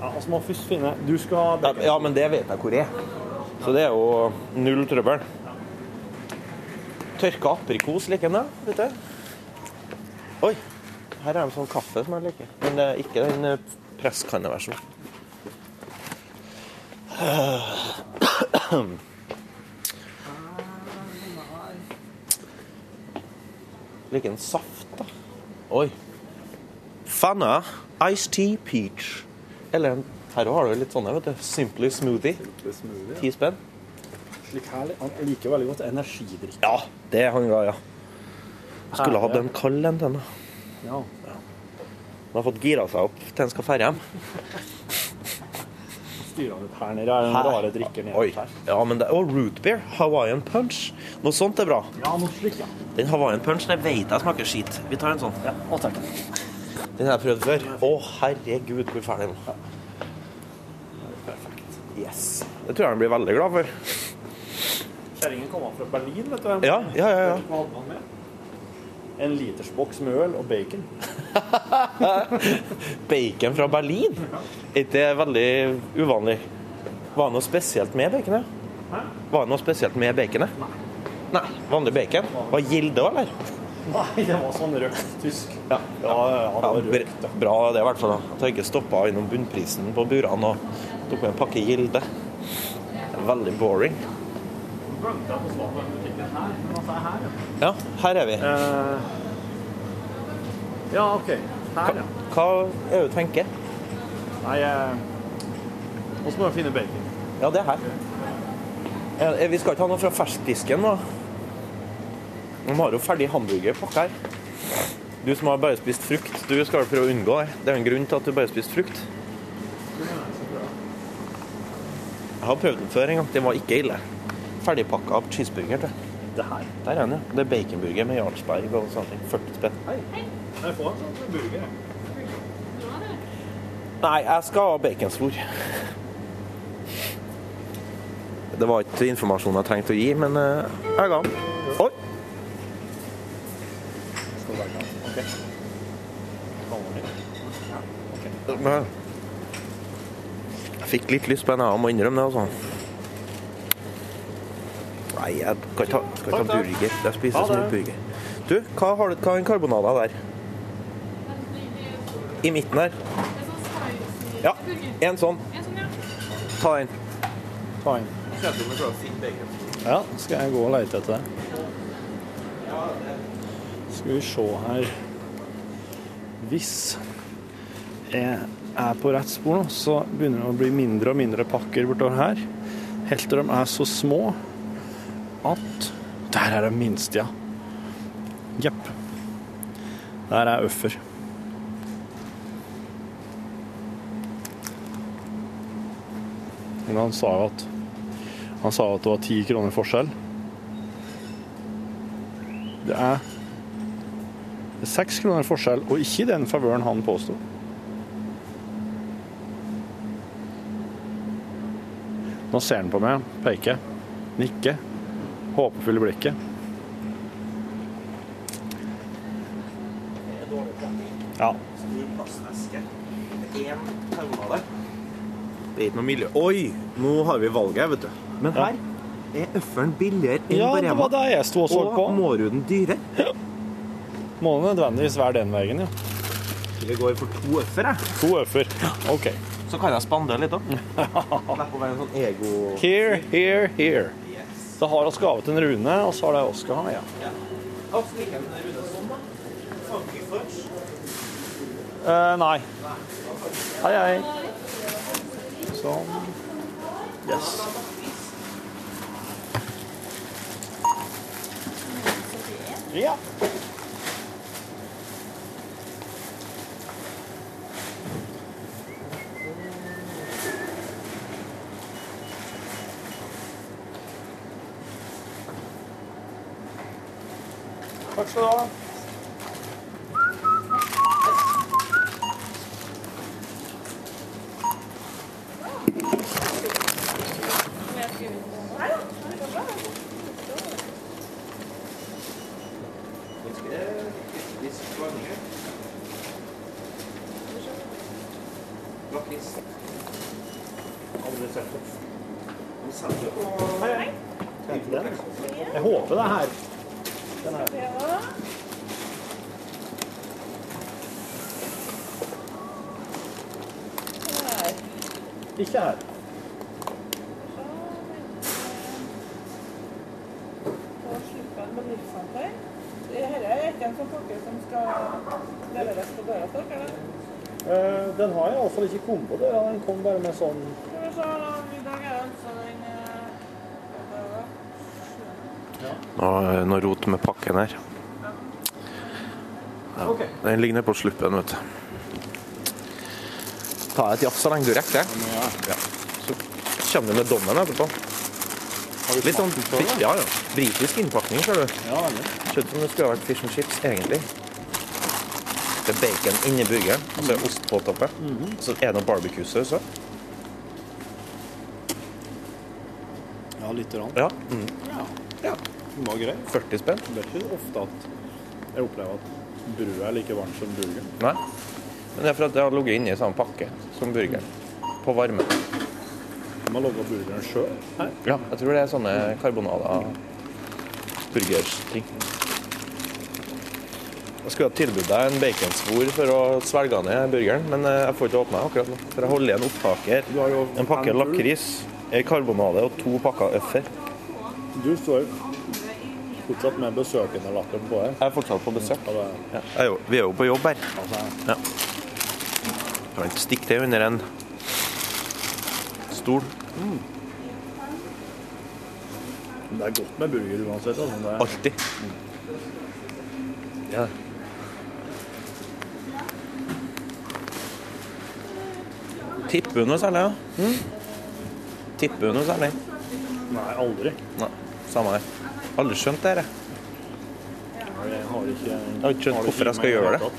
[SPEAKER 3] ja, altså, må først finne Du skal ha
[SPEAKER 8] Ja,
[SPEAKER 3] bacon.
[SPEAKER 8] Ja, men det vet jeg hvor er. Så det er jo null trøbbel. Tørka aprikos liker den, da, vet du. Oi. Her er en sånn kaffe som jeg liker. Men det er ikke den eh, presskanneversjonen. Liker en saft, da. Oi. Fana Ice Tea Peach. Eller en Her også har du litt sånne, vet du. Simply Smoothie. Ti spenn.
[SPEAKER 3] Slik her, Han liker veldig godt energidrikk.
[SPEAKER 8] Ja, det er han ga, ja. Jeg skulle hatt en kald en til han. da.
[SPEAKER 3] Ja.
[SPEAKER 8] Han har fått gira seg opp til han skal ferde hjem.
[SPEAKER 3] Styrer han ut her nede. Er det
[SPEAKER 8] Her.
[SPEAKER 3] den rare drikker nede
[SPEAKER 8] Oi.
[SPEAKER 3] her?
[SPEAKER 8] Ja, men det, og root beer. Hawaiian punch. Noe sånt er bra.
[SPEAKER 3] Ja, noe slik, ja.
[SPEAKER 8] Den Hawaiian punch, det vet jeg smaker skit. Vi tar en sånn.
[SPEAKER 3] ja. Å, takk.
[SPEAKER 8] Den har jeg prøvd før. Å, herregud, hvor fæl den var. Yes. Det tror jeg han blir veldig glad for.
[SPEAKER 3] Kjerringen kommer fra Berlin, vet du.
[SPEAKER 8] Ja, ja, ja. ja.
[SPEAKER 3] Hva hadde han med? En liters boks med øl og bacon.
[SPEAKER 8] Bacon fra Berlin? Er ikke det veldig uvanlig? Var det noe spesielt med baconet? Var det noe spesielt med baconet? Nei. Nei, Vanlig bacon? Var Gilde òg, eller?
[SPEAKER 3] Nei, det var sånn røkt tysk.
[SPEAKER 8] Ja.
[SPEAKER 3] Ja, ja, det var røkt.
[SPEAKER 8] bra, bra det, i hvert fall. da. At jeg ikke stoppa innom bunnprisen på burene og tok med en pakke Gilde. Det er Veldig boring.
[SPEAKER 3] altså,
[SPEAKER 8] Ja, her er vi.
[SPEAKER 3] Eh, Ja, OK. Her, ja.
[SPEAKER 8] Hva er det du tenker?
[SPEAKER 3] Nei, eh, også må vi finne bacon.
[SPEAKER 8] Ja, det er her. Eh, Vi skal ikke ha noe fra ferskdisken nå. De har jo ferdig hamburgerpakke her. Du som har bare spist frukt, du skal vel prøve å unngå det. Det er jo en grunn til at du bare spiste frukt. Jeg har prøvd den før en gang. Den var ikke ille. Ferdigpakka cheeseburger. tror jeg.
[SPEAKER 3] Det her.
[SPEAKER 8] Der er den, ja. Det er baconburger med Jarlsberg og sånne ting. 40 spenn.
[SPEAKER 3] Jeg får en sånn burger, jeg.
[SPEAKER 8] Nei, jeg skal ha baconsvor. Det var ikke informasjon jeg trengte å gi, men eh, jeg ga den. Oi! Men Jeg fikk litt lyst på en, jeg må innrømme det. altså. Nei, jeg skal ikke ha, skal ikke ha burger. Jeg spiser så mye burger. Du, hva har du hva er en karbonade der? I midten her. Ja, sånn en sånn. Ta den.
[SPEAKER 3] Ta en. Ja, skal jeg gå og lete etter det? Skal vi se her Hvis jeg er på rett spor nå, så begynner det å bli mindre og mindre pakker bortover her. Helt til de er så små at Der er det minste, ja. Jepp. Der er øffer. Men han sa jo at han sa at det var ti kroner forskjell. Det er seks kroner forskjell, og ikke i den favøren han påsto. Nå ser han på meg, peker, nikker. håpefulle blikket. Ja.
[SPEAKER 13] Det er ikke noe miljø Oi, nå har vi valget, vet du. Men her er øffelen billigere enn
[SPEAKER 3] Ja,
[SPEAKER 13] på
[SPEAKER 3] det
[SPEAKER 13] Rema.
[SPEAKER 3] var det Sånn. jeg sto og så på.
[SPEAKER 13] Og måruden dyrere.
[SPEAKER 3] Må det nødvendigvis være den veien, ja.
[SPEAKER 13] Vi går for to øffer, jeg.
[SPEAKER 3] To øfer. OK.
[SPEAKER 13] Så kan jeg spandere litt, da. Slipp å være en sånn ego...
[SPEAKER 3] Here, here, here. Da har vi gavet en Rune, og så har det Oskar han, ja. Sånn, Eh, nei. Hei, hei. Sånn. Yes. Ja. Takk skal du ha. Jeg håper det er her. Den her. Ikke her. Eh, Den har jeg iallfall ikke kommet på døra. Den kom bare med sånn
[SPEAKER 8] Noe, noe rot eh, med pakken her. Ja.
[SPEAKER 3] Ok.
[SPEAKER 8] Den ligger nede på sluppen, vet du. Ta et jafs så lenge du rekker. Ja. Så kommer du med dommen etterpå. Litt sånn ja, ja. britisk innpakning, ser du.
[SPEAKER 3] Ja, veldig.
[SPEAKER 8] Ser ut som det skulle ha vært fish and chips, egentlig. Det er bacon inni burgeren, og så er det ost på toppen.
[SPEAKER 3] Mhm.
[SPEAKER 8] Og så er det noe barbecue-saus òg.
[SPEAKER 3] Ja, lite grann.
[SPEAKER 8] Ja. Mm.
[SPEAKER 3] Ja. Den var grei.
[SPEAKER 8] 40 spenn.
[SPEAKER 3] Det er ikke ofte at jeg opplever at brødet er like varmt som burgeren.
[SPEAKER 8] Nei. Men det er for at det har ligget inni samme pakke som burgeren. På varme.
[SPEAKER 3] De har laga burgeren sjøl her.
[SPEAKER 8] Ja, jeg tror det er sånne karbonader burgersting. Jeg skulle ha tilbudt deg en baconsvor for å svelge ned burgeren, men eh, jeg får ikke åpna akkurat nå. For jeg holder igjen opptaker. En pakke lakris, ei karbonade og to pakker øffer.
[SPEAKER 3] Du står fortsatt med besøkenderlatteren på her.
[SPEAKER 8] Jeg er fortsatt på besøk.
[SPEAKER 3] Ja, det er- Altså.
[SPEAKER 8] Ja, jeg er jo, vi er jo på jobb her. Ja. Kan ikke stikke det under en stol.
[SPEAKER 3] Det er godt med burger uansett. Altså. Det er...
[SPEAKER 8] Alltid. Ja. Tipper du noe særlig, da? Tipper du noe særlig?
[SPEAKER 3] Nei, aldri.
[SPEAKER 8] Nei, samme det. Aldri skjønt det her, jeg.
[SPEAKER 3] Jeg har ikke,
[SPEAKER 8] Jeg har ikke skjønt hvorfor jeg skal gjøre det.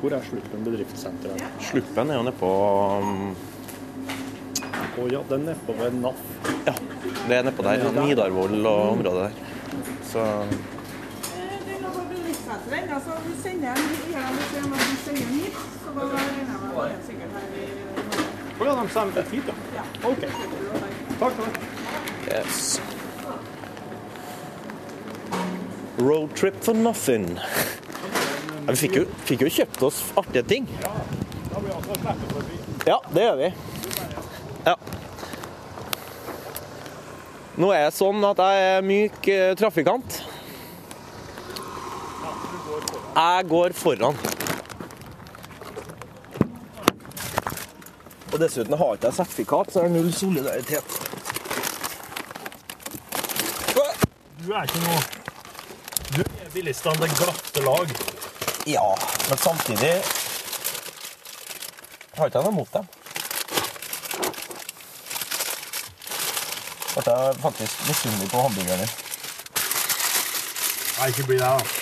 [SPEAKER 3] Hvor er Sluppen bedriftssenter? her?
[SPEAKER 8] Sluppen er jo um, nedpå
[SPEAKER 3] Å ja, den er på ved NAF.
[SPEAKER 8] Ja, det er nedpå der. ja, Nidarvoll og området der. Så
[SPEAKER 3] Å ja, de sender hit, ja. OK. Takk skal du ha.
[SPEAKER 8] Yes. Road trip for nothing. Ja, vi fikk jo, fikk jo kjøpt oss artige ting.
[SPEAKER 3] altså
[SPEAKER 8] Ja, det gjør vi. Ja. Nå er jeg sånn at jeg er myk eh, trafikant. Jeg går foran. Og dessuten har ikke jeg sertifikat, så jeg har null solidaritet.
[SPEAKER 3] Du er ikke noe Du er bilistene det glatte lag.
[SPEAKER 8] Ja, men samtidig har ikke jeg noe mot dem. Ble jeg faktisk misunnelig på hamburgeren din.
[SPEAKER 3] Nei, ikke bli det, da.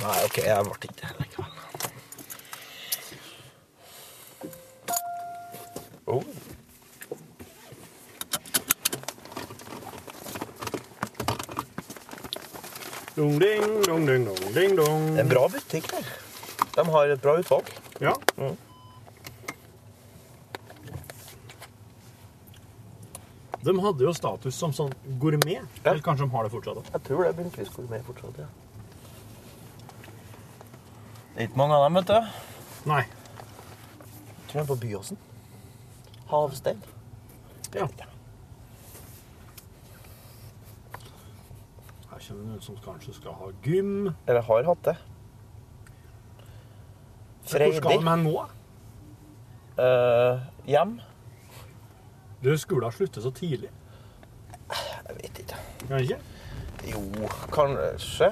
[SPEAKER 8] Nei, OK, jeg ble ikke det likevel.
[SPEAKER 3] Dong, ding, dong, ding, dong, ding, dong.
[SPEAKER 8] Det er en bra butikk der. De har et bra utvalg. Mm.
[SPEAKER 3] Ja. De hadde jo status som sånn gourmet. Eller kanskje de har det fortsatt?
[SPEAKER 8] Jeg tror det er Bunnquist gourmet fortsatt, ja. Det er ikke mange av dem, vet du.
[SPEAKER 3] Nei.
[SPEAKER 8] Jeg tror de er på Byåsen. Havstein.
[SPEAKER 3] Ja. Her kommer noen som kanskje skal ha gym.
[SPEAKER 8] Eller har hatt det.
[SPEAKER 3] Hvor skal de hen nå?
[SPEAKER 8] Eh, hjem.
[SPEAKER 3] Du, skolen slutter så tidlig.
[SPEAKER 8] Jeg vet ikke.
[SPEAKER 3] Kan ikke?
[SPEAKER 8] Jo, kanskje.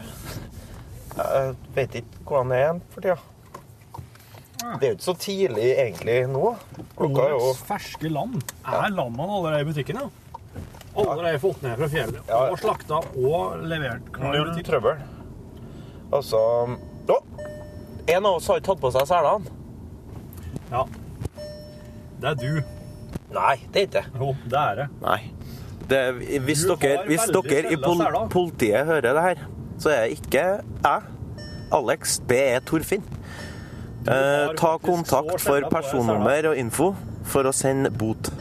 [SPEAKER 8] Jeg vet ikke hvordan det er igjen for tida. Det er jo ikke så tidlig egentlig nå. Klokka er jo
[SPEAKER 3] Årets ferske lam er lammene allerede i butikken, ja. Allerede fått ned fra fjellet. Og slakta og levert.
[SPEAKER 8] null trøbbel. Altså Å! En av oss har ikke tatt på seg selene.
[SPEAKER 3] Ja. Det er du.
[SPEAKER 8] Nei, det er ikke det.
[SPEAKER 3] Jo, det er det.
[SPEAKER 8] Nei. Det, hvis
[SPEAKER 3] Du
[SPEAKER 8] dere,
[SPEAKER 3] har
[SPEAKER 8] hvis
[SPEAKER 3] veldig
[SPEAKER 8] dere i
[SPEAKER 3] felles
[SPEAKER 8] pol
[SPEAKER 3] seler.
[SPEAKER 8] politiet hører det her, så er det ikke jeg, Alex, det er Torfinn. Eh, ta kontakt
[SPEAKER 3] så seler på
[SPEAKER 8] for
[SPEAKER 3] deg
[SPEAKER 8] personnummer og info for å sende bot.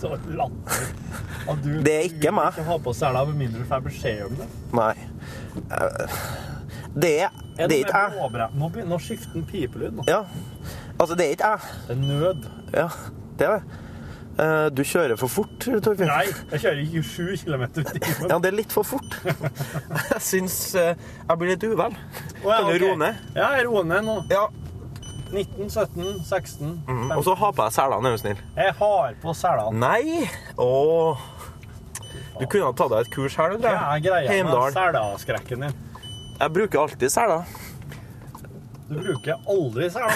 [SPEAKER 3] Så latter. At du,
[SPEAKER 8] Det er ikke
[SPEAKER 3] meg. Ikke ha på sela med mindre du får beskjed om det.
[SPEAKER 8] Nei. Eh, Det er,
[SPEAKER 3] Er
[SPEAKER 8] det
[SPEAKER 3] det
[SPEAKER 8] er ikke
[SPEAKER 3] med
[SPEAKER 8] jeg.
[SPEAKER 3] blåbra- Nå begynner å skifte en pipelyd. nå.
[SPEAKER 8] Ja. Altså, det er ikke jeg.
[SPEAKER 3] Det er nød.
[SPEAKER 8] Ja, det er det. Eh, Du kjører for fort, Torfinn.
[SPEAKER 3] Nei, jeg kjører ikke 7 km i timen.
[SPEAKER 8] Ja, det er litt for fort. Jeg syns eh, jeg blir litt uvel.
[SPEAKER 3] Å, ja,
[SPEAKER 8] Kan du
[SPEAKER 3] ok.
[SPEAKER 8] roe ned?
[SPEAKER 3] Ja, jeg roer ned nå.
[SPEAKER 8] Ja.
[SPEAKER 3] 19, 17, 16
[SPEAKER 8] Mm, Og så ha på deg selene, er du snill.
[SPEAKER 3] Jeg har på selene.
[SPEAKER 8] Nei! Åh. Du kunne ha tatt deg et kurs her, du.
[SPEAKER 3] Hva er greia med
[SPEAKER 8] Heimdal.
[SPEAKER 3] selaskrekken din?
[SPEAKER 8] Jeg bruker alltid seler.
[SPEAKER 3] Du bruker aldri sela.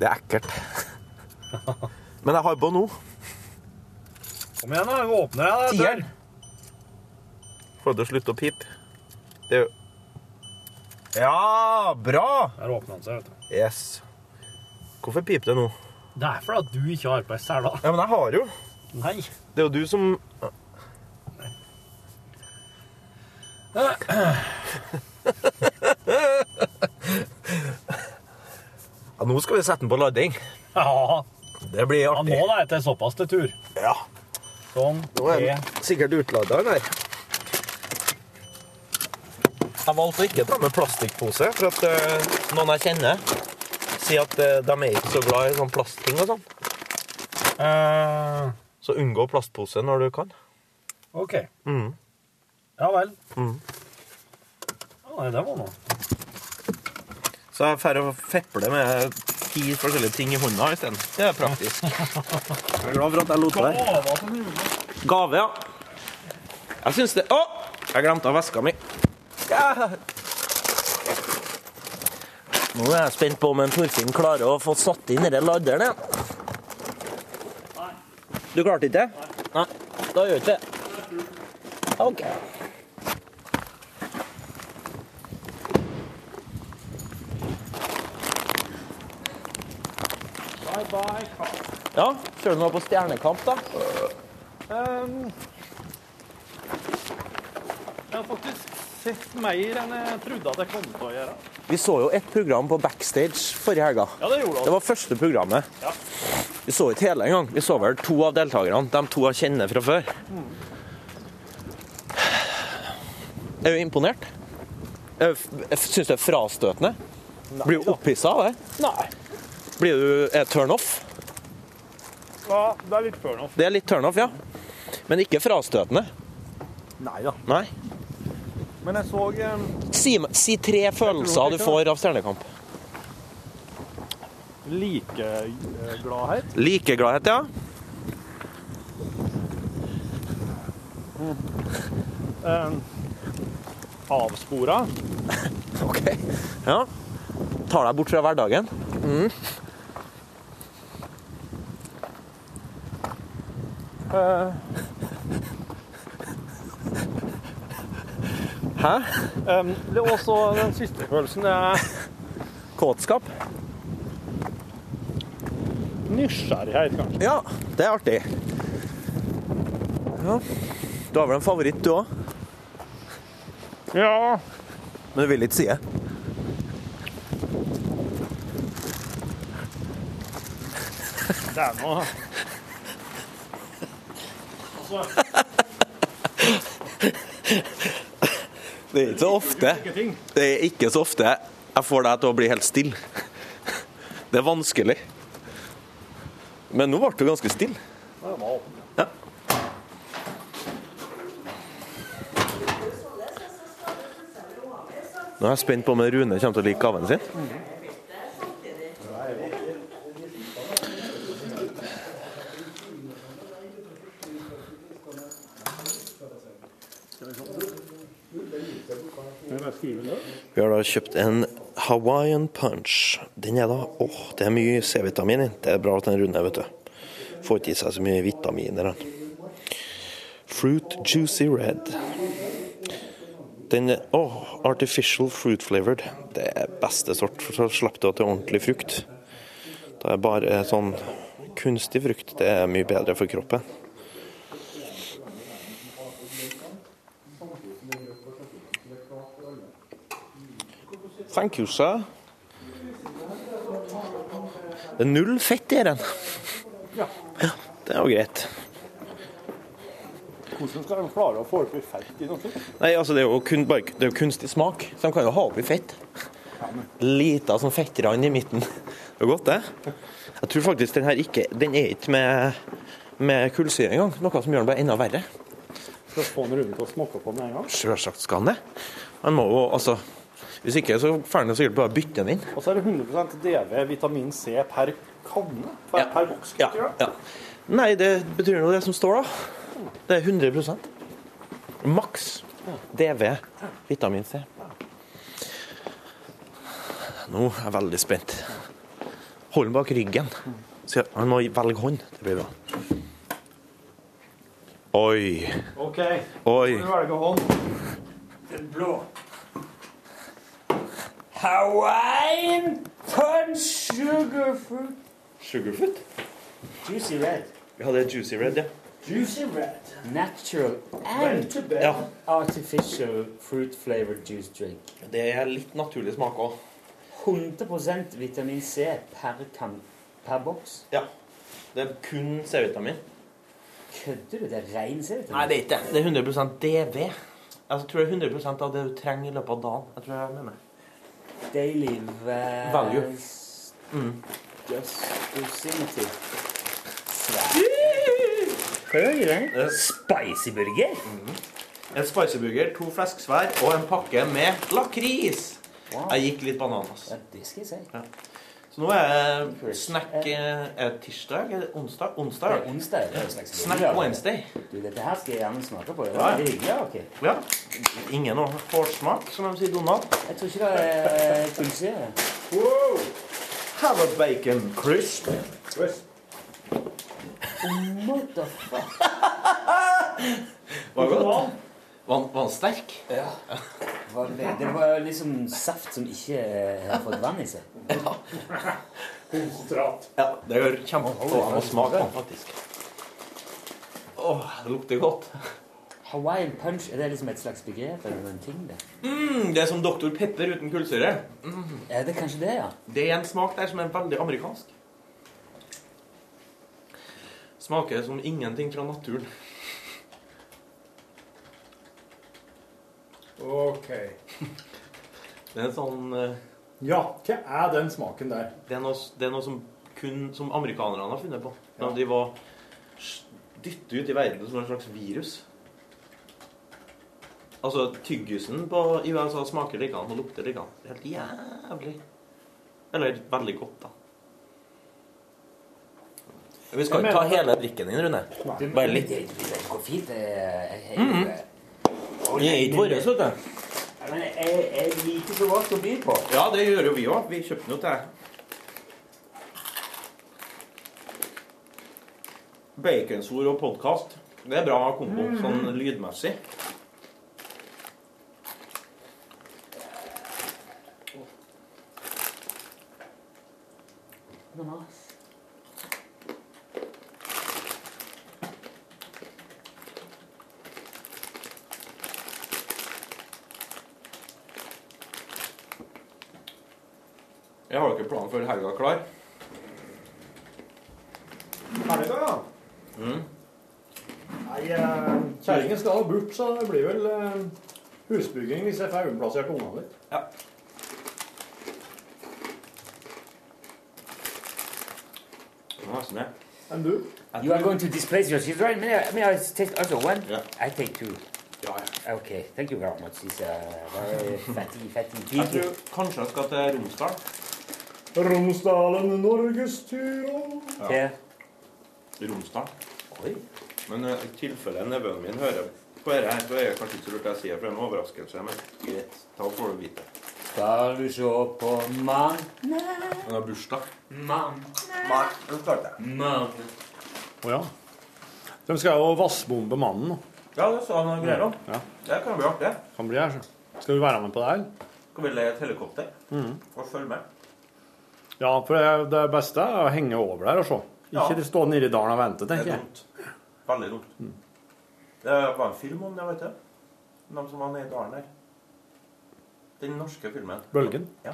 [SPEAKER 8] Det er ekkelt. Men jeg har på nå.
[SPEAKER 3] Kom igjen, da. Åpner jeg da, dør.
[SPEAKER 8] Får du slutte å pipe? Det er jo Ja, bra!
[SPEAKER 3] Der åpner han seg, vet du.
[SPEAKER 8] Yes. Hvorfor piper det nå?
[SPEAKER 3] Det er fordi at du ikke har på deg sela.
[SPEAKER 8] Ja, men jeg har jo.
[SPEAKER 3] Nei.
[SPEAKER 8] Det er jo du som Ja, nå skal vi sette den på lading.
[SPEAKER 3] Ja.
[SPEAKER 8] Det blir
[SPEAKER 3] Ja, nå
[SPEAKER 8] artig.
[SPEAKER 3] da er det såpass til tur.
[SPEAKER 8] Ja.
[SPEAKER 3] Sånn.
[SPEAKER 8] Nå er
[SPEAKER 3] tre.
[SPEAKER 8] den sikkert utlada, den her. Jeg valgte å ikke ta med plastikkpose, for at eh, noen jeg kjenner, sier at eh, de er ikke så glad i sånn plastting og sånn.
[SPEAKER 3] Eh,
[SPEAKER 8] Så unngå plastpose når du kan.
[SPEAKER 3] OK.
[SPEAKER 8] Mhm.
[SPEAKER 3] Ja vel.
[SPEAKER 8] Mhm.
[SPEAKER 3] Ja, nei, det var noe.
[SPEAKER 8] Så jeg drar og fepler med ti forskjellige ting i hånda isteden. Det er praktisk. Jeg er glad for at jeg lot være. Gave, ja. Jeg syns det Å! Jeg glemte av veska mi. Ja. Nå er jeg spent på om en Torfinn klarer å få satt inn den laderen igjen. Du klarte ikke det? Nei. Da gjør ikke det. OK.
[SPEAKER 4] Bye bye, Carl.
[SPEAKER 8] Ja, kjører du nå på Stjernekamp, da?
[SPEAKER 4] Ehm, jeg har faktisk sett mer enn jeg trodde at jeg kom til å gjøre.
[SPEAKER 8] Vi så jo et program på backstage forrige helga.
[SPEAKER 4] Ja, det gjorde vi.
[SPEAKER 8] Det var første programmet.
[SPEAKER 4] Ja.
[SPEAKER 8] Vi så ikke hele engang. Vi så vel to av deltakerne. De to jeg kjenner fra før. Jeg er jo imponert. Jeg f- jeg syns det er frastøtende. Blir du opphissa av det?
[SPEAKER 4] Nei.
[SPEAKER 8] Blir du er det turn off?
[SPEAKER 4] Ja, det er litt før nå.
[SPEAKER 8] Det er litt turn off, ja. Men ikke frastøtende.
[SPEAKER 4] Nei da.
[SPEAKER 8] Nei.
[SPEAKER 4] Men jeg så um,
[SPEAKER 8] Si, meg- si tre følelser du får av Stjernekamp.
[SPEAKER 4] likegladhet.
[SPEAKER 8] Likegladhet, ja.
[SPEAKER 4] Um, avspora.
[SPEAKER 8] OK. Ja. Tar deg bort fra hverdagen.
[SPEAKER 4] Eh,
[SPEAKER 8] Hæ?
[SPEAKER 4] um, det er også den siste følelsen. Det er
[SPEAKER 8] Kåtskap?
[SPEAKER 4] nysgjerrighet, kanskje.
[SPEAKER 8] Ja, det er artig. Ja. Du har vel en favoritt, du òg?
[SPEAKER 4] Ja.
[SPEAKER 8] Men du vil ikke si det?
[SPEAKER 4] Det er noe
[SPEAKER 8] Det er ikke så ofte. Det er ikke så ofte jeg får deg til å bli helt stille. Det er vanskelig. Men nå ble du ganske stille.
[SPEAKER 3] Det var åpen.
[SPEAKER 8] Nå er jeg spent på om Rune kommer til å like gaven sin. Vi har da kjøpt en Hawaiian punch. Den er da åh, det er mye C-vitamin i. Det er bra at den Rune, vet du. Får ikke i seg så mye vitaminer, han. Fruit juicy red. Den åh, artificial fruit flavored. Det er beste sort, for så slipper du at det er ordentlig frukt. Da er bare sånn kunstig frukt. Det er mye bedre for kroppen. Thank you, sir. Det er null fett i den.
[SPEAKER 3] Ja.
[SPEAKER 8] Det er jo greit.
[SPEAKER 3] Hvordan skal de klare å få opp i fett i noe slikt?
[SPEAKER 8] Nei, altså det er jo kun, bare, det er jo kunstig smak, så de kan jo ha oppi fett. Lita sånn fettrand i midten. Det er godt, det. Jeg tror faktisk den her ikke Den er ikke med, med kullsyre engang, noe som gjør den bare enda verre.
[SPEAKER 3] Skal få en runde til å smokke på med en gang.
[SPEAKER 8] Sjølsagt skal den det. Han må jo, altså Hvis ikke, så får han jo sikkert bare bytte den inn.
[SPEAKER 3] Og så er det 100 DV vitamin C per kanne. Per, per boks.
[SPEAKER 8] Ja, ja. Nei, det betyr nå det som står, da. Det er 100 Maks DV vitamin C. Nå er jeg veldig spent. Hold den bak ryggen. Så han må velge hånd. Det blir bra. Oi.
[SPEAKER 3] OK.
[SPEAKER 8] Oi.
[SPEAKER 3] Får du velge hånd.
[SPEAKER 7] Den blå. Hawaiian punch sugarfood.
[SPEAKER 8] Sugarfoot?
[SPEAKER 7] Juicy red.
[SPEAKER 8] Vi hadde juicy red, ja.
[SPEAKER 7] Juicy red. Natural
[SPEAKER 8] Red
[SPEAKER 7] and
[SPEAKER 8] to bed. Ja.
[SPEAKER 7] artificial fruit flavored juice drink.
[SPEAKER 8] Det er litt naturlig smak òg.
[SPEAKER 7] 100 vitamin C per, kan, per boks.
[SPEAKER 8] Ja. Det er kun C-vitamin.
[SPEAKER 7] Kødder du? Det er ren C-vitamin.
[SPEAKER 8] Nei, det er ikke det. Det er 100 DV. Jeg Altså, tror det er 100 av det du trenger i løpet av dagen. Jeg tror jeg er med meg.
[SPEAKER 7] Daily vas-
[SPEAKER 8] Value. Mm.
[SPEAKER 7] Just proximity. Høy, den. Spicy burger.
[SPEAKER 8] Eh, En spiceburger, to flesksvær og en pakke med lakris. Jeg gikk litt banan, altså.
[SPEAKER 7] Det skal jeg si.
[SPEAKER 8] Så nå er det snack eh, Er det tirsdag? Er det onsdag? Onsdag.
[SPEAKER 7] Det er onsdag, det er en slags
[SPEAKER 8] Snack
[SPEAKER 7] juledag.
[SPEAKER 8] Wednesday.
[SPEAKER 7] Du, dette her skal jeg gjerne smake på. Det
[SPEAKER 8] Ja, ja.
[SPEAKER 7] var veldig hyggelig. av dere.
[SPEAKER 8] Ja. Ingen hårsmak, som de sier, Donald.
[SPEAKER 7] Jeg tror ikke det er kullsyre.
[SPEAKER 8] Wow! Have a bacon crisp.
[SPEAKER 7] Motherfucker.
[SPEAKER 8] Var det godt? Var var den sterk?
[SPEAKER 7] Ja. Det var, ve- det var liksom saft som ikke eh, har fått vann i seg.
[SPEAKER 3] Konsentrat.
[SPEAKER 8] Ja, det gjør kjempegodt. Jeg må smake på den, faktisk. Åh, det lukter godt.
[SPEAKER 7] Hawaiian punch, er det liksom et slags begrep eller en ting? Det
[SPEAKER 8] Mm, det er som Dr. Pepper uten kullsyre.
[SPEAKER 7] Er det kanskje det, ja?
[SPEAKER 8] Det er en smak der som er veldig amerikansk. Smaker som ingenting fra naturen.
[SPEAKER 3] OK.
[SPEAKER 8] Det er en sånn eh,
[SPEAKER 3] Ja, hva er den smaken der?
[SPEAKER 8] Det er noe, det er noe som, kun, som amerikanerne har funnet på. Da de var s- dyttet ut i verden som en slags virus. Altså, tyggisen på, i USA smaker likedan og lukter likedan. Det er helt jævlig. Eller veldig godt, da. Vi skal ikke ta hele drikken din, Rune. Bare litt.
[SPEAKER 7] Det, er- det, det går fint. Det, jeg, jeg,
[SPEAKER 8] Mhm. Det er ikke vårt, vet du.
[SPEAKER 7] Ja, Men jeg, jeg liker så godt å by på.
[SPEAKER 8] Ja, det gjør jo vi òg. Vi kjøpte den jo til deg. Baconsor og podkast. Det er bra kombo sånn lydmessig.
[SPEAKER 7] Ananas.
[SPEAKER 8] har dere planen før helga klar?
[SPEAKER 14] Helga, ja.
[SPEAKER 8] Mm.
[SPEAKER 14] Nei, eh, kjerringen skal ha bort, så det blir vel eh, husbygging hvis jeg får omplassert ungene litt.
[SPEAKER 8] Ja. sånn,
[SPEAKER 14] And du?
[SPEAKER 7] You are going to displace your children? May I, may I take also one? I take two. Okay, thank you very much. It's a very fatty, fatty
[SPEAKER 8] Jeg
[SPEAKER 7] kid.
[SPEAKER 8] tror kanskje jeg skal til Romsdal.
[SPEAKER 14] Romsdalen, Norges tyran.
[SPEAKER 8] Ja. Romsdal. Oi. Men eh, i tilfelle nevøen min hører på dette, her, så er det kanskje ikke så lurt jeg sier, for det er en overraskelse. Men greit, da får du vite.
[SPEAKER 7] Skal du se på mann?
[SPEAKER 8] Han har bursdag.
[SPEAKER 7] Mann.
[SPEAKER 8] Nei, den klarte jeg.
[SPEAKER 7] Mann.
[SPEAKER 3] Å ja. De skal jo vassbombe mannen nå.
[SPEAKER 8] Ja, det sa han greier om.
[SPEAKER 3] Ja.
[SPEAKER 8] Det kan bli artig.
[SPEAKER 3] Kan bli her, så. Skal du være med på det her?
[SPEAKER 8] Skal vi leie et helikopter
[SPEAKER 3] Mhm.
[SPEAKER 8] og følge med?
[SPEAKER 3] Ja, for det, det beste er å henge over der og se.
[SPEAKER 8] Ja.
[SPEAKER 3] Ikke stå nede i dalen og vente,
[SPEAKER 8] Det
[SPEAKER 3] tenker
[SPEAKER 8] er
[SPEAKER 3] jeg.
[SPEAKER 8] dumt. Veldig dumt. Det var en film om det, vet du. De som var nede i dalen her. Den norske filmen.
[SPEAKER 3] Bølgen.
[SPEAKER 8] Ja.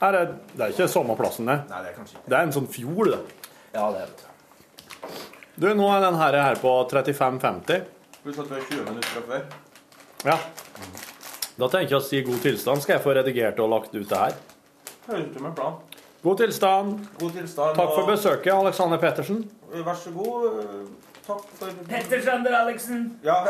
[SPEAKER 3] Er det, det er ikke samme plassen, det.
[SPEAKER 8] Nei, det er kanskje ikke
[SPEAKER 3] Det er en sånn fjord, det.
[SPEAKER 8] Ja, det er det.
[SPEAKER 3] Du, nå er den her, her på 35,50.
[SPEAKER 8] Pluss at vi er 20 minutter fra før.
[SPEAKER 3] Ja. Da tenker jeg å si god tilstand. Skal jeg få redigert og lagt ut det her?
[SPEAKER 8] Høres ut som en plan.
[SPEAKER 3] God tilstand.
[SPEAKER 8] God tilstand.
[SPEAKER 3] Takk for
[SPEAKER 8] og-
[SPEAKER 3] besøket, Alexander Pettersen.
[SPEAKER 8] Vær så god. eh, Takk for
[SPEAKER 7] Petter Sander Aleksen.
[SPEAKER 8] Ja.